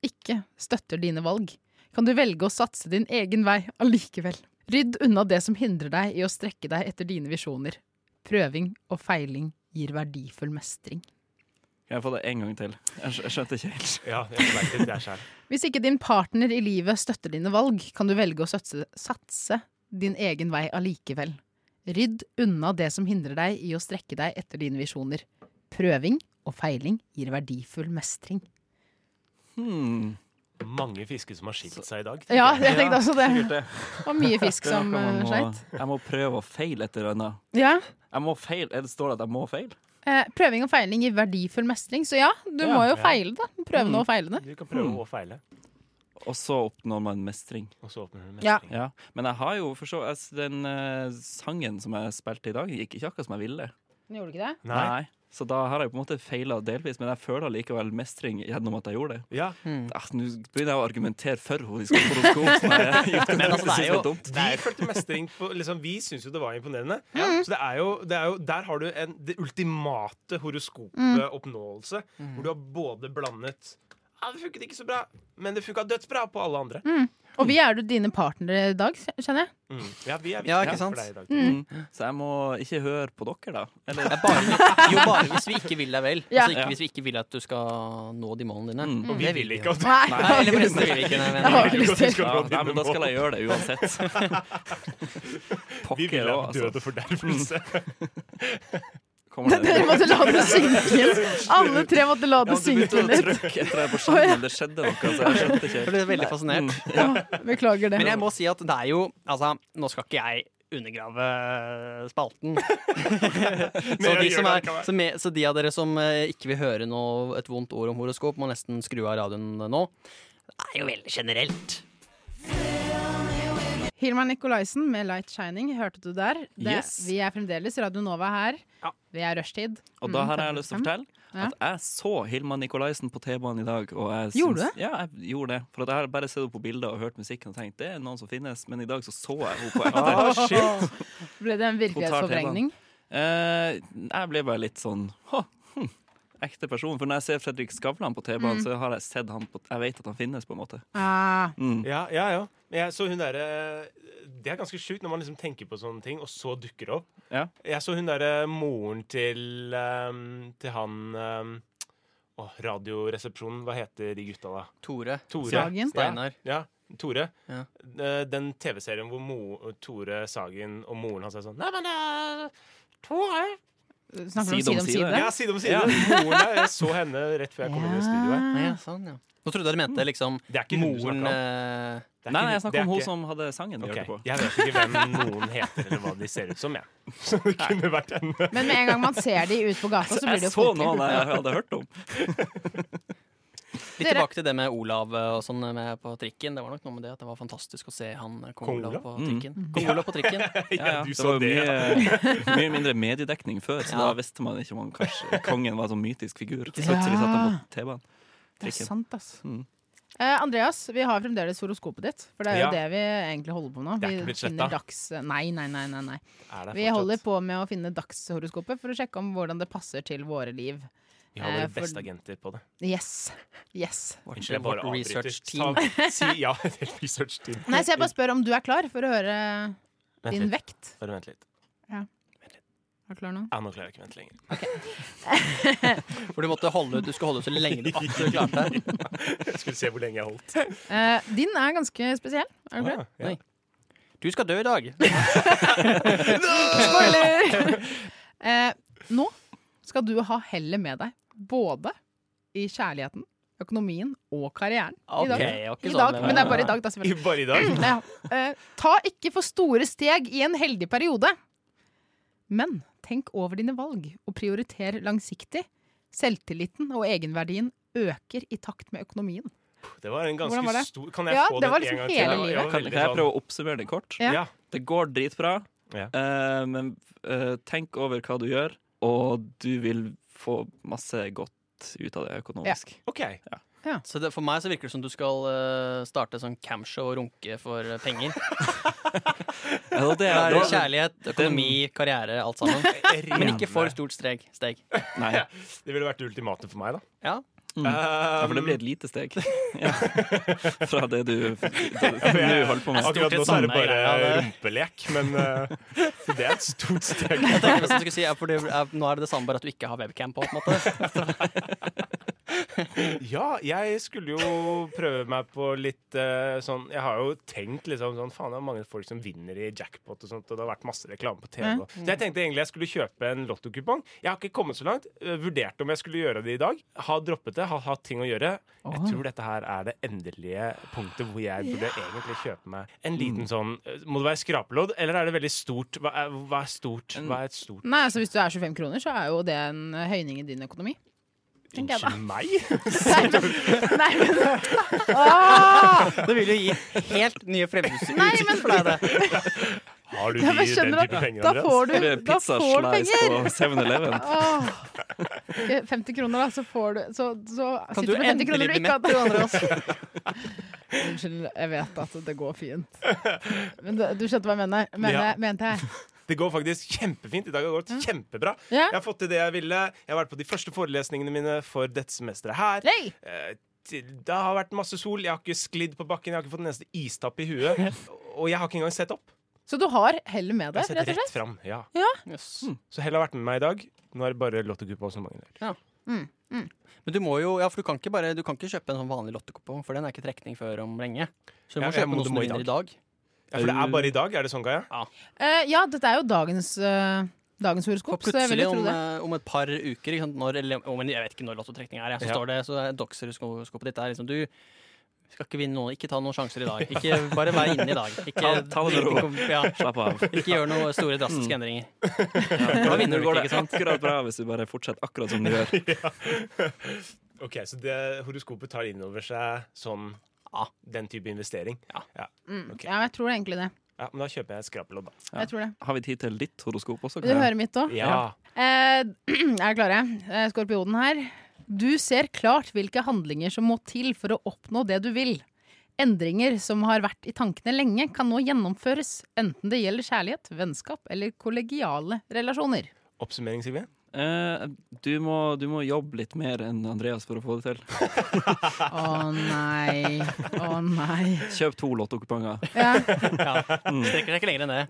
Speaker 2: ikke støtter dine valg, kan du velge å satse din egen vei allikevel. Rydd unna det som hindrer deg i å strekke deg etter dine visjoner. Prøving og feiling gir verdifull mestring.
Speaker 1: Kan jeg få det en gang til? Jeg skj- jeg skjønte ikke helt.
Speaker 4: Ja, jeg merket det selv.
Speaker 2: Hvis ikke din partner i livet støtter dine valg, kan du velge å satse, satse din egen vei allikevel. Rydd unna det som hindrer deg i å strekke deg etter dine visjoner. Prøving og feiling gir verdifull mestring.
Speaker 1: Hmm.
Speaker 4: Mange fisker som har skilt seg i dag. tenker
Speaker 2: Ja,
Speaker 4: jeg.
Speaker 2: jeg tenkte også det.
Speaker 1: sikkert det.
Speaker 2: Det var mye fisk
Speaker 1: Det er
Speaker 2: som
Speaker 1: noe
Speaker 2: eh,
Speaker 1: man må,
Speaker 2: sleit.
Speaker 1: jeg må prøve å feile et eller annet.
Speaker 2: Ja.
Speaker 1: Jeg må feil, er det står det at jeg må feile?
Speaker 2: Eh, prøving og feiling gir verdifull mestring, så ja, du
Speaker 1: Ja,
Speaker 2: må jo
Speaker 4: ja.
Speaker 2: feile, da. Prøvende
Speaker 1: Mm.
Speaker 2: og feilende.
Speaker 4: Du kan prøve å feile,
Speaker 1: Og så oppnår man mestring.
Speaker 4: og så åpner du mestring.
Speaker 2: Ja.
Speaker 1: Ja. Men jeg har jo for så jeg s- Den eh, sangen som jeg spilte i dag, gikk ikke akkurat som jeg ville.
Speaker 2: Gjorde du ikke det?
Speaker 4: Nei.
Speaker 1: Så da har jeg på en måte feila delvis, men jeg føler likevel mestring gjennom at jeg gjorde det.
Speaker 4: Ja.
Speaker 3: Mm.
Speaker 1: Ah, Nå begynner jeg å argumentere for henne i horoskop. som jeg i utgangspunktet
Speaker 3: Men altså, det er
Speaker 1: synes
Speaker 3: jo-
Speaker 1: var dumt.
Speaker 4: Vi følte mestring på liksom, Vi syns jo det var imponerende. Så det er jo, det er jo, der har du en, det ultimate horoskopoppnåelse, hvor du har både blandet ja, Det funket ikke så bra, men det funka dødsbra på alle andre.
Speaker 2: Og vi er jo dine partnere i dag, kjenner jeg.
Speaker 4: Mm. Ja, vi er
Speaker 3: Ja,
Speaker 4: viktige
Speaker 3: ikke sant?
Speaker 4: for deg i dag.
Speaker 1: Mm. Så jeg må ikke høre på dere, da. Eller,
Speaker 3: Bare, jo, bare hvis vi ikke vil deg vel.
Speaker 2: Ja.
Speaker 3: Altså, ikke,
Speaker 1: Ja.
Speaker 3: hvis vi ikke vil at du skal nå de målene dine.
Speaker 1: Mm.
Speaker 4: Og vi vil ikke at
Speaker 2: Nei,
Speaker 3: Nei, eller forresten vil vi ikke. Nei,
Speaker 2: Jeg
Speaker 3: men,
Speaker 2: har ikke lyst til.
Speaker 1: ja, nei, men da skal jeg gjøre det uansett.
Speaker 4: Vi
Speaker 1: Pokker
Speaker 4: vil ha
Speaker 1: også, altså.
Speaker 4: død og fordervelse.
Speaker 1: Kommer det
Speaker 2: Dere måtte la det synke inn. Alle tre måtte la
Speaker 1: Ja,
Speaker 2: det
Speaker 1: men du
Speaker 2: synke
Speaker 1: begynte å
Speaker 2: inn litt.
Speaker 1: trykke etter jeg på skjermen. Det skjedde noe. Så jeg skjønte ikke
Speaker 3: jeg
Speaker 1: helt.
Speaker 3: ble veldig
Speaker 4: Mm.
Speaker 3: fascinert.
Speaker 2: Beklager det.
Speaker 3: Men jeg må si at det er jo Altså, nå skal ikke jeg undergrave eh, spalten. så, de som er, så, me, så de av dere som eh, ikke vil høre noe, et vondt ord om horoskop, må nesten skru av radioen nå. Det er jo veldig generelt.
Speaker 2: Hilmar Nikolaisen med 'Light Shining' hørte du der. Det,
Speaker 1: Yes.
Speaker 2: Vi er fremdeles Radio Nova her.
Speaker 4: Ja.
Speaker 2: Vi er rushtid.
Speaker 1: Og da
Speaker 2: Mm,
Speaker 1: har jeg lyst til å
Speaker 2: 15.
Speaker 1: fortelle at jeg så Hilma Nikolaisen på T-banen i dag. Og jeg syns,
Speaker 2: Gjorde du det?
Speaker 1: Ja, jeg gjorde det. For at jeg har bare sett henne på bilder og hørt musikken og tenkt det er noen som finnes, men i dag så så jeg henne på ekte.
Speaker 2: Ble det en virkelighetsforvrengning?
Speaker 1: Eh, jeg ble bare litt sånn «Hå, hm, ekte person. For når jeg ser Fredrik Skavlan på
Speaker 2: Mm.
Speaker 1: T-banen, så har jeg sett han på Jeg vet at han finnes, på en måte.
Speaker 2: Ah,
Speaker 1: Mm.
Speaker 4: Ja, ja, ja. Men jeg så hun derre Det er ganske sjukt når man liksom tenker på sånne ting, og så dukker det opp.
Speaker 1: Ja.
Speaker 4: Jeg så hun derre moren til ehm, Til han um, Radioresepsjonen. Hva heter de gutta, da?
Speaker 3: Tore.
Speaker 4: Tore.
Speaker 2: Sagen?
Speaker 3: Steinar.
Speaker 4: Ja, Tore.
Speaker 3: Ja.
Speaker 4: Eh, Den TV-serien hvor mo Tore Sagen og moren hans er sånn Nei, men det er Tore
Speaker 2: snakker du om
Speaker 1: Side om
Speaker 2: side om
Speaker 1: side.
Speaker 2: side?
Speaker 4: Ja, side om side. Moren der, Jeg så henne rett før jeg kom inn i studio her.
Speaker 3: Ja, sånn, ja. Nå trodde jeg dere mente liksom
Speaker 4: Det er ikke hun du
Speaker 3: moren
Speaker 4: snakker om.
Speaker 3: eh,
Speaker 4: Det er
Speaker 1: Nei,
Speaker 4: ikke-
Speaker 1: nei, jeg snakker om hun
Speaker 4: det er ikke-
Speaker 1: som hadde sangen vi
Speaker 4: Ok,
Speaker 1: hørte på.
Speaker 4: Jeg vet ikke hvem noen heter, eller hva de ser ut som, jeg. Så det kunne vært henne.
Speaker 2: Men med en gang man ser de ute på
Speaker 4: Altså,
Speaker 2: gata, så blir det
Speaker 1: Jeg
Speaker 2: jo
Speaker 1: så
Speaker 2: folkelig.
Speaker 1: noen jeg hadde hørt om.
Speaker 3: Litt
Speaker 2: Dere-
Speaker 3: tilbake til det med Olav eh, og sånn med på trikken. Det var nok noe med det at det var fantastisk å se han eh, kong
Speaker 4: Kong
Speaker 3: Olav
Speaker 4: Olav?
Speaker 3: på
Speaker 1: Mm.
Speaker 3: trikken. Kong Olav på trikken.
Speaker 1: Ja, ja.
Speaker 4: du
Speaker 1: Det
Speaker 4: så
Speaker 1: var jo
Speaker 4: det,
Speaker 1: mye, mye mindre mediedekning før, så
Speaker 3: Ja.
Speaker 1: da visste man ikke om kanskje kongen var en sånn mytisk figur. Så
Speaker 2: sant?
Speaker 1: plutselig satt han på T-banen.
Speaker 2: Det er
Speaker 1: Trikken.
Speaker 2: sant, ass.
Speaker 1: Mm.
Speaker 2: Eh, Andreas, vi har fremdeles horoskopet ditt. For det er jo
Speaker 4: Ja.
Speaker 2: det vi egentlig holder på med nå.
Speaker 4: Det er ikke
Speaker 2: Vi
Speaker 4: blitt slettet.
Speaker 2: finner dags... Nei, nei, nei, nei, nei.
Speaker 4: Er det
Speaker 2: Vi
Speaker 4: fortsatt?
Speaker 2: holder på med å finne dagshoroskopet for å sjekke om hvordan det passer til våre liv.
Speaker 4: Vi har
Speaker 2: eh,
Speaker 4: våre
Speaker 2: for-
Speaker 4: beste agenter på det.
Speaker 2: Yes. Yes.
Speaker 3: Vårt,
Speaker 4: Unnskyld, jeg bare
Speaker 3: vårt
Speaker 4: avbryter.
Speaker 3: research-team.
Speaker 4: Ta- Si ja til research-team.
Speaker 2: Nei, så jeg bare spør om du er klar for å høre
Speaker 4: Vent
Speaker 2: din
Speaker 4: litt.
Speaker 2: vekt.
Speaker 4: Bare vent litt.
Speaker 2: Er du klar nå?
Speaker 4: Ja, nå klarer jeg ikke å vente lenger.
Speaker 3: For du måtte holde ut, du skulle holde ut så lenge du absolutt klarte.
Speaker 4: Jeg skulle se hvor lenge jeg holdt.
Speaker 2: Eh, din er ganske spesiell. Er du klar?
Speaker 4: Ja, ja.
Speaker 3: Oi. Du skal dø i dag.
Speaker 2: Spoiler! eh, nå skal du ha hellet med deg. Både i kjærligheten, økonomien og karrieren. I dag.
Speaker 3: jeg har ikke
Speaker 2: I
Speaker 3: sånn
Speaker 2: dag
Speaker 3: med
Speaker 2: men det
Speaker 3: meg.
Speaker 2: er bare i dag, da, selvfølgelig.
Speaker 4: Bare i dag?
Speaker 2: Ja. Eh, ta ikke for store steg i en heldig periode. Men tenk over dine valg og prioriter langsiktig. Selvtilliten og egenverdien øker i takt med økonomien.
Speaker 4: Det var en ganske
Speaker 2: Hvordan var det?
Speaker 4: stor Kan jeg
Speaker 2: Ja,
Speaker 4: få
Speaker 2: det var
Speaker 4: den
Speaker 2: liksom
Speaker 4: en
Speaker 2: hele
Speaker 4: gang til? Jeg var
Speaker 2: livet.
Speaker 1: Kan,
Speaker 4: veldig
Speaker 1: kan jeg
Speaker 4: sånn-
Speaker 1: prøve å oppsummere det kort?
Speaker 2: Ja.
Speaker 4: Ja.
Speaker 1: Det går dritbra,
Speaker 4: Ja.
Speaker 1: eh, men eh, tenk over hva du gjør, og du vil få masse godt ut av det økonomisk.
Speaker 4: OK.
Speaker 3: Så det, for meg så virker det som du skal eh, starte sånn camshow og runke for eh, penger.
Speaker 1: Ja, det
Speaker 3: Det
Speaker 1: er
Speaker 3: er
Speaker 1: det.
Speaker 3: kjærlighet, økonomi, karriere, alt sammen. Men ikke for stort steg. steg.
Speaker 1: Nei.
Speaker 4: Det ville vært det ultimate for meg, da. Um,
Speaker 3: Ja.
Speaker 1: Ja, for det blir et lite steg ja. fra det du nå holder på med.
Speaker 4: Akkurat
Speaker 6: Stort
Speaker 4: nå så er det
Speaker 6: sett samme
Speaker 4: bare
Speaker 6: greia, det.
Speaker 4: rumpelek, men eh, så det er et stort steg.
Speaker 3: Jeg tenker hvis jeg skulle si, er fordi, er, Nå er det det samme, bare at du ikke har webcam på. på en måte
Speaker 4: Ja, jeg skulle jo prøve meg på litt eh, sånn Jeg har jo tenkt liksom sånn Faen, det er mange folk som vinner i jackpot og sånt, og det har vært masse reklame på TV.
Speaker 2: Mm.
Speaker 4: og- Så jeg tenkte egentlig jeg skulle kjøpe en lottokupong. Jeg har ikke kommet så langt. eh, Vurderte om jeg skulle gjøre det i dag. Har droppet det, har hatt ting å gjøre. Jeg
Speaker 2: Åh.
Speaker 4: tror dette her er det endelige punktet hvor jeg burde egentlig kjøpe meg en
Speaker 6: Mm.
Speaker 4: liten sånn eh, Må det være skrapelodd, eller er det veldig stort? Hva er, hva er stort? Hva er et stort?
Speaker 2: Nei, altså Hvis du er 25 kroner, så er jo det en høyning i din økonomi. Tenker jeg da.
Speaker 4: Unnskyld meg?
Speaker 2: Nei, men, Ah! nei, men, Åh!
Speaker 3: Det vil jo gi helt nye
Speaker 2: nei,
Speaker 3: fremmedutsikter
Speaker 2: men
Speaker 3: for deg, det.
Speaker 4: Har du
Speaker 2: Ja,
Speaker 4: de,
Speaker 2: men
Speaker 4: den
Speaker 2: skjønner
Speaker 4: type
Speaker 2: du
Speaker 4: penger,
Speaker 2: Da
Speaker 4: Andreas?
Speaker 2: får du,
Speaker 1: Eller
Speaker 2: da får du
Speaker 1: pizzaslice
Speaker 2: penger!
Speaker 1: på 7-Eleven.
Speaker 2: Åh. Ok, 50 kroner, da, så får du Så, så
Speaker 3: Kan
Speaker 2: sitter
Speaker 3: du
Speaker 2: du med 50
Speaker 3: endelig
Speaker 2: kroner du
Speaker 3: bli
Speaker 2: ikke
Speaker 3: mett,
Speaker 2: hadde.
Speaker 3: du, Andreas?
Speaker 2: Unnskyld, jeg vet at det går fint. Men du, du skjønte hva jeg mener? mener
Speaker 4: Ja.
Speaker 2: Mente jeg.
Speaker 4: Det går faktisk kjempefint. I dag har det gått kjempebra.
Speaker 2: Ja?
Speaker 4: Jeg har fått til det jeg ville. Jeg har vært på de første forelesningene mine for dette semesteret her.
Speaker 2: Hey!
Speaker 4: Eh, til- Det har vært masse sol, jeg har ikke sklidd på bakken, jeg har ikke fått en eneste istapp i huet. Og jeg har ikke engang sett opp.
Speaker 2: Så du har hellet med
Speaker 4: Jeg
Speaker 2: deg,
Speaker 4: har sett
Speaker 2: rett og slett?
Speaker 4: rett fram. Ja.
Speaker 3: Yes.
Speaker 4: Så Hell har vært med meg i dag. Nå er det bare lottokupong som mangler.
Speaker 3: Men du må jo, ja, for du kan ikke, bare, du kan ikke kjøpe en sånn vanlig lottekupong, for den er ikke trekning før om lenge. Så du
Speaker 4: Ja,
Speaker 3: må
Speaker 4: jeg
Speaker 3: kjøpe
Speaker 4: må-
Speaker 3: noe
Speaker 4: du
Speaker 3: som
Speaker 4: må
Speaker 3: du
Speaker 4: i
Speaker 3: vinner i dag.
Speaker 4: Ja, for det er bare i dag, er det sånn, Kaja?
Speaker 2: Eh, ja, dette er jo dagens, eh, dagens
Speaker 3: Og
Speaker 2: horoskop, så jeg vil
Speaker 3: plutselig
Speaker 2: jo tro
Speaker 3: om,
Speaker 2: det.
Speaker 3: eh, om et par uker, ikke sant, når, eller om, en- jeg vet ikke når lottotrekning er, jeg, så
Speaker 4: Ja.
Speaker 3: står det så er doxerskopet ditt er liksom Du skal ikke vinne noen, ikke ta noen sjanser i dag. Ikke Bare vær inne i dag. Ikke,
Speaker 1: Ta- ta det med ro.
Speaker 3: Ja,
Speaker 1: Slapp av.
Speaker 3: ikke gjør noen store
Speaker 4: Mm.
Speaker 3: drastiske endringer.
Speaker 1: Da
Speaker 3: vinner du
Speaker 1: går
Speaker 3: ikke,
Speaker 1: det
Speaker 3: ikke sant?
Speaker 1: akkurat bra hvis du bare fortsetter akkurat som du gjør.
Speaker 4: Ok, Så det horoskopet tar inn over seg sånn
Speaker 3: Ja.
Speaker 4: den type investering? Ja. ja.
Speaker 2: Mm.
Speaker 4: ok.
Speaker 2: Ja, jeg tror det egentlig det.
Speaker 4: Men da kjøper jeg et skrapelodd, da.
Speaker 1: Ja.
Speaker 2: Jeg tror det.
Speaker 1: Har vi tid til ditt horoskop også?
Speaker 2: Vil du høre mitt òg?
Speaker 4: Ja.
Speaker 2: Eh, er dere klare? Eh, Skorpionen her. Du ser klart hvilke handlinger som må til for å oppnå det du vil. Endringer som har vært i tankene lenge, kan nå gjennomføres, enten det gjelder kjærlighet, vennskap eller kollegiale relasjoner.
Speaker 4: Oppsummering, Silje?
Speaker 1: Eh, du, må, du må jobbe litt mer enn Andreas for å få det til.
Speaker 2: Å nei, å nei.
Speaker 1: Kjøp to lottokuponger.
Speaker 2: Ja.
Speaker 3: Ja.
Speaker 4: Mm.
Speaker 3: Strekker deg ikke lenger enn det.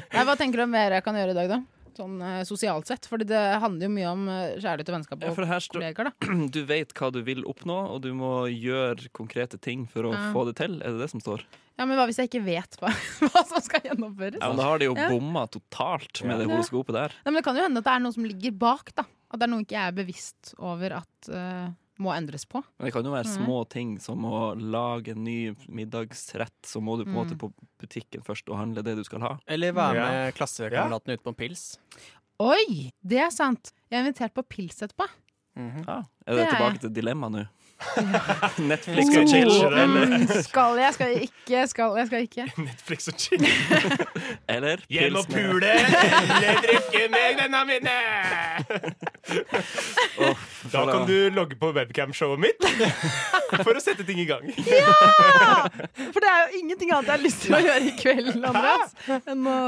Speaker 2: Nei, hva tenker du om mer jeg kan gjøre i dag, da? Sånn eh, sosialt sett. Fordi det handler jo mye om eh, kjærlighet og vennskap
Speaker 1: Ja,
Speaker 2: og
Speaker 1: for her står
Speaker 2: kollegaer, da.
Speaker 1: Du vet hva du vil oppnå, og du må gjøre konkrete ting for å
Speaker 2: Ja.
Speaker 1: få det til. Er det det som står?
Speaker 2: Ja, men hva hvis jeg ikke vet hva, hva som skal gjennomføres?
Speaker 1: Ja, men Da har de jo
Speaker 2: Ja.
Speaker 1: bomma totalt med det
Speaker 2: Ja.
Speaker 1: horoskopet der.
Speaker 2: Nei, men det kan jo hende at det er noe som ligger bak, da. At det er noe ikke jeg er bevisst over at eh, må endres på.
Speaker 1: Men det kan jo være små ting som å lage en ny middagsrett. Så må du på en
Speaker 2: Mm.
Speaker 1: måte på butikken først og handle det du skal ha.
Speaker 3: Eller være
Speaker 4: Ja.
Speaker 3: med klassekameratene ut på en pils.
Speaker 2: Oi! Det er sant! Jeg er invitert på pils etterpå.
Speaker 1: Ja. Er det
Speaker 2: Det er
Speaker 1: tilbake
Speaker 2: jeg.
Speaker 1: til dilemmaet nå? Netflix
Speaker 4: Skal
Speaker 1: og
Speaker 4: jeg
Speaker 1: chill,
Speaker 4: chill,
Speaker 2: Mm, skal jeg, skal jeg ikke, skal jeg, skal jeg ikke.
Speaker 4: Netflix og chill.
Speaker 1: eller
Speaker 4: Jeg må
Speaker 1: pils med
Speaker 4: pule eller drikke med vennene mine! da kan du logge på webcam-showet mitt for å sette ting i gang.
Speaker 2: For det er jo ingenting annet jeg har lyst til å gjøre i kveld, Andreas. Enn å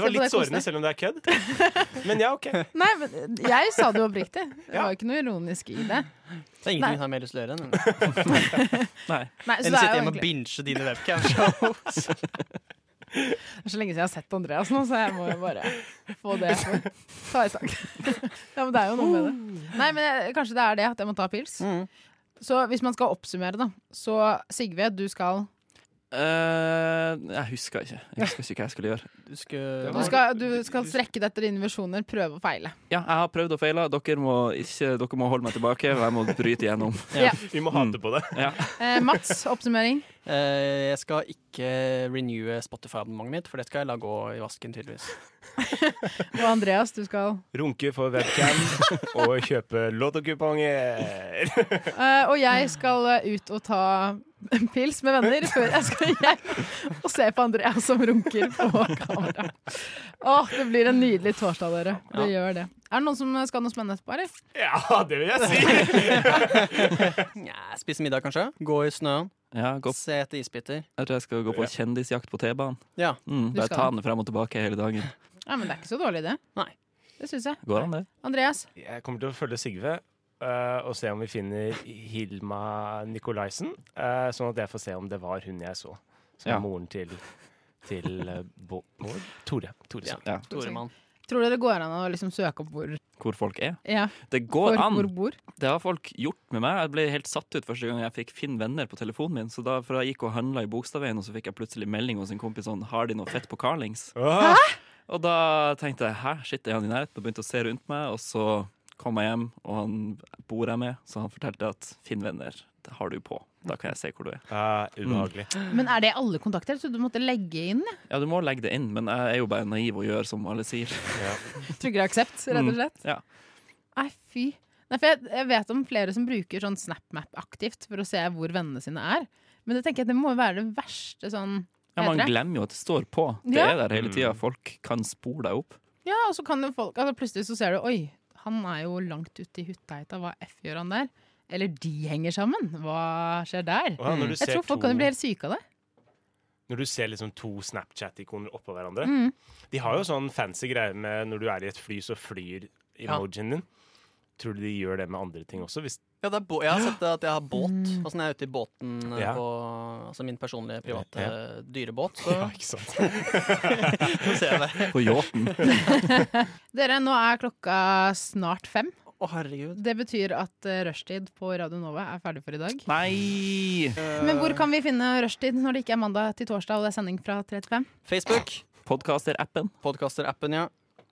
Speaker 2: Se
Speaker 4: var
Speaker 2: på
Speaker 4: litt
Speaker 2: deg kose
Speaker 4: sårende,
Speaker 2: deg.
Speaker 4: selv om det er kødd. Men ja, OK.
Speaker 2: Nei, men jeg sa det jo oppriktig. Det
Speaker 4: Ja.
Speaker 2: var jo ikke noe ironisk i det.
Speaker 3: Det er
Speaker 2: Nei.
Speaker 3: ingenting hun har mer lyst til å gjøre enn
Speaker 1: Nei.
Speaker 2: Nei, så
Speaker 3: enn
Speaker 2: det
Speaker 3: å
Speaker 2: er
Speaker 3: sitte
Speaker 2: jo
Speaker 3: hjemme og
Speaker 2: egentlig
Speaker 3: binge dine webcam-show.
Speaker 2: Det er så lenge siden jeg har sett Andreas nå, så jeg må jo bare få det på- ta i sak. Ja, men det er jo noe med det. Nei, men jeg, kanskje det er det at jeg må ta pils. Så hvis man skal oppsummere, da. Så Sigve, du skal
Speaker 1: Eh, jeg husker ikke. Jeg husker ikke hva jeg skulle gjøre.
Speaker 3: Du skal,
Speaker 2: Du skal, du skal strekke deg etter dine visjoner, prøve og feile.
Speaker 1: Ja, jeg har prøvd og feila. Dere, må ikke- dere må holde meg tilbake, og jeg må bryte igjennom.
Speaker 4: Vi må hate på det.
Speaker 1: Ja.
Speaker 2: Eh, Mats, oppsummering.
Speaker 3: Eh, jeg skal ikke renewe Spotify-abonnementet mitt, for det skal jeg la gå i vasken, tydeligvis.
Speaker 2: Og Andreas, du skal
Speaker 4: Runke for webcam og kjøpe lottokuponger.
Speaker 2: Eh, Og jeg skal eh, ut og ta en pils med venner før jeg skal hjem og se på Andreas som runker på kamera. Åh, det blir en nydelig torsdag, dere. Det gjør det. Er det noen som skal ha noe spennende etterpå, eller?
Speaker 4: Ja, det vil jeg si.
Speaker 3: Nja, spise middag, kanskje. Gå i snøen.
Speaker 1: Ja, gå,
Speaker 3: Se etter isbiter.
Speaker 1: jeg tror jeg skal gå på kjendisjakt på T-banen.
Speaker 3: Ja.
Speaker 1: Mm,
Speaker 2: Du
Speaker 1: bare
Speaker 2: skal.
Speaker 1: ta den frem og tilbake hele dagen.
Speaker 2: Ja, men det er ikke så dårlig, det.
Speaker 3: Nei.
Speaker 2: Det syns jeg.
Speaker 1: Går an, det?
Speaker 2: Andreas,
Speaker 4: Jeg kommer til å følge Sigve eh, og se om vi finner Hilma Nikolaisen, eh, sånn at jeg får se om det var hun jeg så. Som
Speaker 1: Ja.
Speaker 4: er moren til, til eh, Bo- Bård? Tore. Tore
Speaker 3: Ja.
Speaker 4: Sagen.
Speaker 1: Ja.
Speaker 3: Toremann.
Speaker 2: Tror dere det går an å liksom søke opp hvor
Speaker 1: Hvor folk er.
Speaker 2: ja,
Speaker 1: Det
Speaker 2: hvor,
Speaker 1: går
Speaker 2: hvor
Speaker 1: an!
Speaker 2: bor?
Speaker 1: Det har folk gjort med meg. Jeg ble helt satt ut første gang jeg fikk Finn venner på telefonen min. Så da, for jeg gikk og handla i Bogstadveien, og så fikk jeg plutselig melding hos en kompis sånn Har de noe fett på Carlings?
Speaker 4: Åh!
Speaker 1: Og da tenkte jeg hæ, shit, er han i nærheten? Og begynte å se rundt meg, og så kom jeg hjem, og han bor jeg med, så han fortalte at finn venner, det har du på. Da kan jeg se hvor du er.
Speaker 4: Eh, ubehagelig.
Speaker 2: Men er det alle kontakter? Jeg trodde du måtte legge inn. jeg.
Speaker 1: Ja, du må legge det inn, men jeg er jo bare naiv og gjør som alle sier.
Speaker 2: Tryggere aksept, rett og slett.
Speaker 1: Mm. Ja.
Speaker 2: Nei, fy. Nei, for jeg, jeg vet om flere som bruker sånn SnapMap aktivt for å se hvor vennene sine er. Men det tenker jeg at det må jo være det verste sånn
Speaker 1: Ja, man
Speaker 2: Bedre.
Speaker 1: glemmer jo at det står på. Det
Speaker 2: Ja.
Speaker 1: er der hele tida. Folk kan spore deg opp.
Speaker 2: Ja, og så kan jo folk altså Plutselig så ser du Oi, han er jo langt ute i hutteita. Hva f gjør han der? Eller de henger sammen. Hva skjer der?
Speaker 4: Åh, når, du
Speaker 2: Jeg
Speaker 4: ser
Speaker 2: tror folk
Speaker 4: to,
Speaker 2: kan bli helt syke av det.
Speaker 4: når du ser liksom to Snapchat-ikoner oppå hverandre
Speaker 2: Mm.
Speaker 4: De har jo sånn fancy greier med når du er i et fly, så flyr emojien din. Tror du de gjør det med andre ting også? Hvis,
Speaker 3: Ja, det er bå- jeg har sett det at jeg har båt.
Speaker 2: Mm.
Speaker 3: Altså, når jeg er ute i båten eh,
Speaker 4: Ja.
Speaker 3: på altså, min personlige, private
Speaker 4: Ja.
Speaker 3: eh, dyrebåt, så,
Speaker 4: ja, ikke sant?
Speaker 3: så ser jeg det.
Speaker 1: På yachten.
Speaker 2: Dere, nå er klokka snart fem.
Speaker 3: Å, herregud.
Speaker 2: Det betyr at eh, rushtid på Radio Nova er ferdig for i dag.
Speaker 1: Nei!
Speaker 2: Men hvor kan vi finne rushtid når det ikke er mandag til torsdag og det er sending fra 3 til 5?
Speaker 3: Facebook,
Speaker 1: Podcaster-appen.
Speaker 3: podcaster-appen, ja.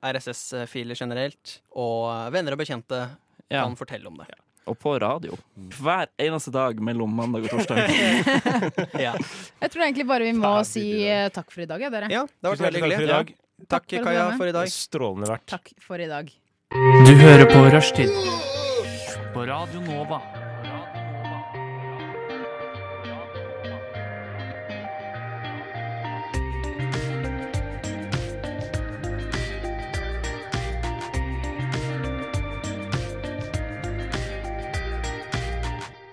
Speaker 3: RSS-filer generelt. Og eh, venner og bekjente
Speaker 1: Ja.
Speaker 3: kan fortelle om det.
Speaker 1: Og på radio. Hver eneste dag mellom mandag og torsdag.
Speaker 3: Ja,
Speaker 2: Jeg tror egentlig bare vi må
Speaker 4: Ferdig
Speaker 2: si
Speaker 4: i dag.
Speaker 2: eh, takk for i dag, ja, dere.
Speaker 3: ja det har vært
Speaker 4: Tusen
Speaker 3: veldig
Speaker 4: hjertelig takk for i
Speaker 3: hyggelig.
Speaker 4: dag.
Speaker 3: Ja.
Speaker 2: for
Speaker 3: Takk,
Speaker 2: at du
Speaker 3: Kaja,
Speaker 2: var med.
Speaker 3: for i dag.
Speaker 4: Strålende vært.
Speaker 2: Takk for i dag.
Speaker 6: Du hører på Rushtid på Radio Nova.